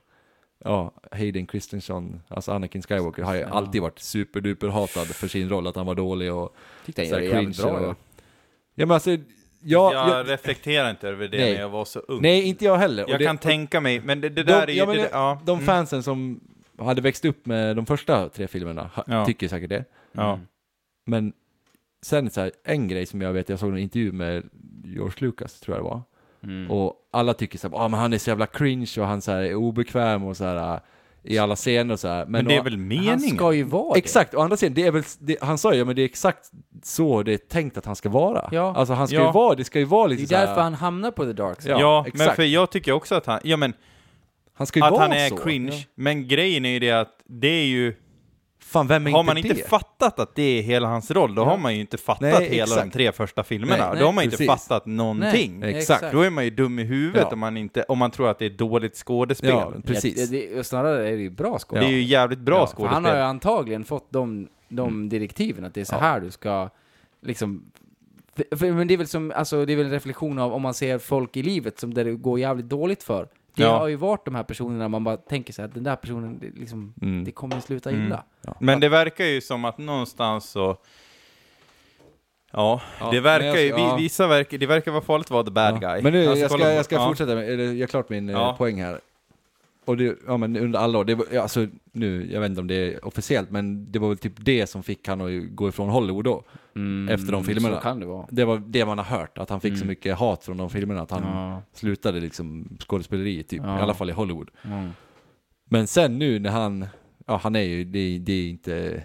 Ja, Hayden Christensen, alltså Anakin Skywalker, har ju alltid varit superduper hatad för sin roll, att han var dålig och Tyckte han så här gjorde det jävligt cringe bra. och... Och... Ja men alltså, jag, Jag, jag, reflekterar inte över det Nej. när jag var så ung. nej inte jag heller. Och jag det- kan och tänka mig, men det, det de, där är ju... ja, men det, det, där- ja, de mm, fansen som hade växt upp med de första tre filmerna ha, Ja. tycker säkert det. ja. Men sen så här, en grej som jag vet, jag såg en intervju med George Lucas, tror jag det var. Mm. Och alla tycker så här, ah, men han är så jävla cringe och han så här, är obekväm och så här äh, i alla scener och så här. Men, Men det är å- väl Han meningen? ska ju vara Exakt, å andra sidan, det är väl, det, han sa ju, men det är exakt så det är tänkt att han ska vara. Ja. Alltså han ska Ja. ju vara, det ska ju vara det. Det lite så är här- därför han hamnar på the dark side. Ja, Ja, men exakt. för jag tycker också att han... Ja, men han ska ju att vara han är så. cringe. Ja. Men grejen är ju det att det är ju... Fan, vem är har inte man inte det? fattat att det är hela hans roll, då har man ju inte fattat Nej, hela de exakt. tre första filmerna. Nej, då har man nej, inte precis. fattat någonting. Nej, exakt. Då är man ju dum i huvudet Ja. om, man inte, om man tror att det är dåligt skådespel. Ja, precis. Ja, det, och snarare är det ju bra skådespel. Det är ju jävligt bra För skådespel. han har ju antagligen fått de, de Mm. direktiven, att det är så här du ska liksom... för- för- Men det är väl som, alltså det är väl en reflektion av om man ser folk i livet som där det går jävligt dåligt för. Det Ja. har ju varit de här personerna man bara tänker sig att den där personen, det, liksom, Mm. det kommer sluta Mm. illa. Men det verkar ju som att någonstans så... Ja, Ja, det verkar men jag- ju... vi- ja. Vissa verkar, det verkar vara farligt att vara the bad guy. Men nu, Alltså, jag ska, kolla- jag ska ja. fortsätta med, eller jag är klart min eh, Ja. poäng här. Och det, ja men under alla år, det var, ja, alltså nu, jag vet inte om det är officiellt, men det var väl typ det som fick han att gå ifrån Hollywood då. efter de filmerna. Mm, Så kan det vara. Det var det man har hört, att han fick så mycket hat från de filmerna att han Ja. slutade liksom skådespeleri, typ, Ja. i alla fall i Hollywood. Mm. Men sen nu när han, ja han är ju, det, det är inte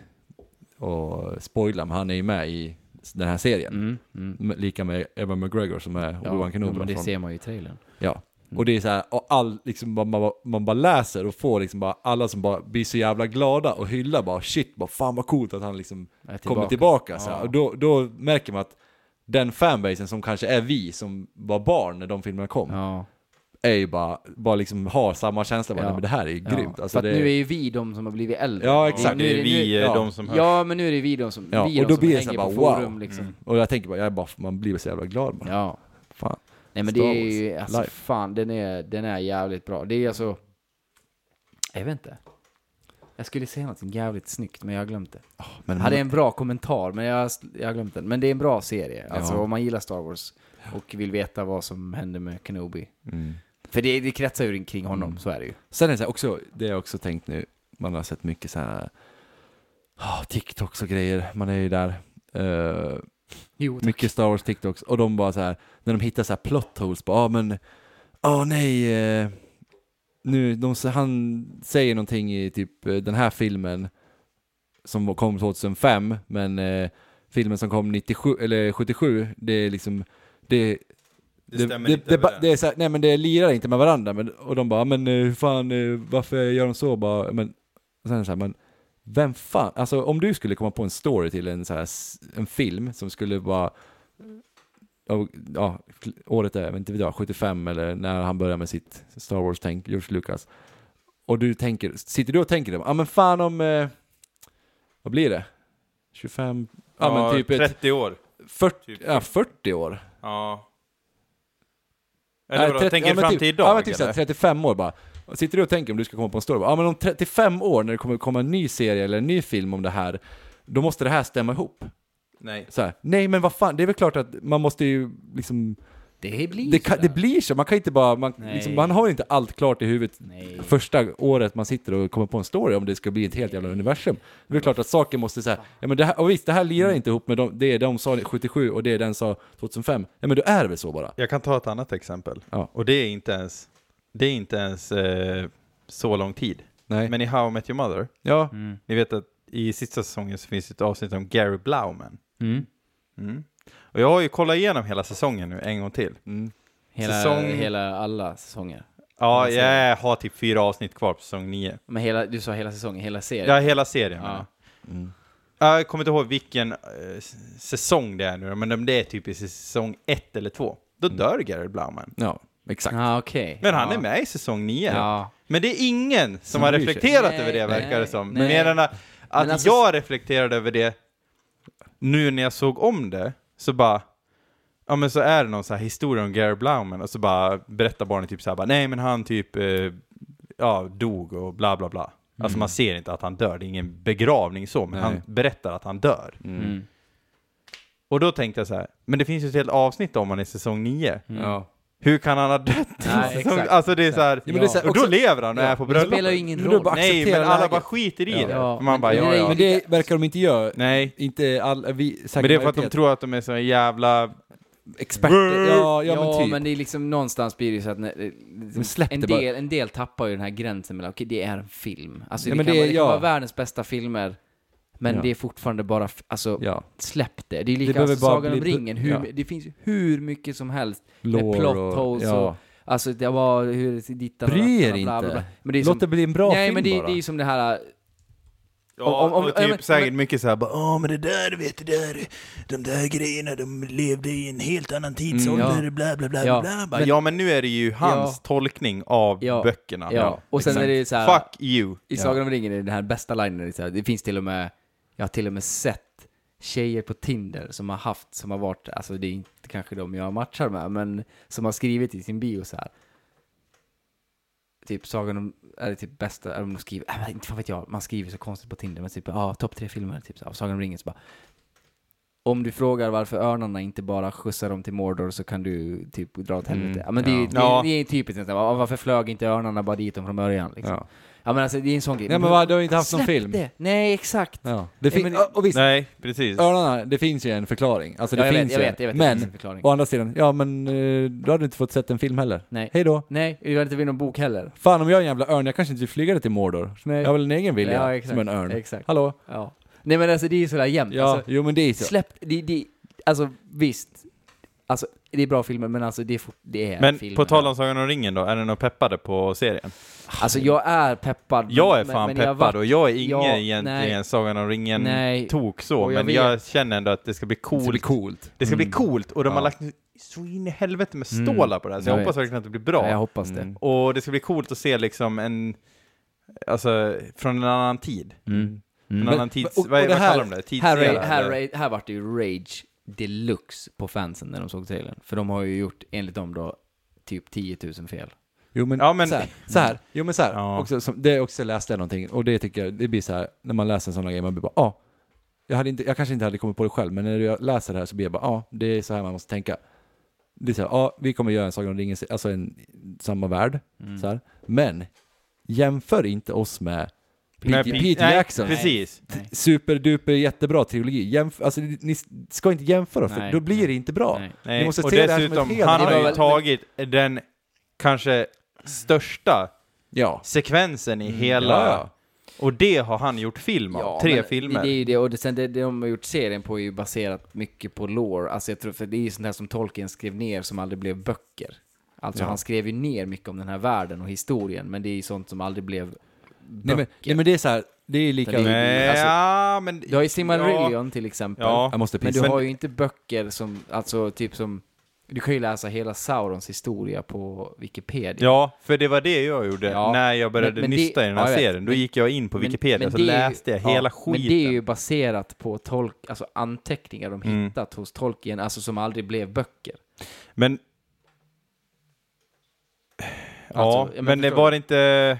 att spoila, men han är ju med i den här serien. Mm. Mm. M- Lika med Evan McGregor som är Obi-Wan Kenobi. men det från- Mm. ser man ju i trailern. Ja. Och det är så här, och all, liksom, man, man, man bara läser och får liksom bara alla som bara blir så jävla glada och hyllar bara shit, bara fan vad coolt att han liksom Är kommer tillbaka. Så här. Och då, då märker man att den fanbasen som kanske är vi som var barn när de filmerna kom, Ja. är ju bara, bara liksom har samma känsla, bara, Ja. "Nej, men det här är ju grymt. Ja. Alltså, för att det, nu är ju vi de som har blivit äldre. Ja, Ja, exakt. det är vi, ja. de som hörs. Ja, men nu är det vi de som, eh, Ja, vi och de då som blir det hänger så på här bara, forum wow. Mm. liksom. Och jag tänker bara, jag är bara, man blir så jävla glad bara. Ja. Fan. Nej men det Star är ju, Wars, alltså live. fan, den är, den är jävligt bra. Det är alltså, jag vet inte. Jag skulle säga någonting jävligt snyggt, men jag har glömt det. Men Jag hade en bra kommentar, men jag, jag har glömt den. Men det är en bra serie, alltså Ja. om man gillar Star Wars och vill veta vad som hände med Kenobi. mm. För det, det kretsar ju kring honom, så är det ju. Sen är det så här också, det har jag också tänkt nu, man har sett mycket så här ah, TikToks och grejer, man är ju där. Eh, Jo, mycket Star Wars TikToks och de bara så här, när de hittar så här plot holes, bara ah, men, ah nej, eh, nu, de, han säger någonting i typ eh, den här filmen som kom 2005, men eh, filmen som kom 97, eller 77, det är liksom, det Det det, stämmer det, inte det, ba- överens. det är så här, nej men det lirar inte med varandra, men, och de bara, men eh, hur fan, eh, varför gör de så? Bara, men, och sen är det så här, men vem fan, alltså om du skulle komma på en story till en, så här, s- en film som skulle vara, ja, ja, året är, inte vet jag, 75 eller när han börjar med sitt Star Wars-tänk, George Lucas. Och du tänker, sitter du och tänker, ja ah, men fan om, eh, vad blir det? 25, ja, Ja, men typ ett 30 år. 40, typ. ja, 40 år. Ja. Eller vadå, Nej, 30 tänker du ja, men fram typ, till idag? Ja, men typ eller? såhär, 35 år bara. Och Sitter du och tänker om du ska komma på en story? bara, Ja, men om 35 år när det kommer komma en ny serie eller en ny film om det här, då måste det här stämma ihop. Nej. Så här, nej men vad fan, det är väl klart att man måste ju liksom... Det blir Det, kan, det blir så, man kan inte bara... Man, Nej. liksom, man har inte allt klart i huvudet Nej. första året man sitter och kommer på en story om det ska bli ett helt jävla universum. Det är väl klart att saker måste säga, ja men det här, och visst det här lirar inte ihop med de, det de sa 77 och det den sa 2005. Ja men då är det väl så bara. Jag kan ta ett annat exempel. Ja. Och det är inte ens, det är inte ens eh, så lång tid. Nej. Men i How I Met Your Mother, ja. ni vet att i sista säsongen så finns det ett avsnitt om Gary Blauman. Mm. Mm. Och jag har ju kollat igenom hela säsongen nu en gång till. Mm. Hela, Säsong- hela alla säsonger. Ja, Hela serien. jag har typ fyra avsnitt kvar på säsong nio. Men hela, du sa hela säsongen, hela serien. Ja, hela serien Ja. menar jag. Jag kommer inte ihåg vilken eh, s- säsong det är nu, men om det är typ i säsong ett eller två, då dör Gary Blauman. Ja, exakt. ah, okej. Men han ja. är med i säsong nio. Ja. Men det är ingen som har bryr sig. reflekterat Nej, över det nej, verkar det som. nej. Mer än att, att Men alltså- jag reflekterade över det nu när jag såg om det, så bara Ja men så är det någon så här historia om Gary Blauman och så bara berättar barnet typ så här bara, nej men han typ eh, ja, dog och bla bla bla. Alltså man ser inte att han dör, det är ingen begravning så, men Mm. Nej. han berättar att han dör. Mm. Och då tänkte jag så här, men det finns ju ett helt avsnitt om han i säsong 9. Ja. Hur kan han ha dött? i Nej, säsong- exakt, alltså det är så här, men det är så här och då också- lever han och Ja. är på Det bröllopet. spelar ju ingen Men då roll. bara- Nej, men acceptera alla läget. bara skiter i Ja. det. Ja, Man bara, men ja, det är ja. Men det verkar de inte göra. Nej. Inte all, vi, säkert Men det är för att de majoritet. tror att de är så jävla... experter. Ja, ja, Ja, men typ. det är liksom någonstans blir det ju så att när, eh, Men släpp en, det bara. del, en del tappar ju den här gränsen mellan, okej det är en film. Alltså Ja, det, men kan, det- vara, det kan ja. vara världens bästa filmer, men Ja. det är fortfarande bara, f- alltså Ja, släpp det. Det är lika, behöver alltså, bara Sagan om bli- ringen, hur, ja. det finns ju hur mycket som helst. lår plot och- holes ja. och- Alltså det var hur dittan och Bry er dattan och bla, bla, inte. bla. Men det är Låt det som, bli en bra nej film men det, bara. det är ju som det här, Ja, om- om- och ja, typ men- säkert men- mycket så här bara, "Åh, men det där, du vet det där. De där grejerna, de levde i en helt annan tidsålder, Mm, ja. bla bla bla Ja. bla. Bara, ja, men nu är det ju hans tolkning av Ja. böckerna. ja. Och sen är det ju så här, Fuck you. I Sagan om ringen är det den här bästa linjen, det är så här, det finns till och med, jag har till och med sett tjejer på Tinder som har haft, som har varit, alltså det är inte kanske de jag matchar med, men som har skrivit i sin bio så här. Typ Sagan om, är det typ bästa, eller om de skriver, äh, men inte fan vet jag, man skriver så konstigt på Tinder, men typ, ja, topp tre filmer, typ så här, av Sagan om ringen, så bara om du frågar varför örnarna inte bara skjutsar dem till Mordor så kan du typ dra åt Mm. helvete. Ja, men det, är ju- det, Ja. är- det är typiskt, nästan. Ja, varför flög inte örnarna bara dit dem från början? Liksom. Ja. Ja men alltså det är en sån grej. Nej men vad, du har inte haft någon Släpp film? det! Nej exakt! Ja. Det fin- Nej, men- ja, och visst, Nej, precis. Örnarna, det finns ju en förklaring. Alltså det Ja, jag vet, finns jag ju vet, jag vet, en. det finns en Men, förklaring. å andra sidan, ja men eh, då hade du inte fått sett en film heller. Nej. Hej då. Nej, det var inte vid någon bok heller. Fan om jag är en jävla örn, jag kanske inte vill flyga till Mordor. Nej. Jag har väl en egen vilja, Ja, exakt, som en örn. exakt. Hallå? Ja. Nej men alltså det är ju sådär jämnt. Ja, Alltså, jo men det är så. släpp, det, det, alltså visst. Alltså det är bra filmer men alltså det är, fort, det är Men filmer. på tal om Sagan om ringen då, är ni något peppade på serien? Alltså jag är peppad. Jag är men- fan men jag peppad var- och jag är ingen Ja, egentligen nej. Sagan om Nej. ringen-tok så, Och jag men vet- jag känner ändå att det ska bli Det ska bli coolt. coolt. Mm. Det ska bli coolt och de har lagt så in i helvete med stålar på det här, så jag, Jag hoppas vet. verkligen att det blir bra. Mm. Ja, jag hoppas det. Och det ska bli coolt att se liksom en, alltså från en annan tid. En annan Mm. Men- tids, och- och vad, det vad här- kallar de det? Här, Tidsera? här, här, eller? ra- här vart det ju rage deluxe på fansen när de såg trailern. För de har ju gjort, enligt dem då, typ 10 000 fel. Jo men, Ja, men- så, här, så här, jo men så här, Ja. också, som, det också läste jag någonting och det tycker jag, det blir så här, när man läser en sån här grej, man blir bara ja, ah, jag, hade inte- jag kanske inte hade kommit på det själv, men när jag läser det här så blir jag bara ja, ah, det är så här man måste tänka. Det är så här, ja, ah, vi kommer göra en Sagan om ringen, alltså en, samma värld, Mm. så här, men jämför inte oss med Peter, Nej, Peter nej, Jackson. Precis. Nej. Superduper jättebra trilogi. Jämf- alltså, ni ska inte jämföra för Nej. då blir det inte bra. Nej. Nej. Ni måste och se det här som ett dessutom, helt han har annat- ju Men- tagit den kanske största Ja. Mm. sekvensen i hela Ja, ja. Och det har han gjort film av. Tre men filmer. Det är ju det, och det, sen det, det de har gjort serien på är ju baserat mycket på lore. Alltså jag tror, för det är ju sånt här som Tolkien skrev ner som aldrig blev böcker. Alltså han skrev ju ner mycket om den här världen och historien, men det är ju sånt som aldrig blev... Nej men, nej men det är så här, det är lika... Nej, alltså- ja, men... Du har ju Silmarillion till exempel, Ja. Jag måste men pissa. du Men- har ju inte böcker som, alltså typ som... Du kan ju läsa hela Saurons historia på Wikipedia. Ja, för det var det jag gjorde Ja. när jag började Men- men det- nysta i den här ja, jag vet. serien. Då Men- gick jag in på Men- Wikipedia men så det är ju- läste jag ja, hela Men skiten. det är ju baserat på tolk, alltså anteckningar de Mm. hittat hos Tolkien, alltså som aldrig blev böcker. Men... Ja, Alltså, ja, men men, det förstår var du? inte...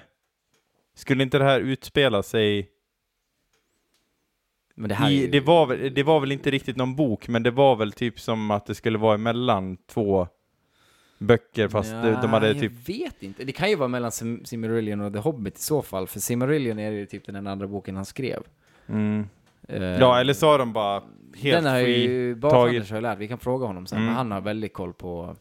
Skulle inte det här utspela sig... Men det här är I, ju... det, var, väl- det var väl inte riktigt någon bok, men det var väl typ som att det skulle vara emellan två böcker, fast det- de hade Nej, typ... Jag vet inte. Det kan ju vara mellan Sim- Silmarillion och The Hobbit i så fall, för Silmarillion är ju typ den andra boken han skrev. Mm. Eh, Ja, eller så har de bara helt den har fri... ju tagit- Bas-Anders har ju lärt, vi kan fråga honom sen, Mm. men han har väldigt koll på...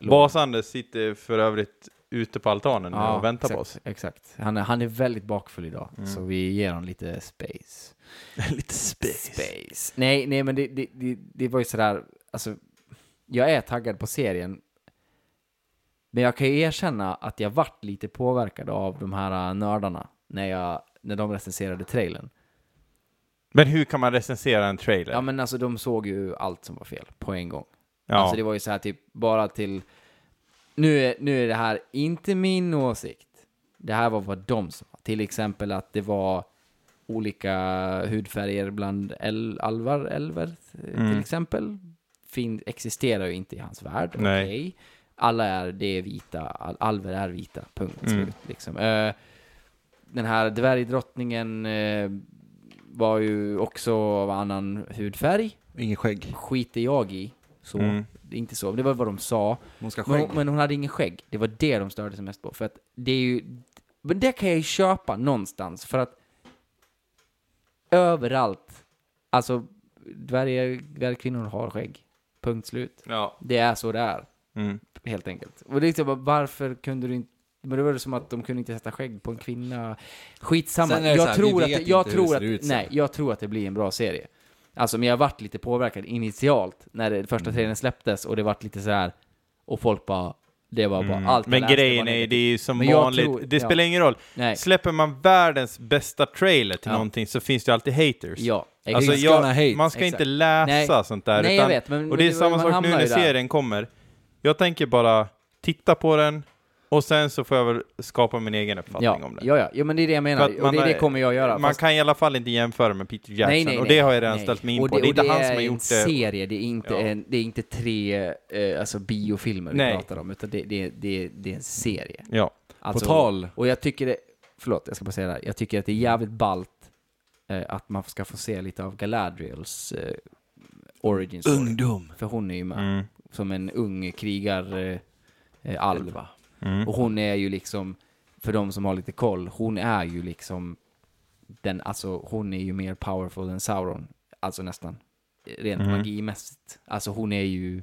Bas-Anders sitter för övrigt ute på altanen nu Ja, och väntar exakt, på oss. Mm. Exakt. Han är, han är väldigt bakfull idag, så vi ger honom lite space. Lite space. Space. Nej, nej men det, det, det, det var ju sådär, alltså, jag är taggad på serien. Men jag kan ju erkänna att jag vart lite påverkad av de här äh, nördarna när, jag, när de recenserade trailern. Men hur kan man recensera en trailer? Ja men alltså de såg ju allt som var fel på en gång. Ja. Alltså det var ju så här typ bara till, nu är, nu är det här inte min åsikt. Det här var vad de sa. Till exempel att det var olika hudfärger bland el- alvar, elver eh, till Mm. exempel. Fin- existerar ju inte i hans värld. Nej. Okej. Alla är, det är vita, al- alver är vita, punkt Mm. slut. Liksom. Eh, den här dvärgdrottningen eh, var ju också av annan hudfärg Ingen skägg. skiter jag i. Så. Mm. Det är inte så. Det var vad de sa. Hon ska ha Men skägg. hon, men hon hade ingen skägg. Det var det de störde sig mest på. För att det är ju... Men det kan jag ju köpa någonstans. För att överallt, alltså dvärgar, dvärgkvinnor har skägg. Punkt slut. Ja. Det är så det är, Mm. helt enkelt. Och det är liksom, bara, varför kunde du inte... Men det var det som att de kunde inte sätta skägg på en kvinna. Skitsamma. Sen är det Jag, så här, vi tror att, vet det- jag, inte hur det tror ser att, ut sen. nej, jag tror att det blir en bra serie. Alltså, men jag vart lite påverkad initialt när det första Mm. trailern släpptes och det vart lite så här och folk bara, det var bara Mm. allt jag Men läste grejen var är, det negativt. är ju som Men jag vanligt, tror- det ja. spelar ingen roll. Nej, Släpper man världens bästa trailer till Ja. någonting så finns det ju alltid haters. ja. Alltså, exakt. jag, gonna hate. man ska Exakt. inte läsa Nej. sånt där. Nej, jag utan, vet, men- och det är men samma man sak nu hamnar när ju där. serien kommer. Jag tänker bara titta på den och sen så får jag väl skapa min egen uppfattning ja. om den. ja, ja, ja, men det är det jag För menar. att Och man det, har- det kommer jag göra. Man fast- kan i alla fall inte jämföra med Peter Jackson nej, nej, och det nej. har jag redan Nej. ställt mig in Och på. Det är inte och han som har gjort en det. serie, det är inte, Ja. en, det är inte tre eh, alltså biofilmer vi Nej. pratar om, utan det, det, det, det är en serie. Ja. Alltså, tal. Och jag tycker det, förlåt jag ska bara säga det här, jag tycker att det är jävligt ballt eh, att man ska få se lite av Galadriels eh, origin story. Ungdom. För hon är ju med Mm. som en ung krigar eh, eh, alva. Mm. Och hon är ju liksom, för de som har lite koll, hon är ju liksom den, alltså hon är ju mer powerful än Sauron. Alltså nästan. Rent magimässigt. Alltså hon är ju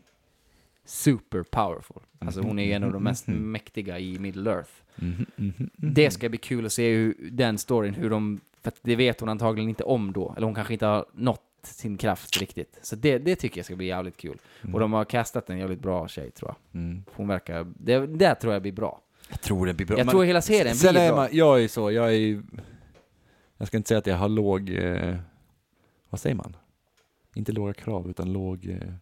super powerful. Alltså hon är ju en av de mest mäktiga i Middle Earth. mm, Mm. Det ska bli kul att se hur den storyn, hur de, för att det vet hon antagligen inte om då, eller hon kanske inte har nått sin kraft riktigt. Så det, det tycker jag ska bli jävligt kul. Mm. Och de har castat en jävligt bra tjej tror jag. Hon verkar, det, det tror jag blir bra. Jag tror det blir bra. Jag men tror hela serien Sen blir är bra. man, jag är ju så, jag är ju, jag ska inte säga att jag har låg, eh, vad säger man? Inte låga krav utan låg eh,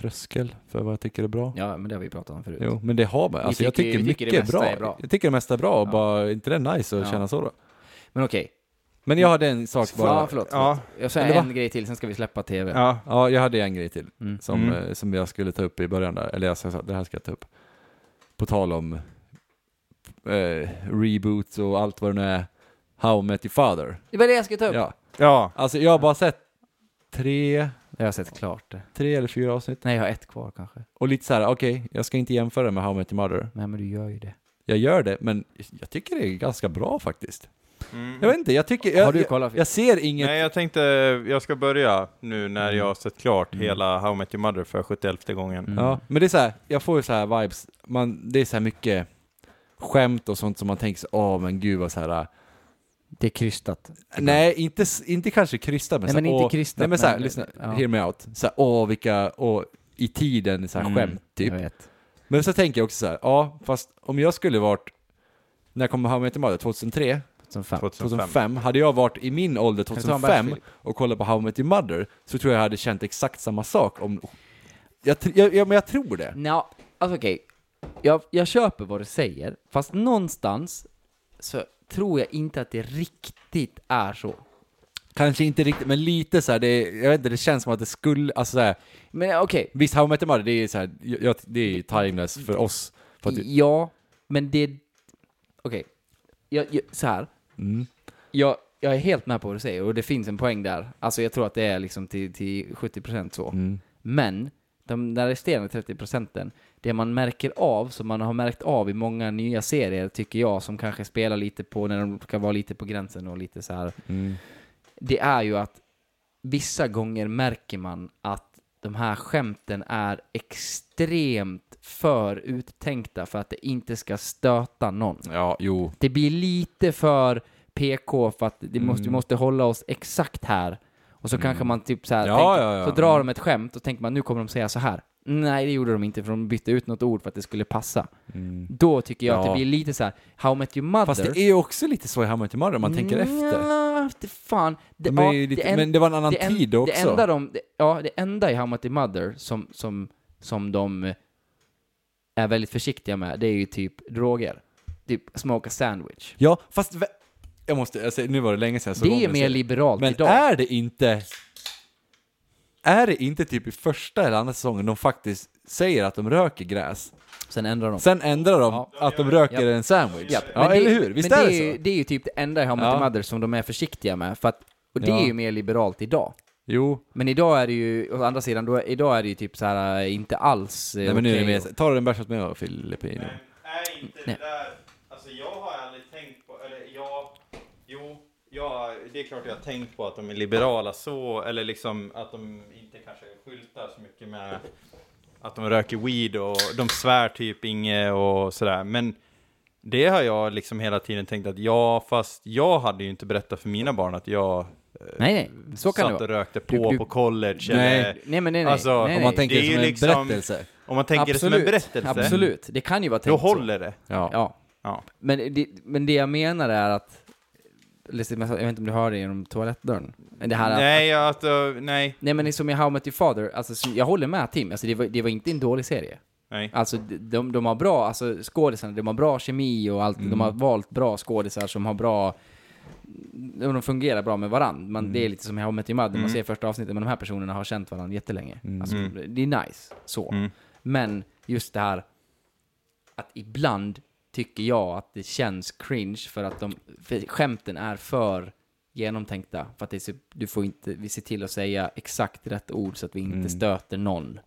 tröskel för vad jag tycker är bra. Ja, men det har vi pratat om förut. Jo, men det har man. Vi Alltså jag tycker- tycker vi tycker mycket det är mesta bra. är bra. Jag tycker det mesta är bra och Ja. bara, inte det är nice att Ja. känna så då? Men okej. Men jag hade en sak bara. Ja, förlåt. Ja. förlåt. Jag säger Eller en grej till, sen ska vi släppa tv. Ja. Ja, jag hade en grej till Mm. som, Mm. eh, som jag skulle ta upp i början där. Eller jag sa, det här ska jag ta upp. På tal om eh, reboots och allt vad det nu är. How I Met Your Father. Det var det jag skulle ta upp. Ja. ja. Alltså jag har bara sett tre, Jag har sett klart det. tre eller fyra avsnitt. Nej, jag har ett kvar kanske. Och lite så här, okej, jag ska inte jämföra med How I Met Your Mother. Nej, men du gör ju det. Jag gör det, men jag tycker det är ganska bra faktiskt. Mm. Jag vet inte, jag tycker... Jag, har du jag, kollat? jag ser inget... Nej, jag tänkte jag ska börja nu när jag har sett klart hela How I Met Your Mother för 71 gången. Mm. Ja, men det är så här, jag får ju så här vibes, man, det är så här mycket skämt och sånt som man tänker så, åh men gud vad så här Det är krystat. Nej, inte, s- inte kanske krystat men, Nej, så här, men inte åh- krystat, Nej men såhär, men- eh, lyssna, ja. hear me out. Såhär, åh vilka, åh, i tiden, såhär Mm, skämt typ. Jag vet. Men så tänker jag också såhär, ja fast om jag skulle varit, när jag kom How I Met Your Mother 2003, 2005. 2005. 2005, hade jag varit i min ålder du ta en 2005 bärs, och kollat på How I Met Your Mother så tror jag jag hade känt exakt samma sak om... Jag, tr- jag, jag, men jag tror det. Nja, alltså okej. Jag, jag köper vad du säger, fast någonstans så tror jag inte att det riktigt är så. Kanske inte riktigt, men lite så här, det, jag vet inte, det känns som att det skulle, alltså så här, Men okej, visst How I Met Your Mother, det är så här, jag, jag- det är timeless för oss. För att, ja, men det... Okej, jag, jag, så här. mm. Jag, jag är helt med på vad du säger och det finns en poäng där. Alltså jag tror att det är liksom till, till 70% så. Mm. Men de där resterande 30 procenten, det man märker av, som man har märkt av i många nya serier, tycker jag, som kanske spelar lite på, när de kan vara lite på gränsen och lite så här, Mm. det är ju att vissa gånger märker man att de här skämten är extremt för uttänkta för att det inte ska stöta någon. Ja, jo. Det blir lite för PK för att det Mm. måste, vi måste hålla oss exakt här. Och så kanske man typ så här Ja, tänker, ja, ja. så drar de ett skämt och tänker man nu kommer de säga så här. Nej, det gjorde de inte för de bytte ut något ord för att det skulle passa. Då tycker jag att Ja. det blir lite så här, How I Met Your Mother. Fast det är ju också lite så i How I Met Your Mother om man tänker efter. Nja, det fan. Mm, Det, De är ja, ju lite, det en- men det var en annan det en- tid då också. Det enda, de, det, ja, det enda i How I Met Your Mother som, som, som de är väldigt försiktiga med, det är ju typ droger. Typ smoke a sandwich. Ja, fast vä- jag måste, alltså, nu var det länge sedan jag såg om det är mer serien. liberalt Men idag. är det inte... Är det inte typ i första eller andra säsongen de faktiskt säger att de röker gräs? Sen ändrar de. Sen ändrar de Ja. att de röker Japp. en sandwich. Japp. Ja, Men eller det- hur? Visst men är det det Ju, så? det är ju typ det enda i How I Met Your Ja. Mother som de är försiktiga med. För att, och det Ja. är ju mer liberalt idag. Jo. Men idag är det ju, å andra sidan, då, idag är det ju typ så här eh, inte alls eh, Nej, men nu är det okej mer, och- tar du en bärs åt mig och Filippino? Nej, inte Typ. Nej. det där. Alltså jag har aldrig tänkt på, eller ja, jo, ja, det är klart jag har tänkt på att de är liberala så, eller liksom att de inte kanske skyltar så mycket med att de röker weed och de svär typ inge och sådär. Men det har jag liksom hela tiden tänkt att ja, fast jag hade ju inte berättat för mina barn att jag eh, Nej, nej, så kan det satt och vara. rökte Du- på du- på college. Nej. Eller, Nej men nej nej. Alltså, om nej, Om nej. man tänker Det är det som ju en liksom- berättelse. om man tänker det som en berättelse, Absolut, det kan ju vara då tänkt så. håller det. Ja. Ja. Ja. Men, det, men det jag menar är att, Lissi, jag vet inte om du hör det genom toalettdörren? Men Det här att- Nej, jag- alltså, nej, Nej men det är som i How I Met Your Father, alltså, som- jag håller med Tim, alltså, det, var, det var inte en dålig serie. nej. Alltså de- de, de har bra, alltså skådisarna, de har bra kemi och allt, Mm. de har valt bra skådisar som har bra, de fungerar bra med varandra. Man, Mm. Det är lite som i How I Met Your Mother, man ser första avsnittet, men de här personerna har känt varandra jättelänge. Alltså, det är nice, så. Mm. Men just det här att ibland tycker jag att det känns cringe för att de, för skämten är för genomtänkta. För att det är så, du får inte, vi ser till att säga exakt rätt ord så att vi inte Mm. stöter någon.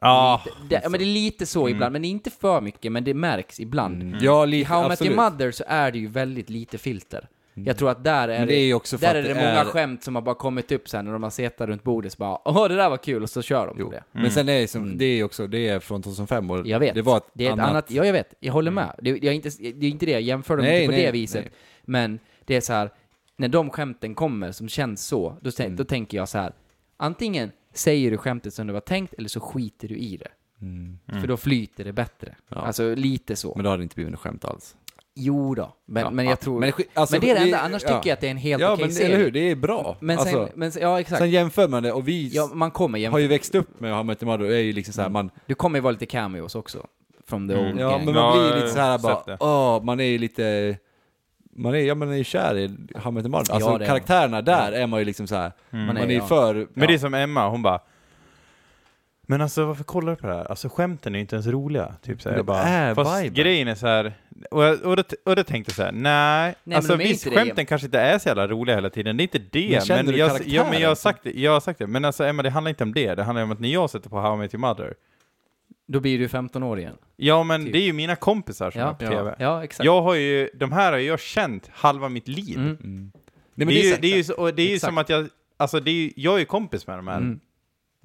Ja, Det, ja, men det är lite så ibland, men det är inte för mycket, men det märks ibland. Ja, I lite, How I Met Your absolut. Mm. Mother så är det ju väldigt lite filter. Jag tror att där är Men det är ju också för där är att det det många är- skämt som har bara kommit upp sen när de har suttit runt bordet så bara åh det där var kul och så kör de på det. Men sen är det, som, det är också, det är från 2005 och Mm. Jag vet. det var ett, Mm. det är ett annat... Ja, jag vet. Jag håller med. Det, jag är inte, det är inte det. Jag jämför dem Nej, inte på nej, det viset. nej. Men det är så här, när de skämten kommer som känns så, då, Mm. tän- då tänker jag så här, antingen säger du skämtet som det var tänkt eller så skiter du i det. För då flyter det bättre. Alltså lite så. Mm. Men då hade det inte blivit något skämt alls. jo då. Men, Ja, men ja. jag tror... Men Men, skit- alltså, det är det det- enda. Annars ja. tycker jag att det är en helt ja, okej men serie. eller hur, det är bra. Men sen, Alltså, men sen, ja exakt. sen jämför man det och vi ja, man kommer har jämföra. ju växt upp med How I Met Your Mother och är ju liksom så här, man, Du kommer ju vara lite cameos också. From the old Ja, gang. men man Ja, blir ju jag lite så här har bara, sett det. åh, man är ju lite, man är, ja, man är ju kär i How I Met Your Mother. Alltså Ja, det är karaktärerna där är man ju liksom så här, man är ju ja. för, Men det är som Emma, hon bara Men alltså varför kollar du på det här? Alltså skämten är ju inte ens roliga. Typ så här, Men jag det bara, är fast viben. grejen är så här och, jag- och, då, t- och då tänkte jag så här, nej, men alltså de är visst inte det. skämten kanske inte är så jävla roliga hela tiden, det är inte det. Men känner Men, du jag, karaktären? ja, men jag, har sagt det, jag har sagt det, men alltså Emma det handlar inte om det, det handlar om att när jag sätter på How I Met Your Mother, Då blir du 15 år igen. ja men Typ. det är ju mina kompisar som Ja. är på TV. Ja, exakt. Jag har ju, de här har ju jag känt halva mitt liv. Mm. nej, men det, är ju, exakt- det är ju, så- och det är ju Exakt. som att jag, alltså det är ju, jag är ju kompis med de här. Mm.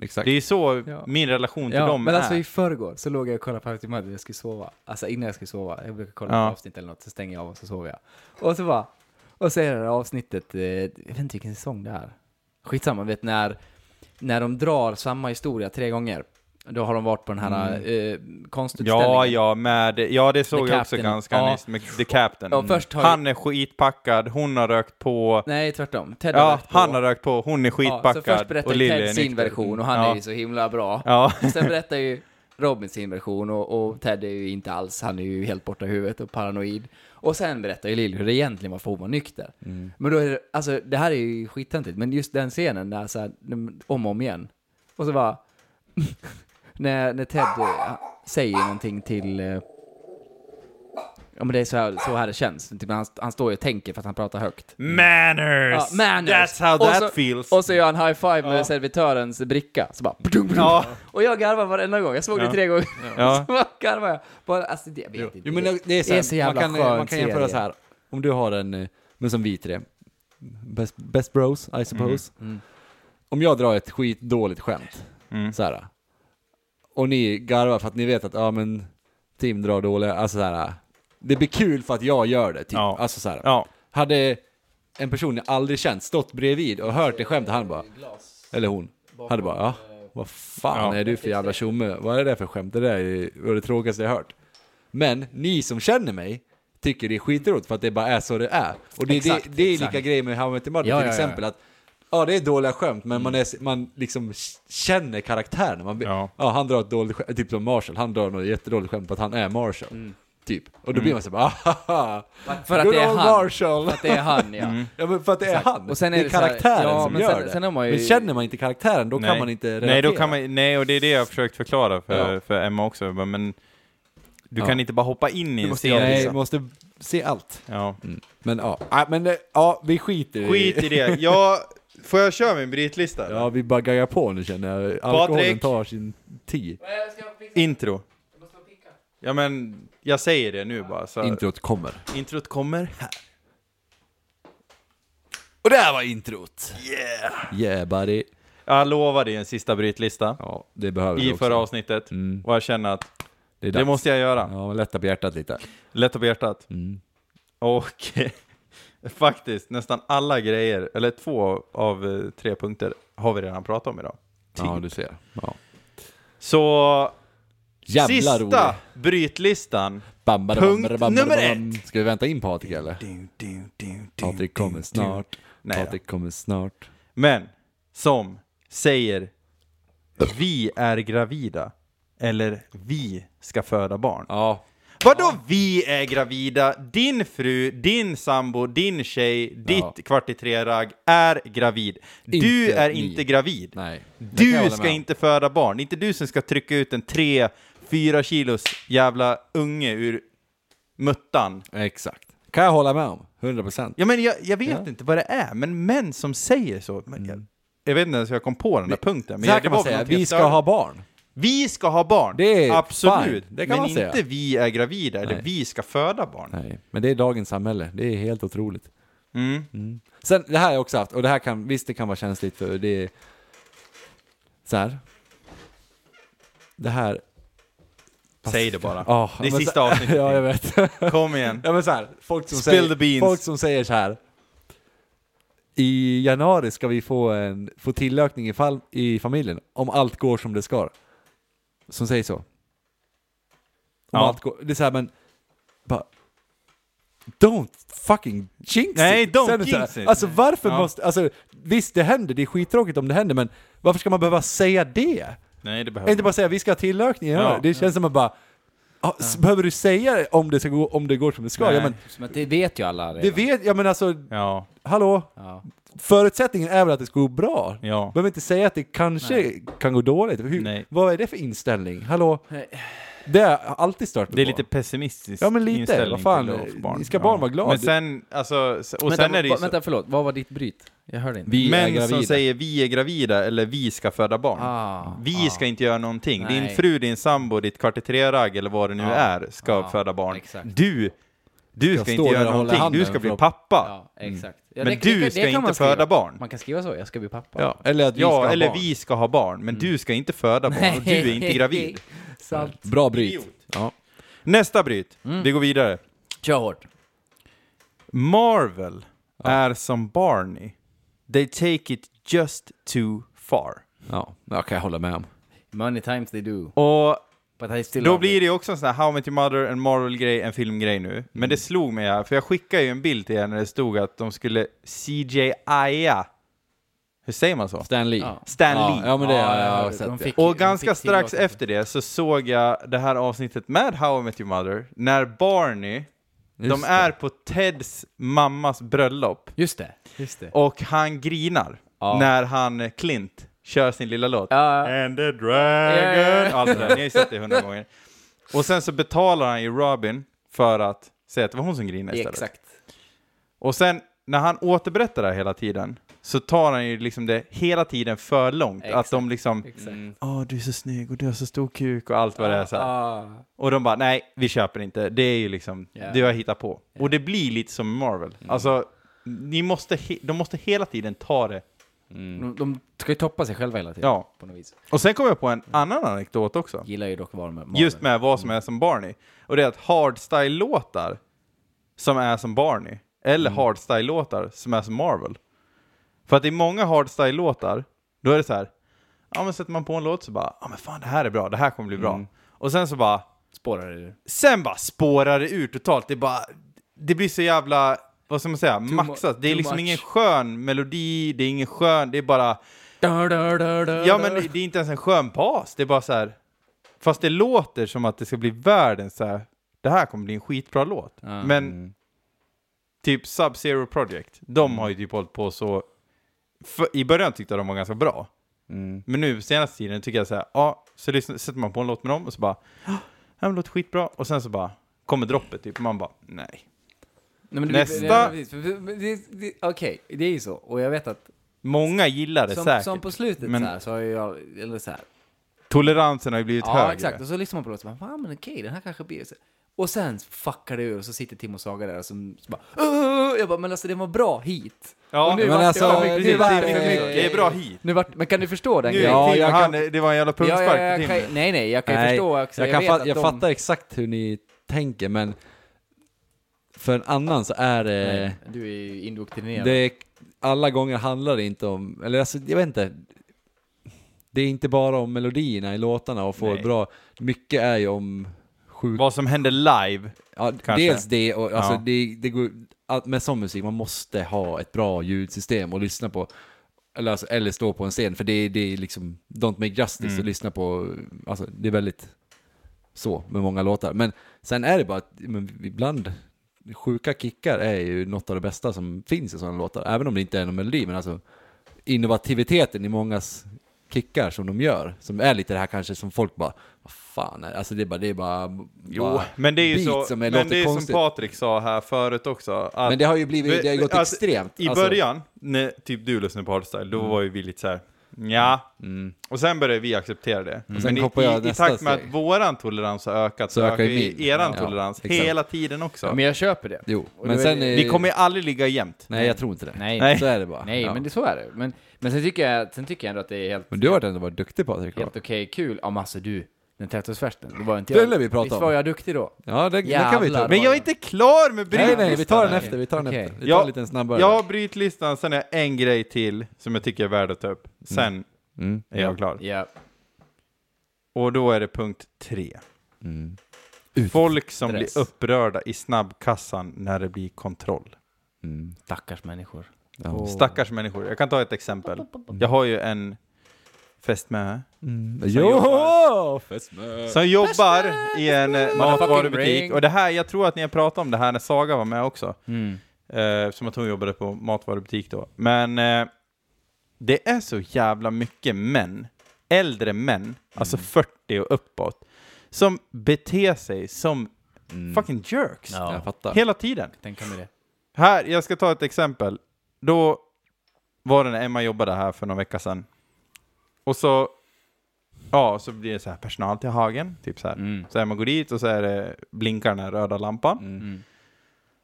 exakt. Det är ju så Ja. min relation till Ja, dem men är. alltså i förrgår så låg jag och kollade på How I Met Your Mother, jag skulle sova. Alltså innan jag skulle sova, jag brukar kolla Ja. på avsnitt eller något, så stänger jag av och så sover jag. Och så bara, Och så är det här avsnittet, eh, jag vet inte vilken säsong det är. Skitsamma, vet när, när de drar samma historia tre gånger. Då har de varit på den här eh, konstutställningen. Mm. Ja, ja, med, ja det såg The jag också Captain. ganska Ja. nyss, med The Captain. Ja, först har- Han är skitpackad, hon har rökt på, Nej, tvärtom. Ted ja, lagt på. han har rökt på, hon är Ja, så skitpackad först berättar och Lily är Ted sin nykter. version och han ja. är ju så himla bra. Ja, Och sen berättar ju Robin sin version och, och Ted är ju inte alls, han är ju helt borta i huvudet och paranoid. Och sen berättar ju Lill hur det egentligen var för hon var nykter. Mm. Men då är det, alltså det här är ju skittöntigt, men just den scenen där så här, de- om och om igen. Och så bara, när, när Ted eh, säger någonting till, eh, ja men det är så här, så här det känns. Typ, han, han står ju och tänker för att han pratar högt. Manners! Mm. Ja, manners. That's how Och that så- feels! Och så gör han high five med servitörens bricka. Så bara, ja, och jag garvar varenda gång, jag såg det Ja. tre gånger. Ja. Så bara garvar jag. Bara, alltså, det, jag vet inte. Jo, men det är så, här, Det är så jävla man kan, eh, skön man kan jämföra serie. så här. Om du har en, eh, men som vi tre, best, best bros I suppose. Mm. Om jag drar ett skitdåligt skämt, Mm. så här. Och ni garvar för att ni vet att, ja men, Tim drar dåliga, alltså så här. Det blir kul för att jag gör det, typ. Ja. Alltså så här. ja. Hade en person jag aldrig känt stått bredvid och hört det skämtet, han bara, eller hon, hade bara, ja, eh, vad fan Ja. är du för jävla tjomme? Vad är det för skämt? Det där är ju- det, var det tråkigaste jag hört. Men ni som känner mig tycker det är skitroligt för att det bara är så det är. Och det, Exakt, det, det är exakt. lika grej med How I Met Your Mother Ja, till ja, ja. exempel. Att, ja, det är dåliga skämt, men man, är, man liksom känner karaktären. Man, be- Ja. ja. han drar ett dåligt skämt, typ som Marshall, han drar något jättedåligt skämt på att han är Marshall. Typ. Och då blir man så bara, "Ahaha, Mm. För att good det är old han. Marshall. För att det är han, ja. Mm. Ja men för att det är han, Och sen är det är det så här- karaktären ja, som men gör sen- det. sen har man ju- Men känner man inte karaktären då kan man inte relatera. Nej, då kan man, nej, och det är det jag har försökt förklara för, Ja. för Emma också. Jag bara, Men du Ja. kan inte bara hoppa in i en måste, scen. nej, liksom. måste se allt. Ja. Men ja, Nej, men, det- ja vi skiter i Skit i det. Jag, får jag köra min brytlista? eller? Ja vi bara gaggar på nu känner jag. Alkoholen tar sin tid. Intro. Ja men, jag säger det nu bara. Så Introt kommer. Introt kommer här. Och där var introt! Yeah! Yeah buddy. Jag lovade ju en sista brytlista Ja, det behöver i du också. förra avsnittet. Mm. Och jag känner att Det, är det dags. måste jag göra. Ja, men lätta på hjärtat lite. Lätta på hjärtat. Mm. Och faktiskt, nästan alla grejer, eller två av eh, tre punkter, har vi redan pratat om idag. Ja, du ser. Ja. Så Jävla sista rolig. brytlistan. Bam, bam, Punkt bam, bam, nummer bam. Ska vi vänta in Patrik eller? Patrik kommer snart. Nej, då. Patrik kommer snart. men som säger vi är gravida eller vi ska föda barn. Ja, Vadå vi är gravida? Din fru, din sambo, din tjej, ditt Ja. kvart i tre-ragg är gravid. Du Inte är ni. inte gravid. nej. Det kan jag Du hålla ska med om. inte föda barn. Det är inte du som ska trycka ut en tre, fyra kilos jävla unge ur muttan. Exakt. Kan jag hålla med om. 100%. procent. Ja, men jag, jag vet inte vad det är, men män som säger så. Men jag, jag vet inte ens hur jag kom på den där punkten. Men Så här jag- det kan man var säga, någonting jag vi ska störde- ha barn. vi ska ha barn! Det är Absolut! fine. Det kan men man säga. inte vi är gravida, eller Nej. vi ska föda barn. Nej, men det är dagens samhälle. Det är helt otroligt. Mm. Sen, det här har jag också haft, och det här kan, visst det kan vara känsligt för det är så här. Det här, Säg det bara. Ja, det är men sista avsnittet. ja jag vet. Kom igen. Ja men så här, folk som, Spill the säger, beans. folk som säger så här. I januari ska vi få, en, få tillökning i, fall, i familjen om allt går som det ska. Som säger så. Om Ja. allt går, det är så här men, bara, don't fucking jinx Nej, it! don't Sen är det så här, jinx it. Alltså varför Ja. måste, alltså visst det händer, det är skittråkigt om det händer men varför ska man behöva säga det? Nej, det Inte behöver bara säga vi ska ha tillökning i januari. Ja. det känns som att bara, ja, s- behöver du säga det om det, ska gå, om det går som det ska? Nej. Ja, men, Som att det vet ju alla redan. det vet, ja men alltså, Ja, hallå? Ja. Förutsättningen är väl att det ska gå bra? ja. Behöver inte säga att det kanske kan gå dåligt. Hur, Nej. Vad är det för inställning? Hallå? Det har jag alltid stört mig Det är på. lite pessimistisk Ja, men lite. inställning Vad fan, till att få barn. ni ska barn vara glada. Men sen, alltså, s- och sen är det ju va- så, vänta, förlåt. Vad var ditt bryt? Jag hörde inte. Vi är män gravida. som säger vi är gravida eller vi ska föda barn. Ah, vi ska inte göra någonting. Din Nej. fru, din sambo, ditt kvartetreragg eller vad det nu är ska Ja, föda barn. exakt. Du, du ska står inte där och göra håller någonting. Du handen ska för bli att- pappa. Ja, exakt. Ja, Mm. Men det- du det- det ska kan inte man skriva. föda barn. Man kan skriva så, jag ska bli pappa. Ja, eller att vi ska Ja, ha eller barn. vi ska ha barn, men du ska inte föda barn och du är inte gravid. Sant. Bra bryt. Idiot. Ja. Nästa bryt, vi går vidare. Kör hårt. Marvel är som Barney. They take it just too far. Ja, det kan jag hålla med om. Many times they do. Och But I still då love blir it. det ju också en sån här How I Met Your Mother, en Marvel-grej, en filmgrej nu. Mm. Men det slog mig här, för jag skickade ju en bild till er när det stod att de skulle CGI-a. Hur säger man så? Stan Lee. Ja. Stan Ja, Lee. ja, men det Ja, har jag ja, sett. de det. fick- Och de ganska fick till strax låten. efter det så såg jag det här avsnittet med How I Met Your Mother, när Barney, Just de det. är på Teds mammas bröllop Just det. Just det. och han grinar när han, eh, Clint, kör sin lilla låt. And the dragon. Allt det där, ni har ju sett det hundra gånger. Och sen så betalar han ju Robin för att säga att det var hon som grinade istället. Exakt. Och sen när han återberättar det här hela tiden så tar han ju liksom det hela tiden för långt. Att de liksom, åh du är så snygg och du har så stor kuk och allt vad det är så här. Och de bara, nej vi köper inte, det är ju liksom, Ja. Mm. det har jag hittat på. Och det blir lite som Marvel. Alltså, ni måste, he- de måste hela tiden ta det De, de ska ju toppa sig själva hela tiden. Ja. På något vis. Och sen kom jag på Mm. en annan anekdot också. Gillar ju dock varma. Just med vad Mm. som är som Barney. Och det är att hardstyle-låtar som är som Barney, eller Mm. hardstyle-låtar som är som Marvel. För att i många hardstyle-låtar, då är det så här, ja men sätter man på en låt så bara, ja men fan det här är bra, det här kommer bli bra. Mm. Och sen så bara, Spårar det ur. sen bara spårar det ur totalt. Det bara, det blir så jävla, vad ska man säga, mu- maxat. Det är too liksom much. ingen skön melodi, det är ingen skön, det är bara, Ja, men det är inte ens en skön pas. Det är bara så här. Fast det låter som att det ska bli världens så här. Det här kommer bli en skitbra låt. Men typ Sub-Zero Project, de har ju typ hållit på så. För, I början tyckte jag de var ganska bra. Men nu senaste tiden tycker jag så här, ja, så lyssnar, sätter man på en låt med dem och så bara, ja, den låter skitbra. Och sen så bara, kommer droppet typ. Och man bara, nej. Nej, men Nästa. det- det- det- det- Okej, det är ju så. Och jag vet att Många gillar det som, säkert. som på slutet Men- så, här, så har ju jag, eller så här, Toleransen har ju blivit Ja, högre. exakt. Och så lyssnar man på låten och bara, "Fan, men okej, den här kanske blir så. Och sen fuckar det ur och så sitter Tim och Saga där och så, så bara, "Åh!" jag bara, men alltså det var bra hit. Ja, Och nu men vart det- alltså, ja, nu precis, det, vart är det- för mycket. det är bra hit. Nu vart, men kan du förstå den Nu, grejen? Ja, Tim, jag han, kan- det var en jävla Ja, punktspark jag, till kan, Tim. nej, nej, jag kan ju förstå också. Jag, kan vet fa- att jag de- fattar exakt hur ni tänker, men för en annan så är det... Nej, Du är ju indoktrinerad. Det är, alla gånger handlar det inte om, eller alltså, jag vet inte. Det är inte bara om melodierna i låtarna och få Nej. bra, mycket är ju om sjuk... Vad som hände live. Ja, kanske. dels det och alltså, Ja. det, det går, att- med sån musik, man måste ha ett bra ljudsystem och lyssna på, eller, alltså, eller stå på en scen, för det, det är liksom, Don't Make Justice Mm. att lyssna på, alltså det är väldigt så med många låtar. Men sen är det bara att men ibland, sjuka kickar är ju något av det bästa som finns i sådana låtar. Även om det inte är någon melodi, men alltså innovativiteten i mångas kickar som de gör, som är lite det här kanske som folk bara, vad fan, är det?" alltså det är bara, det är bara, Jo, bara men det är ju beat så, som är, men låter det är som konstigt. Patrik sa här förut också. Att men det har ju blivit, det har ju gått Alltså, extremt. I alltså. Mm. början, när typ du lyssnade på hardstyle, då var ju vi lite så här, ja. Och sen började vi acceptera det. Men Mm. sen i, hoppar jag i, i nästa takt med att steg. våran tolerans har ökat så, Så ökar ökar ju ju min. eran Ja, tolerans exakt. hela tiden också. Ja, men jag köper det. Jo, Och men det- sen... vi kommer ju aldrig ligga jämnt. Nej, jag tror inte det. Nej, Nej. Så är det bara. nej ja. men det, så är det. Men, men sen, tycker jag, sen tycker jag ändå att det är helt, men du har ändå varit duktig Patrik. va? helt okej kul. Ja, men alltså du, den 30-årsfesten, det var inte Det jag. lär vi prata Visst om. var jag duktig då? Ja, det, det kan vi ta. Jävlar. Men jag är inte klar med Nej, nej, vi brytlistan. tar den Nej. efter. Vi tar den Okej. efter. Vi tar Ja, en liten snabbare. Jag har brytlistan, sen är en grej till som jag tycker är värd att ta upp. Sen Mm. är jag klar. Ja. Och då är det punkt tre. Mm. Folk som Stress. blir upprörda i snabbkassan när det blir kontroll. Mm. Stackars människor. Ja. Stackars människor. Jag kan ta ett exempel. Jag har ju en fästmö Mm. jobbar. Jo! Fästmö. som jobbar i en eh, matvarubutik. ring. Och det här, jag tror att ni har pratat om det här när Saga var med också. Mm. Eh, som att hon jobbade på matvarubutik då. Men eh, det är så jävla mycket män, äldre män, Mm. alltså 40 och uppåt, som beter sig som fucking jerks. Mm. Jag fattar. Hela tiden. Tänka mig det. Här, jag ska ta ett exempel. Då var det när Emma jobbade här för någon vecka sedan. Och så, ja, så blir det så här personal till hagen, typ så här. Mm. Så Emma går dit och så är det, blinkar den här röda lampan. Mm.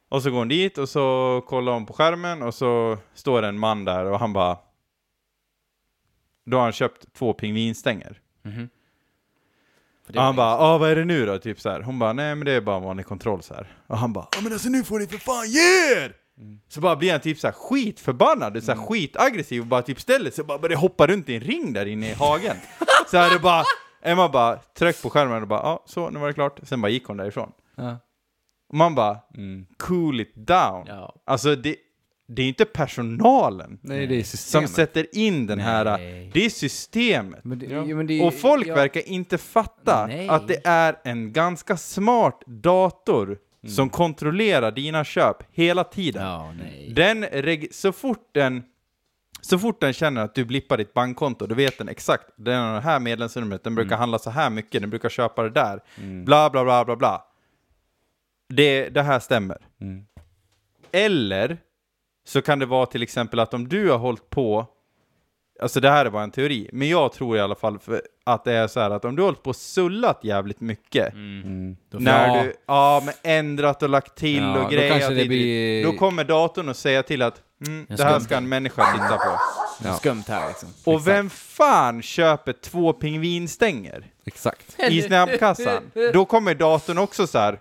Och så går hon dit och så kollar hon på skärmen och så står det en man där och han bara... Då har han köpt två pingvinstänger. Mhm. För det Och han var bara, ah, vad är det nu då? Typ så här. Hon bara, nej men det är bara en vanlig kontroll så här. Och han bara, ja men alltså nu får ni för fan ge er! Mm. Så bara blir han typ så här skitförbannad, så här skitaggressiv och bara typ ställer sig och bara börjar hoppa runt i en ring där inne i hagen. så här det bara, Emma bara tryck på skärmen och bara ja, så nu var det klart. Sen bara gick hon därifrån. Ja. Och man bara Mm. cool it down. Ja. Alltså det, det är inte personalen Nej, Eh, det är som systemet. sätter in den här, äh, Nej. det är systemet. Men det, jo, men det, Och folk ja, verkar inte fatta Nej. att det är en ganska smart dator som kontrollerar dina köp hela tiden. Mm. Ja, nej. Den reg- så, fort den, så fort den känner att du blippar ditt bankkonto, då vet den exakt, den har det här medlemsnumret, den brukar handla så här mycket, den brukar köpa det där, bla bla bla bla bla. Det, det här stämmer. Eller så kan det vara till exempel att om du har hållit på, alltså det här är bara en teori, men jag tror i alla fall för att det är så här att om du har hållit på och sullat jävligt mycket, när Ja. du, ja men ändrat och lagt till Ja, då och grejer, kanske och det dit- blir- då kommer datorn att säga till att mm, det här ska en människa titta på. Skumt här liksom. Och vem fan köper två pingvinstänger Exakt. i snabbkassan? Då kommer datorn också så här,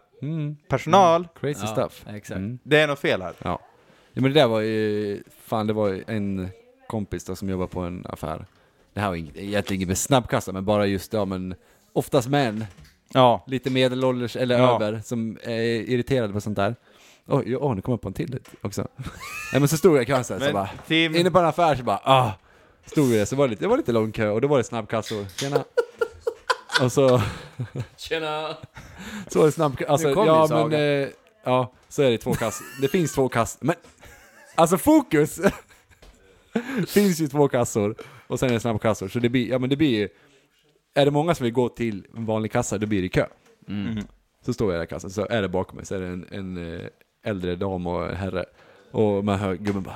personal, Crazy stuff. Mm. Exakt. det är något fel här. Ja. ja. Men det där var ju, fan det var ju en kompis då som jobbar på en affär. Det här var inget, egentligen inget med snabbkassa, men bara just ja men oftast män, Ja. lite medelålders eller Ja. över, som är irriterade på sånt där. Oj, oh, nu kom jag på en till också. Nej men så stod jag i kön så, här, så Men bara, Tim- inne på en affär så bara, ah, stod vi där, så var det lite, det var lite lång kö och då var det snabbkassor, tjena. och så, Tjena! så var det snabbkassor, alltså, Nu kom ja ju Saga. men, eh, ja, så är det två kassor, det finns två kassor, men, alltså fokus! finns ju två kassor, och sen är det snabbkassor, så det blir, ja men det blir ju, är det många som vill gå till en vanlig kassa, då blir det kö. Mm. Så står jag där i kassan, så är det bakom mig, så är det en, en eh, äldre dam och en herre. Och man hör gubben bara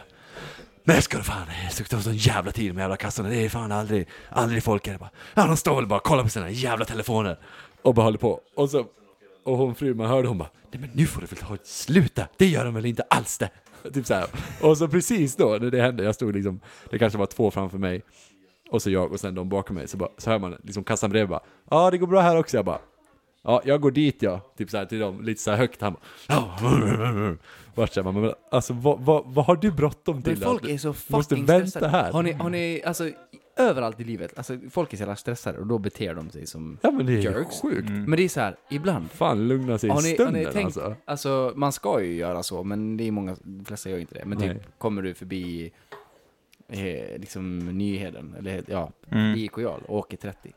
Nej ska du fan, det ska ta sån jävla tid med jävla kassorna, det är fan aldrig, aldrig folk här. Bara, Ja de står väl bara och kollar på sina jävla telefoner. Och bara håller på. Och så, och hon frun man hörde hon bara Nej men nu får du väl ta ett slut där. det gör de väl inte alls det. Typ så här. Och så precis då, när det hände, jag stod liksom, det kanske var två framför mig. Och så jag och sen de bakom mig, så, bara, så hör man liksom kassan bredvid bara Ja det går bra här också, jag bara Ja, jag går dit ja. Typ såhär till dem, lite såhär högt. Han bara... Vart så här, man bara, alltså vad, vad, vad har du bråttom till? Men folk att du är så måste fucking vänta stressade. här. Har ni, har ni, alltså i- överallt i livet, alltså folk är så jävla stressade och då beter de sig som... Ja men det är Jerks. sjukt. Men det är så här, ibland. Fan lugna sig i Har ni, har stunden ni tänkt, alltså. alltså. man ska ju göra så, men det är många, de flesta gör inte det. Men typ, Nej. kommer du förbi eh, liksom Nyheden, eller ja, Mm. IK Jarl och åker 30.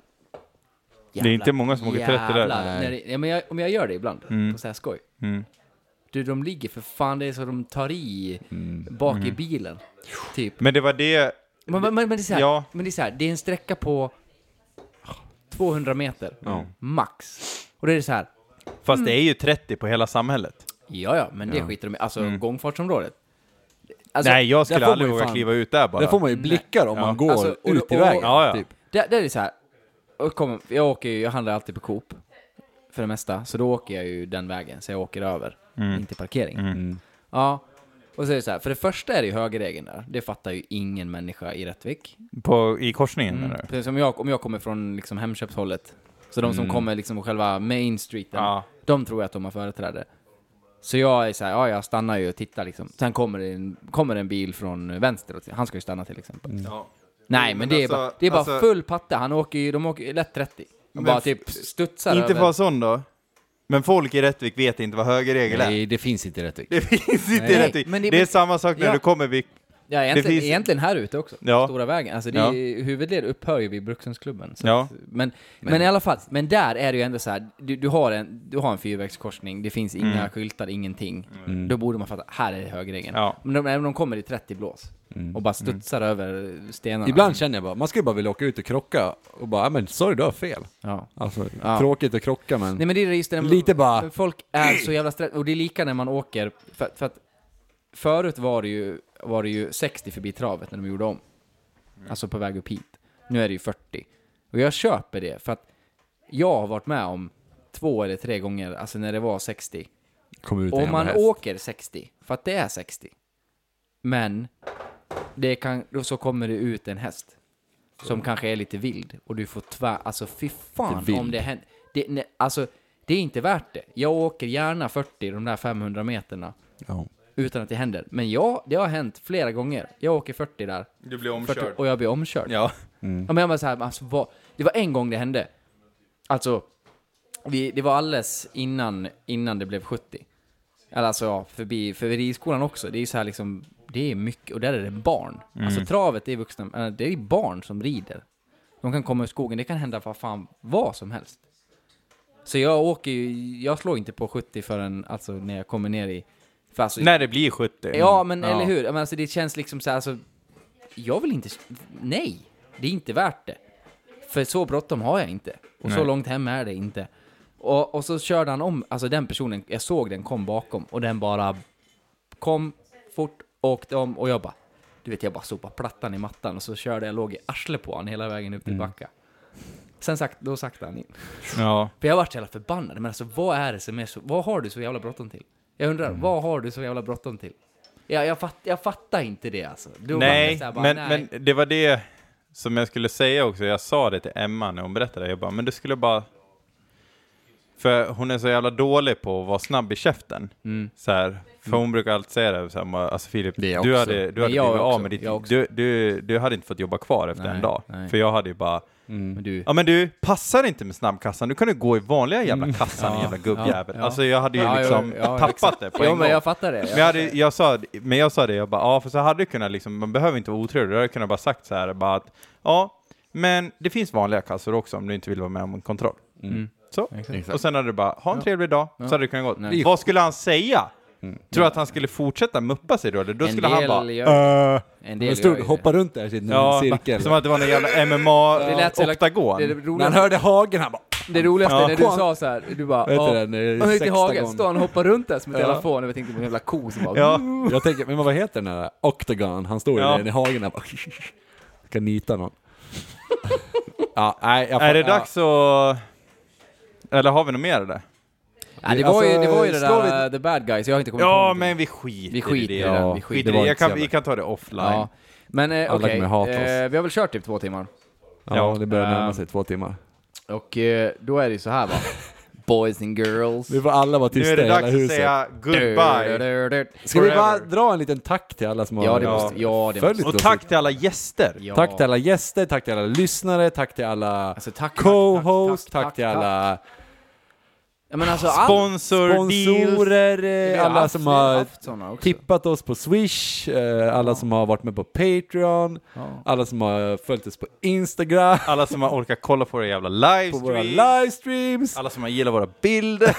Det är inte många som åker 30 där. Jävlar, när det, ja, men jag, om jag gör det ibland, Mm. på så här skoj. Mm. Du, de ligger för fan, det är så de tar i Mm. bak i bilen. Typ. Men det var det, Men, men, men, det, är så här, Ja. men det är så här, det är en sträcka på 200 meter, max. Och då är det så här, fast det är ju 30 på hela samhället. ja ja, men det skiter de i. Alltså gångfartsområdet. Alltså, Mm. Nej, jag där skulle får aldrig man ju våga fan- kliva ut där bara. Där får man ju blickar om Ja. man går Alltså, och- ut i och- vägen. Ja, ja. Typ. Där, där är det så här, och kom, jag, åker ju, jag handlar alltid på Coop, för det mesta. Så då åker jag ju den vägen, så jag åker över, Mm. in till parkeringen. Ja, och så är det så här, för det första är det ju högerregeln där. Det fattar ju ingen människa i Rättvik. På, I korsningen menar du? Precis som jag, om jag kommer från liksom Hemköpshållet. Så de som kommer liksom på själva main streeten, Mm. Ja. de tror jag att de har företräde. Så jag är så här, ja jag stannar ju och tittar liksom. Sen kommer det en, kommer en bil från vänster, och han ska ju stanna till exempel. Nej men, Mm. Men det är alltså- bara, det är bara alltså- full patte, han åker ju, de åker ju lätt 30. Och Men bara f- typ studsar Inte för över. att sån då. Men folk i Rättvik vet inte vad högerregel är. Nej, det finns inte i Rättvik. Det finns inte i Nej, Rättvik. men det, det- är samma sak när Ja. du kommer vid... Ja egentligen, finns- egentligen här ute också, Ja. stora vägen. Alltså det Ja. är, huvudled upphör ju vid Brukshundsklubben. Så Ja. att, men, men, i alla fall, men där är det ju ändå så här, du, du, har, en, du har en fyrvägskorsning, det finns inga Mm. skyltar, ingenting. Då borde man fatta, här är högerregeln. Ja. Mm. Men de, även om de kommer i 30 blås och bara studsar över stenarna. Ibland känner jag bara, man skulle bara vilja åka ut och krocka och bara, "Ja, men sorry du har fel. Ja. Alltså, Ja. tråkigt att krocka men... Nej men det är just det, Lite bara- folk är så jävla stressade, och det är lika när man åker, för, för att förut var det, ju, var det ju 60 förbi travet när de gjorde om. Alltså på väg upp hit. Nu är det ju 40. Och jag köper det, för att jag har varit med om två eller tre gånger, alltså när det var 60. Kommer ut en Om jävla man häst. åker 60, för att det är 60. Men, det kan, då så kommer det ut en häst. Som kanske är lite vild. Och du får tvär... Alltså fy fan Vild. om det händer. Det, nej, alltså, det är inte värt det. Jag åker gärna 40 de där 500 meterna. Ja. utan att det händer. Men ja, det har hänt flera gånger. Jag åker 40 där. Du blir 40, och jag blir omkörd. Ja. Ja, men jag var så här, men alltså, vad, det var en gång det hände. Alltså, vi, det var alldeles innan, innan det blev 70. Eller alltså, ja, förbi, för ridskolan också. Det är ju så här liksom, det är mycket, och där är det barn. Alltså travet är vuxna, äh, det är ju barn som rider. De kan komma ur skogen, det kan hända vad fan, vad som helst. Så jag åker ju, jag slår inte på 70 förrän, alltså när jag kommer ner i... För alltså, När det Mm. blir 70. Ja, men eller hur? Men alltså, det känns liksom så här, alltså, jag vill inte... Nej, det är inte värt det. För så bråttom har jag inte. Och så Nej. långt hem är det inte. Och, och så körde han om, alltså den personen, jag såg den kom bakom och den bara kom fort, åkte om och jag bara, du vet jag bara sopade plattan i mattan och så körde jag, låg i arslet på honom hela vägen upp till Mm. Backa. Sen sagt, då sakta han in. Ja. För jag vart så jävla förbannad. Men alltså vad är det som är så... Vad har du så jävla bråttom till? Jag undrar, Mm. vad har du så jävla bråttom till? Ja, jag, fatt, jag fattar inte det alltså. Då var jag Nej, så här bara, men, men det var det som jag skulle säga också. Jag sa det till Emma när hon berättade. Jag bara, men du skulle bara... För hon är så jävla dålig på att vara snabb i käften. Mm. Så här, för hon brukar alltid säga det. Så här, bara, alltså Filip, Det du jag hade, också. du hade Men blivit jag av också, med ditt... jag också. Du, du, du hade inte fått jobba kvar efter en Nej, dag. nej. För jag hade ju bara... men Mm, du... Ja men du, passar inte med snabbkassan, du kan ju gå i vanliga jävla kassan, jävla gubbjävel. Mm. ja. Alltså jag hade ju Ja, jo, liksom ja, tappat exakt. det på en Jo, men gång. jag fattar det. Men jag, hade, jag, sa, men jag sa det, jag bara, ja för så hade du kunnat liksom, man behöver inte vara otrevlig, du hade kunnat bara sagt så här, bara att, ja, men det finns vanliga kassor också om du inte vill vara med om en kontroll. Mm. Så. Och sen hade du bara, ha en trevlig dag, så hade du kunnat gå. Vad skulle han säga? Tror du att han skulle fortsätta muppa sig då? Eller då Mm. En skulle han del bara, "Äh." gör, en Men del stod, gör ju hoppa runt där i sin ja, Mm, cirkel. som att det var någon jävla MMA Det lät så jävla- oktagon. det. Det När han roligaste, hörde hagen, han bara... det roligaste Ja. när du sa så här, du bara... Vet du ja, den, eh, jag gick i sexta hagen, gången. står han och hoppar runt där som en telefon och jag tänkte på en jävla ko som bara... Ja. Jag tänker, men vad heter den där Octagon? Han står ju Ja. där i hagen och bara... Ska nita någon. ja, nej, jag Är det ja. dags att... Eller har vi något mer där? Ja, det, var ju, det var ju det Slår vi- där uh, the bad guys, jag har inte kommit Ja, på men vi skiter, Vi skiter i i det. den, Ja, vi skiter skiter i det. i det. Det var Jag kan, inte så vi kan ta det offline. Ja. Men eh, Alla okej, kommer hata oss. eh, vi har väl kört typ två timmar. Ja, det börjar närma sig två timmar. Och eh, då är det ju så här va. Boys and girls. Vi får alla vara Nu tysta är i det hela dags att huset. säga goodbye. Du, du, du, du. Ska vi bara forever. dra en liten tack till alla som har Ja, det Ja. måste... Ja, det följt måste... Och oss? tack till alla gäster. Ja. Tack till alla gäster, tack till alla lyssnare, tack till alla Alltså, tack, tack, co-hosts, tack, tack, tack, till tack. alla Ja, men alltså, all- Sponsor, deals. sponsorer, Vi eh, har alla haft- som vi har har haft såna också. Alltså. tippat oss på Swish, eh, alla som har varit med på Patreon, alla som har följt oss på Instagram, Alla som har orkat kolla på våra jävla på våra livestreams. livestreams. Alla som har gillat våra bilder.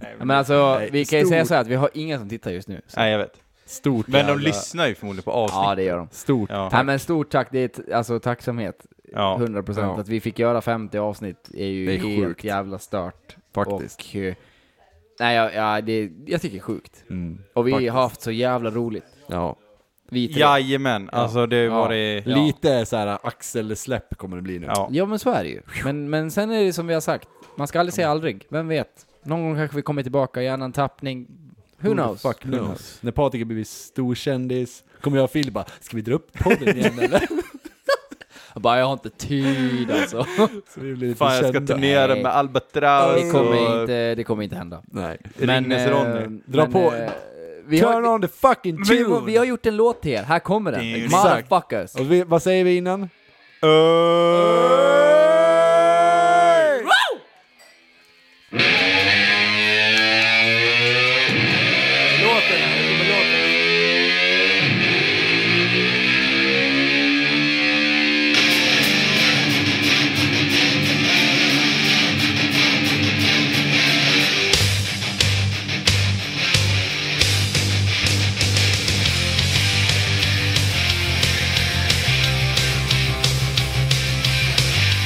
Ja, men alltså, vi kan ju stor- säga så här att vi har ingen som tittar just nu. Så. Nej, jag vet. Stort Men de jävla- lyssnar ju förmodligen på Ja, avsnitt. det gör de. Stort. Ja. Nej, men stort tack, det är ett, alltså tacksamhet. Ja. 100% procent. Ja. Att vi fick göra 50 avsnitt är ju Det är helt sjukt. jävla stört. Faktiskt. Och, eh, nej, ja, ja, det, jag tycker det är sjukt. Och vi har haft så jävla roligt. Mm. Ja. Vi tre. Jajamän, alltså det var det... Ja. Lite så här axelsläpp kommer det bli nu. Ja. Ja men så är det ju. Men, men sen är det som vi har sagt, man ska aldrig säga aldrig. Vem vet? Någon gång kanske vi kommer tillbaka i annan tappning. Who knows? Fuck knows. När Patrik har blivit storkändis, kommer jag och Phil bara, ska vi dra upp podden igen eller? Jag bara, jag har inte tid alltså. Så vi blir lite Fan, jag ska kända. turnera Nej. med Albatraus Det kommer och inte, det kommer inte hända. Nej. Ringnes eh, Ronny. Dra men, på- eh, Vi Turn har, on the fucking vi, tune! vi har gjort en låt till er, här kommer den. Exakt. Motherfuckers. Och vi, vad säger vi innan? Öj! Thank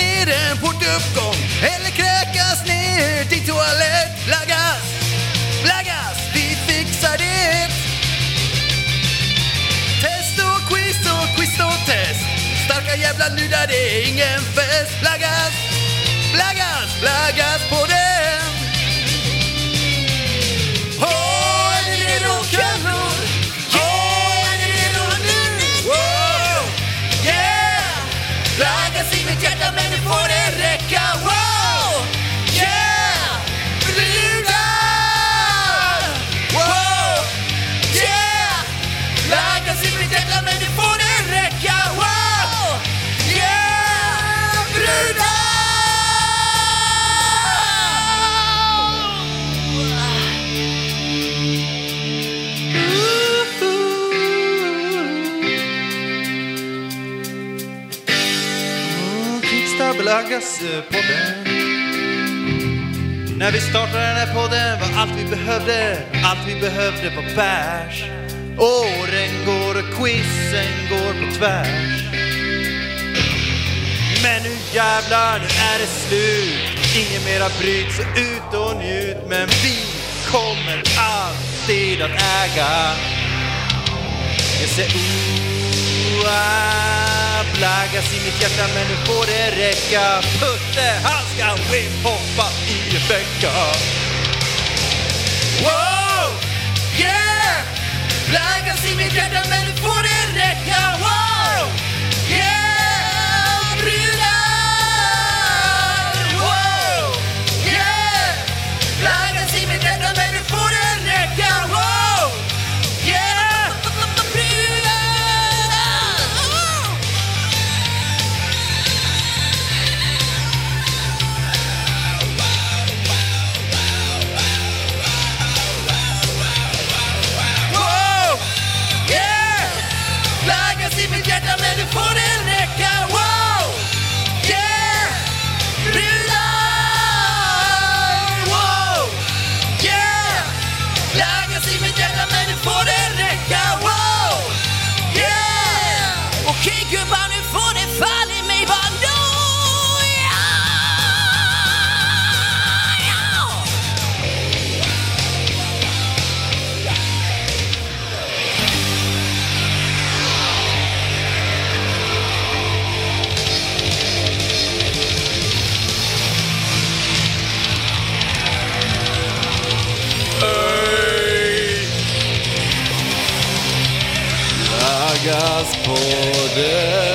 vid en portuppgång eller kräkas ner till toalett. Laggas, laggas, vi fixar det. Test och quiz och quiz och test. Starka jävla nudar, det är ingen fest. Laggas, laggas, laggas på den. Har ni redo kallor? Har ni redo nu? Wow! Yeah! Flaggas i mitt hjärta men nu får det räcka. Wow! Yeah! Brudar! Wow! Yeah! Flaggas i mitt hjärta men nu får det räcka. Wow! Yeah! Brudar! Krigstabelaggas-podden När vi startade den här podden var allt vi behövde Allt vi behövde var bärs Åren går och quizen går på tvärs Men nu jävlar, nu är det slut Ingen mera bryt, så ut och njut Men vi kommer alltid att äga SEOA Flaggas i mitt hjärta men nu får det räcka Putte han ska hoppa i en vecka Wow! Yeah! Flaggas i mitt hjärta men nu får det räcka Wow! Yeah! Brudar! Wow! Yeah! Flaggas i mitt hjärta men nu får det räcka Wow! Yeah! Brudar! Wow! Yeah! Flaggas i mitt hjärta men nu får det räcka Wow! Yeah! Brudar! Wow! Yeah! Flaggas i mitt hjärta men nu får det räcka Wow! Yeah! Okej gubbar nu får det fan i mig vara nog! Ja! Ja! Flaggas på det.